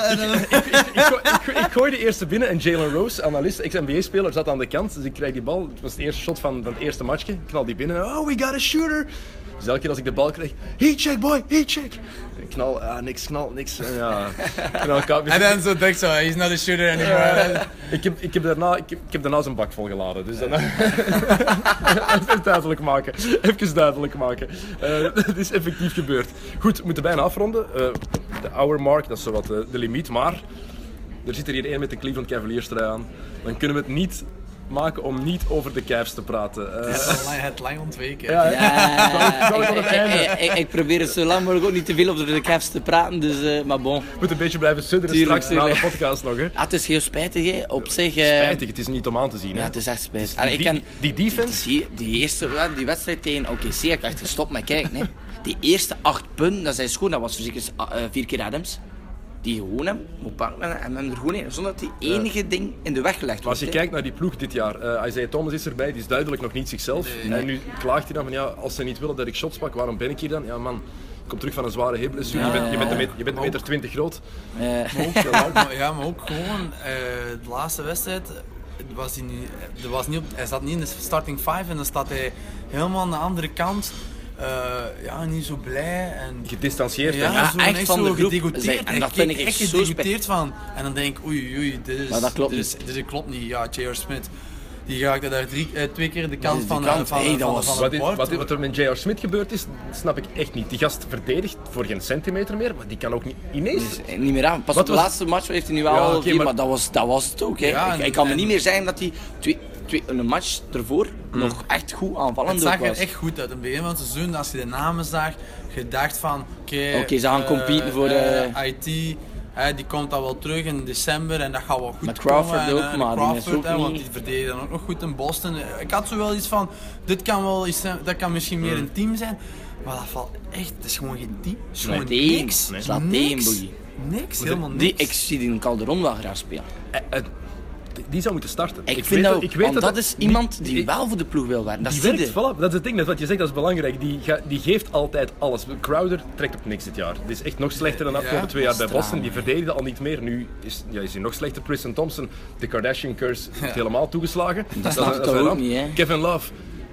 S4: en dan-
S3: ik, gooi- ik, gooi- ik gooi de eerste binnen en Jalen Rose, analist, ex-NBA-speler, zat aan de kant. Dus ik krijg die bal. Het was het eerste shot van, van het eerste matchje. Ik knal die binnen. Oh, we got a shooter! Dus elke keer als ik de bal kreeg, heat check boy, heat check! Ik knal, ah, niks, knal, niks. En ja, en dan kap-
S4: En dan zo denk zo, he's not a shooter anymore.
S3: ik, heb, ik, heb daarna, ik, heb, ik heb daarna zijn bak volgeladen. Dus dan... Even duidelijk maken. Even duidelijk maken. Het is effectief gebeurd. Goed, we moeten bijna afronden. Eh, de hour mark, dat is zowat eh, de limiet. Maar er zit er hier één met de Cleveland Cavaliers trui aan. Dan kunnen we het niet maken om niet over de Cavs te praten. Eh,
S4: Het lang ontweken.
S3: ja, ja.
S5: Eh,
S3: Zal ik
S5: ik-
S3: wel het
S5: ik-
S3: einde?
S5: ik- ik- Ik probeer het zo lang mogelijk ook niet te veel over de Cavs te praten, dus, eh, maar bon.
S3: We moeten een beetje blijven sudderen
S5: Tuurlijk,
S3: straks na de
S5: tuurlijk.
S3: podcast nog. Hè.
S5: Ah, het is heel spijtig, hè. op zich. eh,
S3: Spijtig, het is niet om aan te zien.
S5: Ja,
S3: Hè.
S5: het is echt spijtig. Allee, ik
S3: Die-
S5: ken-
S3: die defense?
S5: Die, die eerste ja, die wedstrijd tegen OKC, heb ik echt gestopt met kijken. Hè. Die eerste acht punten, dat zijn schoon. Dat was voor zeker eh, vier keer Adams. Die gewoon hem moet pakken en hem er gewoon in. Zonder dat die enige ding in de weg gelegd wordt.
S3: Maar als je
S5: hè.
S3: kijkt naar die ploeg dit jaar, eh Isaiah Thomas is erbij, die is duidelijk nog niet zichzelf. En nu klaagt hij dan van ja, als ze niet willen dat ik shots pak, waarom ben ik hier dan? Ja man, ik kom terug van een zware heupblessure, je bent, je bent, een, met- je bent een meter 20 groot.
S5: Eh,
S4: Maar ook- maar- ja, maar ook gewoon eh, de laatste wedstrijd. eh, Was hij, niet, er was niet op, hij zat niet in de starting five en dan staat hij helemaal aan de andere kant. Eh, ja, niet zo blij. En,
S3: Gedistanceerd.
S4: ja,
S5: ja,
S4: zo,
S5: echt van de
S4: zo
S5: groep. Zeg,
S4: gedegoteerd.
S5: en dat
S4: Ik keek
S5: vind ik
S4: echt
S5: zo
S4: gedegoteerd van. En dan denk ik, oei, oei, dit, is,
S5: Maar dat klopt
S4: dit, is, dit is- klopt niet. Ja, J.R. Smith, die raakte daar drie, eh, twee keer de
S5: is
S4: kant
S5: de
S4: van,
S5: kant.
S4: eh, van,
S5: Hey, dat
S4: van,
S5: was-
S4: van
S3: Wat,
S4: het
S3: is-
S4: bord.
S3: wat, wat er met J.R. Smith gebeurd is, snap ik echt niet. Die gast verdedigt voor geen centimeter meer, maar die kan ook niet ineens.
S5: eh, niet meer aan. Pas
S3: Wat
S5: op de
S3: was-
S5: laatste match heeft hij nu
S3: Ja,
S5: al
S3: oké,
S5: vier,
S3: maar-
S5: maar, dat, was, dat was het ook. Hè.
S4: Ja,
S5: ik,
S4: en-
S5: ik kan me
S4: en-
S5: niet meer zeggen dat hij twee, twee, een match ervoor nog echt goed aanvallend
S4: Het
S5: ook
S4: zag er
S5: was.
S4: echt goed uit. In het begin van het seizoen, als je de namen zag, je dacht van... Oké,
S5: Oké, ze gaan
S4: eh,
S5: competen voor de-
S4: eh, IT, hè, die komt dan wel terug in december en dat gaat wel goed
S5: Met Crawford
S4: komen. En,
S5: ook,
S4: eh,
S5: maar die is ook
S4: Crawford, hè, want
S5: niet-
S4: die verdedigde dan ook nog goed in Boston. Ik had zo wel iets van, dit kan wel iets zijn, dat kan misschien
S5: Hmm.
S4: meer een team zijn. Maar dat valt echt, het is gewoon geen team. Het is gewoon
S5: Nee, team.
S4: niks.
S5: Nee. Slaat team,
S4: niks.
S5: Boogie.
S4: Niks, helemaal niks.
S5: Die, ik zie die Calderon wel graag spelen.
S3: Eh, eh, die- die zou moeten starten.
S5: Ik, vind dat ook, want dat, is
S3: die-
S5: iemand die
S3: die-
S5: wel voor de ploeg wil werken. Dat
S3: Die
S5: zie je.
S3: werkt, voilà, dat is het ding, dat wat je zegt, dat is belangrijk. Die, ga- die geeft altijd alles. Crowder trekt op niks dit jaar. Die is echt nog slechter dan de afgelopen twee jaar bij Boston. Die verdedigde al niet meer. Nu is, ja, is hij nog slechter. Tristan Thompson, de Kardashian-curse, heeft helemaal toegeslagen. Dat,
S5: snap
S3: is-
S5: ik
S3: is
S5: toch
S3: een
S5: ook
S3: ramp.
S5: niet, hè?
S3: Kevin Love.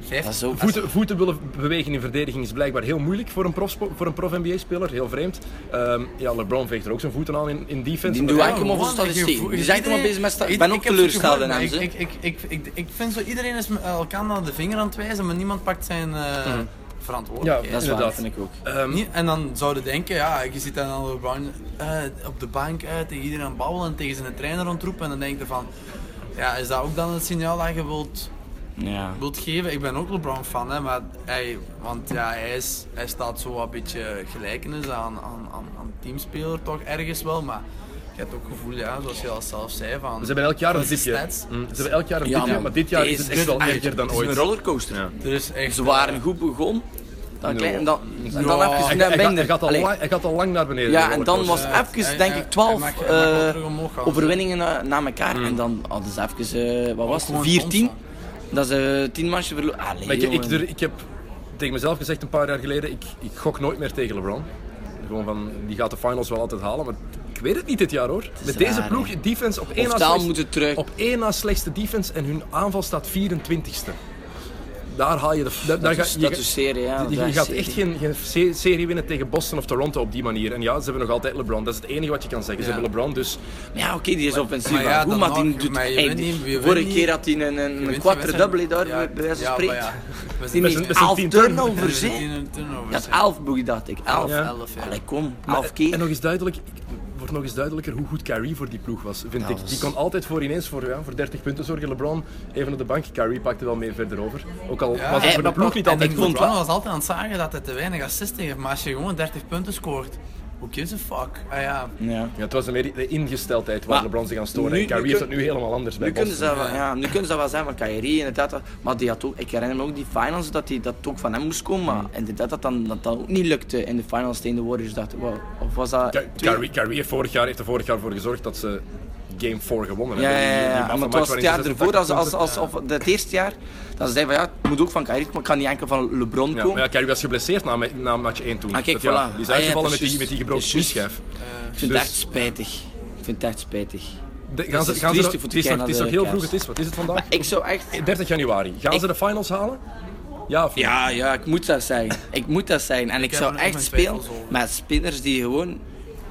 S5: Dat is ook,
S3: Voeten, voeten willen bewegen in verdediging is blijkbaar heel moeilijk voor een, profspo- voor een prof-NBA-speler. Heel vreemd. Ehm, ja, LeBron veegt er ook zijn voeten aan in, in defense.
S5: Die doe
S3: Maar
S5: ik hem over
S4: Gewoon, ik
S5: statistiek.
S4: gevoel-
S5: Die zijn er maar
S4: iedereen-
S5: bezig met
S4: ik-
S5: statistiek. Ik ben
S4: ik
S5: ook
S4: heb
S5: teleurgesteld
S4: het
S5: in
S4: gevoel,
S5: hem.
S4: maar
S5: ze.
S4: Ik, ik, ik, ik, ik, ik vind zo, iedereen is met elkaar naar de vinger aan het wijzen, maar niemand pakt zijn eh
S5: Mhm.
S4: verantwoordelijkheid.
S3: Ja,
S5: Dat is waar,
S3: inderdaad.
S5: dat vind ik ook.
S3: ehm,
S4: Niet- en dan zouden denken, ja, je ziet dan al LeBron eh, op de bank uit tegen iedereen aan het babbelen en tegen zijn trainer ontroepen. En dan denk je van, ja, is dat ook dan het signaal dat je wilt,
S5: Ja.
S4: wilt geven? Ik ben ook LeBron fan, hè, maar hij, want ja, hij, is, hij staat zo wat beetje gelijkenis aan, aan, aan, aan teamspeler toch ergens wel, maar je hebt ook het gevoel, ja, zoals je al zelf zei, van...
S3: ze hebben elk jaar een
S4: Dat is
S3: dipje.
S4: stats.
S3: Mm, ze hebben elk jaar een dipje, maar dit jaar is het echt wel erger dan
S5: Het is
S3: ooit.
S5: een rollercoaster.
S3: Ja.
S4: Er is echt... eh,
S5: Ze waren goed begonnen. Dan klein, en dan, en
S4: Ja,
S5: dan even
S3: Hij,
S5: naar
S3: hij gaat- hij
S5: beneden.
S3: gaat al
S5: Allee.
S3: lang, hij gaat al lang naar beneden. dus, eh,
S5: Ja,
S3: de
S5: en dan was
S3: rollercoaster.
S4: Ja,
S5: even,
S4: hij-
S5: denk
S4: hij-
S5: ik, 12
S4: hij mag- hij mag wel
S5: eh,
S4: terug omhoog gaan,
S5: overwinningen na, na elkaar. En dan hadden ze even, eh, wat was het,
S4: gewoon
S5: 14?
S4: constant.
S5: Dat ze 10 matchen verloren. Allee,
S3: Maar ik, ik,
S5: jongen.
S3: er- ik heb tegen mezelf gezegd een paar jaar geleden, ik, ik gok nooit meer tegen LeBron. Gewoon van, die gaat de finals wel altijd halen, maar ik weet het niet dit jaar hoor. Met
S5: raar,
S3: deze ploeg,
S5: hè.
S3: defense op één,
S5: Of
S3: na
S5: Taal
S3: slechtste,
S5: moet het terug.
S3: op één na slechtste defense en hun aanval staat 24ste. Daar haal je de... Daar, daar
S5: is-
S3: ga,
S5: dat
S3: je,
S5: is serie, ja,
S3: je-
S5: dat
S3: Je,
S5: is
S3: gaat
S5: serie.
S3: echt geen, geen se- serie winnen tegen Boston of Toronto op die manier. En ja, ze hebben nog altijd LeBron. Dat is het enige wat je kan zeggen. Ze
S4: Ja.
S3: hebben LeBron, dus...
S5: Ja, oké, die is offensief.
S4: maar
S5: Maar,
S4: ja,
S5: goed,
S4: dan
S5: maar die
S4: nog,
S5: doet
S4: maar je
S5: ey,
S4: weet
S5: die-
S4: niet, je weet
S5: Vorige
S4: niet.
S5: keer had hij een, een, een
S4: Wint
S5: quadruple
S4: die
S5: daar,
S4: wedstrijd.
S5: bij bij wijze van
S4: ja,
S5: spreken.
S4: maar ja. We
S5: Die
S4: zijn-
S3: Met
S5: met
S3: zijn- met zijn
S5: 11
S3: tien
S5: turnovers,
S4: we
S5: hè.
S4: zijn in een turnover,
S5: Dat
S4: zeg.
S5: 11 boogie, dacht ik. 11.
S3: Ja.
S4: Elf, ja.
S5: Allee, kom, 11 keer.
S3: En nog eens duidelijk, wordt nog eens duidelijker hoe goed Kyrie voor die ploeg was, vind ik. Die kon altijd voor ineens voor, ja, voor 30 punten zorgen. LeBron even op de bank. Kyrie pakte wel meer verder over. Ook al was het voor dat ploeg niet
S4: En
S3: altijd
S4: ik
S3: goed.
S4: vond wel, was altijd aan het zagen dat hij te weinig assisten heeft, maar als je gewoon 30 punten scoort, who gives a fuck? Ah ja,
S5: Ja.
S3: Ja, het was meer de ingesteldheid waar
S5: Maar
S3: LeBron zich aan storen.
S5: nu-
S3: En Kyrie
S5: nu
S3: heeft dat
S5: kun-
S3: nu helemaal anders bij
S5: Nu kunnen, ze
S3: Boston.
S5: dat, wel- ja, nu kunnen ze dat wel zijn van Kyrie, inderdaad. dat- Maar die had ook, ik herinner me ook die finals, dat die, dat het ook van hem moest komen.
S3: Hmm.
S5: Maar inderdaad, dat dan, dat dan ook niet lukte in de finals tegen de Warriors. Dacht, ik, wow, of was dat...
S3: Ky- Kyrie, Kyrie heeft, vorig jaar, heeft er vorig jaar voor gezorgd dat ze Game 4 gewonnen
S5: Ja, ja,
S3: hebben. Die-
S5: ja,
S3: die
S5: ja.
S3: maffe
S5: Maar het
S3: match
S5: was het
S3: waarin ze
S5: jaar ervoor, als,
S3: 86
S5: als, als, of het eerste jaar, dat ze zeiden van ja, het moet ook van Kyrie, maar het kan niet enkel van LeBron
S3: Ja,
S5: komen.
S3: maar ja, Kyrie was geblesseerd na, me- na match 1 toen.
S5: Ah,
S3: Dat
S5: kijk,
S3: ja,
S5: voilà.
S3: Die is
S5: Ah, ja,
S3: uitgevallen met,
S5: precies.
S3: die, met die gebroken
S5: Precies.
S3: knieschijf.
S5: ik vind
S3: dus-
S5: het echt spijtig. Ik vind het echt spijtig.
S3: De- Gaan ze,
S5: is
S3: gaan ze,
S5: triest
S3: nog-
S5: voor
S3: het
S5: te
S3: is nog
S5: kijken
S3: het is
S5: naar
S3: nog
S5: de
S3: heel
S5: Cavs.
S3: vroeg, het is, wat is het vandaag?
S5: Ik zou echt...
S3: 30 januari. Gaan ze de finals halen? Ja of nee?
S5: Ja, ja, ik moet dat zijn. Ik moet dat zijn. En ik
S4: heb
S5: zou
S4: er ook
S5: echt
S4: mijn
S5: spelen
S4: twijfels over.
S5: met spinners die gewoon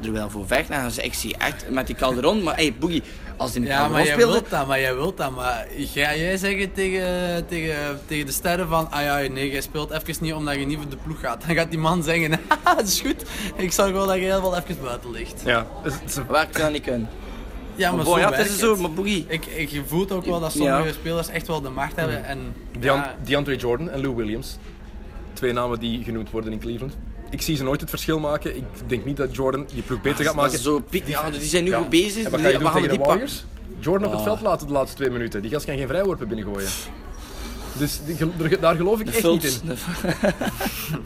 S5: er wel voor vechten. En dan zeg ik zie echt met die Calderon, maar hey, Boogie, als die in de
S4: ja maar
S5: Calderon
S4: jij
S5: speelde...
S4: wilt dat, maar jij wilt dat, maar ga jij zeggen tegen, tegen, tegen de sterren van, ah ja, nee, jij speelt even niet omdat je niet voor de ploeg gaat. Dan gaat die man zeggen, haha, het is goed, ik zorg wel dat je heel veel even buiten ligt.
S3: Ja. Dus het is-
S5: Waar ik dat niet kunnen.
S4: Ja,
S5: Maar
S4: maar
S5: boy,
S4: zo
S5: ja, het
S4: werkt
S5: is zo,
S4: het.
S5: maar Boogie...
S4: Ik, ik voel ook wel dat
S5: Ja.
S4: sommige spelers echt wel de macht hebben en...
S3: Dean-
S4: ja.
S3: DeAndre Jordan en Lou Williams. Twee namen die genoemd worden in Cleveland. Ik zie ze nooit het verschil maken. Ik denk niet dat Jordan die ploeg beter gaat
S5: Maar
S3: maken.
S5: Ah, zo, piek, ja, die zijn nu
S3: Ja.
S5: goed bezig.
S3: En wat ga je
S5: we
S3: doen
S5: gaan Ah.
S3: tegen de
S5: die pakken.
S3: Warriors? Jordan op het veld laten de laatste twee minuten. Die gast kan geen vrijworpen binnengooien. Dus die gel- daar- daar geloof ik echt niet in.
S5: Fultz.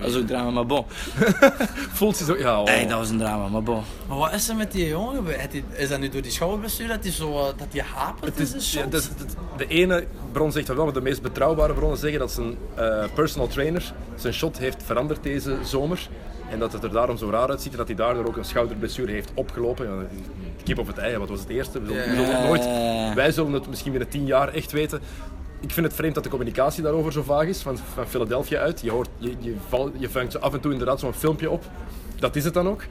S5: dat is ook drama, maar bon.
S4: Oh.
S3: Fultz is ook... Ja, oh.
S5: Hey, dat was een drama, maar bon.
S4: Maar wat is er met die jongen gebeurd? Heeft die- Is dat nu door die schouderbestuur dat hij zo eh, dat die hapert?
S3: Het is- ja, het is- het- de ene bron zegt dat wel, maar de meest betrouwbare bronnen zeggen dat zijn eh, personal trainer zijn shot heeft veranderd deze zomer. En dat het er daarom zo raar uitziet en dat hij daardoor ook een schouderblessure heeft opgelopen. Ja, Kip of het ei, hè, wat was het eerste? We zullen, we zullen het nooit, wij zullen het misschien binnen tien jaar echt weten. Ik vind het vreemd dat de communicatie daarover zo vaag is, van, van Philadelphia uit. Je, hoort, je, je, val- je vangt zo af en toe inderdaad zo'n filmpje op. Dat is het dan ook.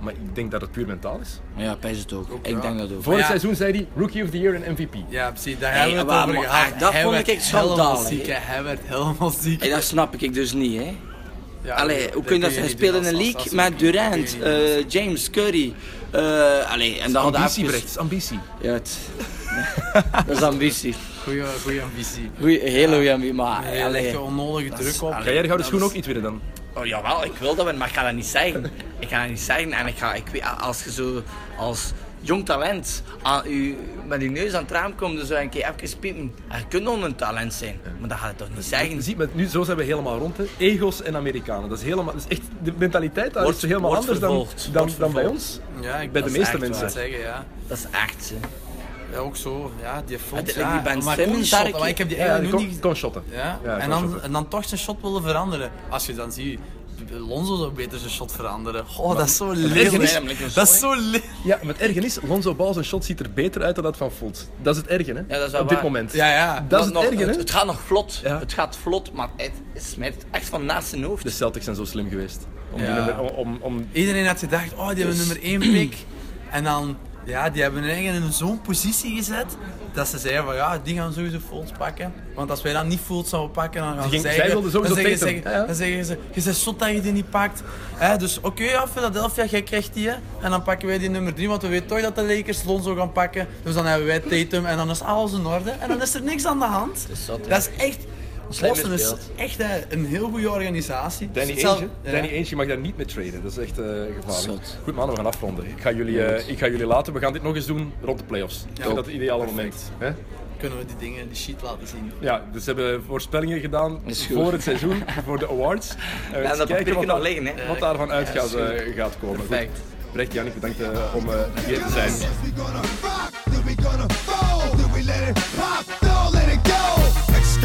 S3: Maar ik denk dat het puur mentaal is.
S5: Ja, pijs het ook. ik denk dat ook.
S3: Vorig
S4: ja.
S3: seizoen zei hij Rookie of the Year en MVP.
S4: Ja, precies, daar
S5: Hey,
S4: hebben we
S5: maar-
S4: het over
S5: maar-
S4: gehad.
S5: ah, dat
S4: Hij
S5: vond
S4: werd
S5: ik echt
S4: helemaal
S5: schandalig,
S4: ziek.
S5: hè.
S4: hè. Hij werd helemaal ziek.
S5: Hey, dat snap ik dus niet, hè.
S4: Ja,
S5: Allee, hoe kun je dat
S4: kun
S5: Hij
S4: niet
S5: speelde
S4: doen
S5: in een
S4: als-
S5: league
S4: als- als-
S5: met Durant,
S4: dat kun je niet doen.
S5: eh, James Curry. eh allee, en dat hadden
S3: ambitie,
S5: even-
S3: Brecht, het is ambitie.
S5: Ja, het- dat is ambitie.
S4: Goeie, goeie ambitie.
S5: Goeie, hele goeie ambitie, maar...
S4: Hij
S5: allee.
S4: legt je onnodige druk op.
S3: Ga jij de gouden schoen ook niet winnen dan?
S5: Oh, jawel, ik wil dat winnen, maar ik ga dat niet zeggen. Ik ga dat niet zeggen en ik ga, ik weet, als je zo als jong talent aan, u, met je neus aan het raam komt, dan zou je een keer even piepen. En je kunt nog een talent zijn, maar dat gaat het toch niet zeggen?
S3: Je ziet, maar nu, zo zijn we helemaal rond. Hè. Ego's en Amerikanen. Dat is helemaal, dat is echt, de mentaliteit daar
S5: Wordt-
S3: is helemaal
S5: wordt
S3: anders dan,
S5: vervolgd.
S3: dan,
S5: Wordt
S3: dan bij
S5: vervolgd.
S3: ons.
S4: Ja, ik
S3: Bij
S4: dat
S3: de
S4: is
S3: meeste
S4: echt
S3: mensen.
S4: waar. zeggen, ja.
S5: Dat is echt, hè.
S4: Ja, ook zo. Ja, die vond
S5: Het- die Ben
S4: maar
S5: Simmons,
S4: kon shot,
S5: Darkie.
S4: maar ik heb die
S3: Ja, ja,
S4: eigenlijk nog
S3: kon,
S4: niet...
S3: kon shotten.
S4: Ja,
S3: Ja,
S4: en,
S3: kon
S4: dan,
S3: shotten.
S4: en dan toch zijn shot willen veranderen. Als je dan ziet, Lonzo zou beter zijn shot veranderen. Goh, dat is zo
S5: eigenlijk een
S4: lelijk. Dat is zo lelijk.
S3: Ja, maar het erge is, Lonzo Ball zijn shot ziet er beter uit dan dat van Fultz. Dat is het erge, hè?
S5: Ja, dat is wel
S3: Op dit
S5: waar.
S3: moment.
S4: Ja, ja.
S3: Dat is
S5: nog,
S3: het erge, hè?
S5: het gaat nog vlot.
S3: Ja.
S5: Het gaat vlot, maar het is met echt van naast zijn hoofd.
S3: De Celtics zijn zo slim geweest. Om, die
S4: Ja.
S3: nummer- om, om, om-
S4: Iedereen had gedacht, oh, die hebben nummer 1 pick. En dan, ja, die hebben hun eigen in zo'n positie gezet. Dat ze zeiden van, ja, die gaan sowieso Fultz pakken. Want als wij dan niet Fultz zouden pakken, dan gaan ze
S3: ging- zij
S4: zeggen...
S3: wilden sowieso
S4: dan zeggen,
S3: Tatum.
S4: zeggen-
S3: Ja, ja.
S4: Dan zeggen ze, je bent zot dat je die niet pakt. Hè, dus oké, ja, Philadelphia, jij krijgt die. Hè. En dan pakken wij die nummer 3, want we weten toch dat de Lakers Lonzo gaan pakken. Dus dan hebben wij Tatum en dan is alles in orde. En dan is er niks aan de hand. Dat is,
S5: zot, hè.
S4: echt...
S5: Slim
S4: Boston is
S5: gespeeld.
S4: echt hè, een heel goede organisatie.
S3: Danny Ainge,
S4: Zelf- ja.
S3: Danny Ainge, je mag daar niet mee traden. Dat is echt eh, gevaarlijk.
S5: Zot.
S3: Goed, man, we gaan afronden. Ik ga, jullie, eh, ik ga jullie laten. We gaan dit nog eens doen rond de playoffs. Ik vind dat het ideale moment. Hè?
S4: Kunnen we die dingen, die sheet laten zien?
S3: Ja, dus ze hebben voorspellingen gedaan
S5: Is goed.
S3: voor het seizoen, voor de awards. En we
S5: dat
S3: kijken
S5: papiertje
S3: wat
S5: nog
S3: da-
S5: liggen, hè.
S3: Wat daarvan uit gaat, eh, gaat komen. Goed.
S5: Perfect.
S3: Brecht, Jannik, bedankt eh, om eh, hier te zijn.
S2: We gonna rock, then we gonna fold, then we let it pop, don't let it go. X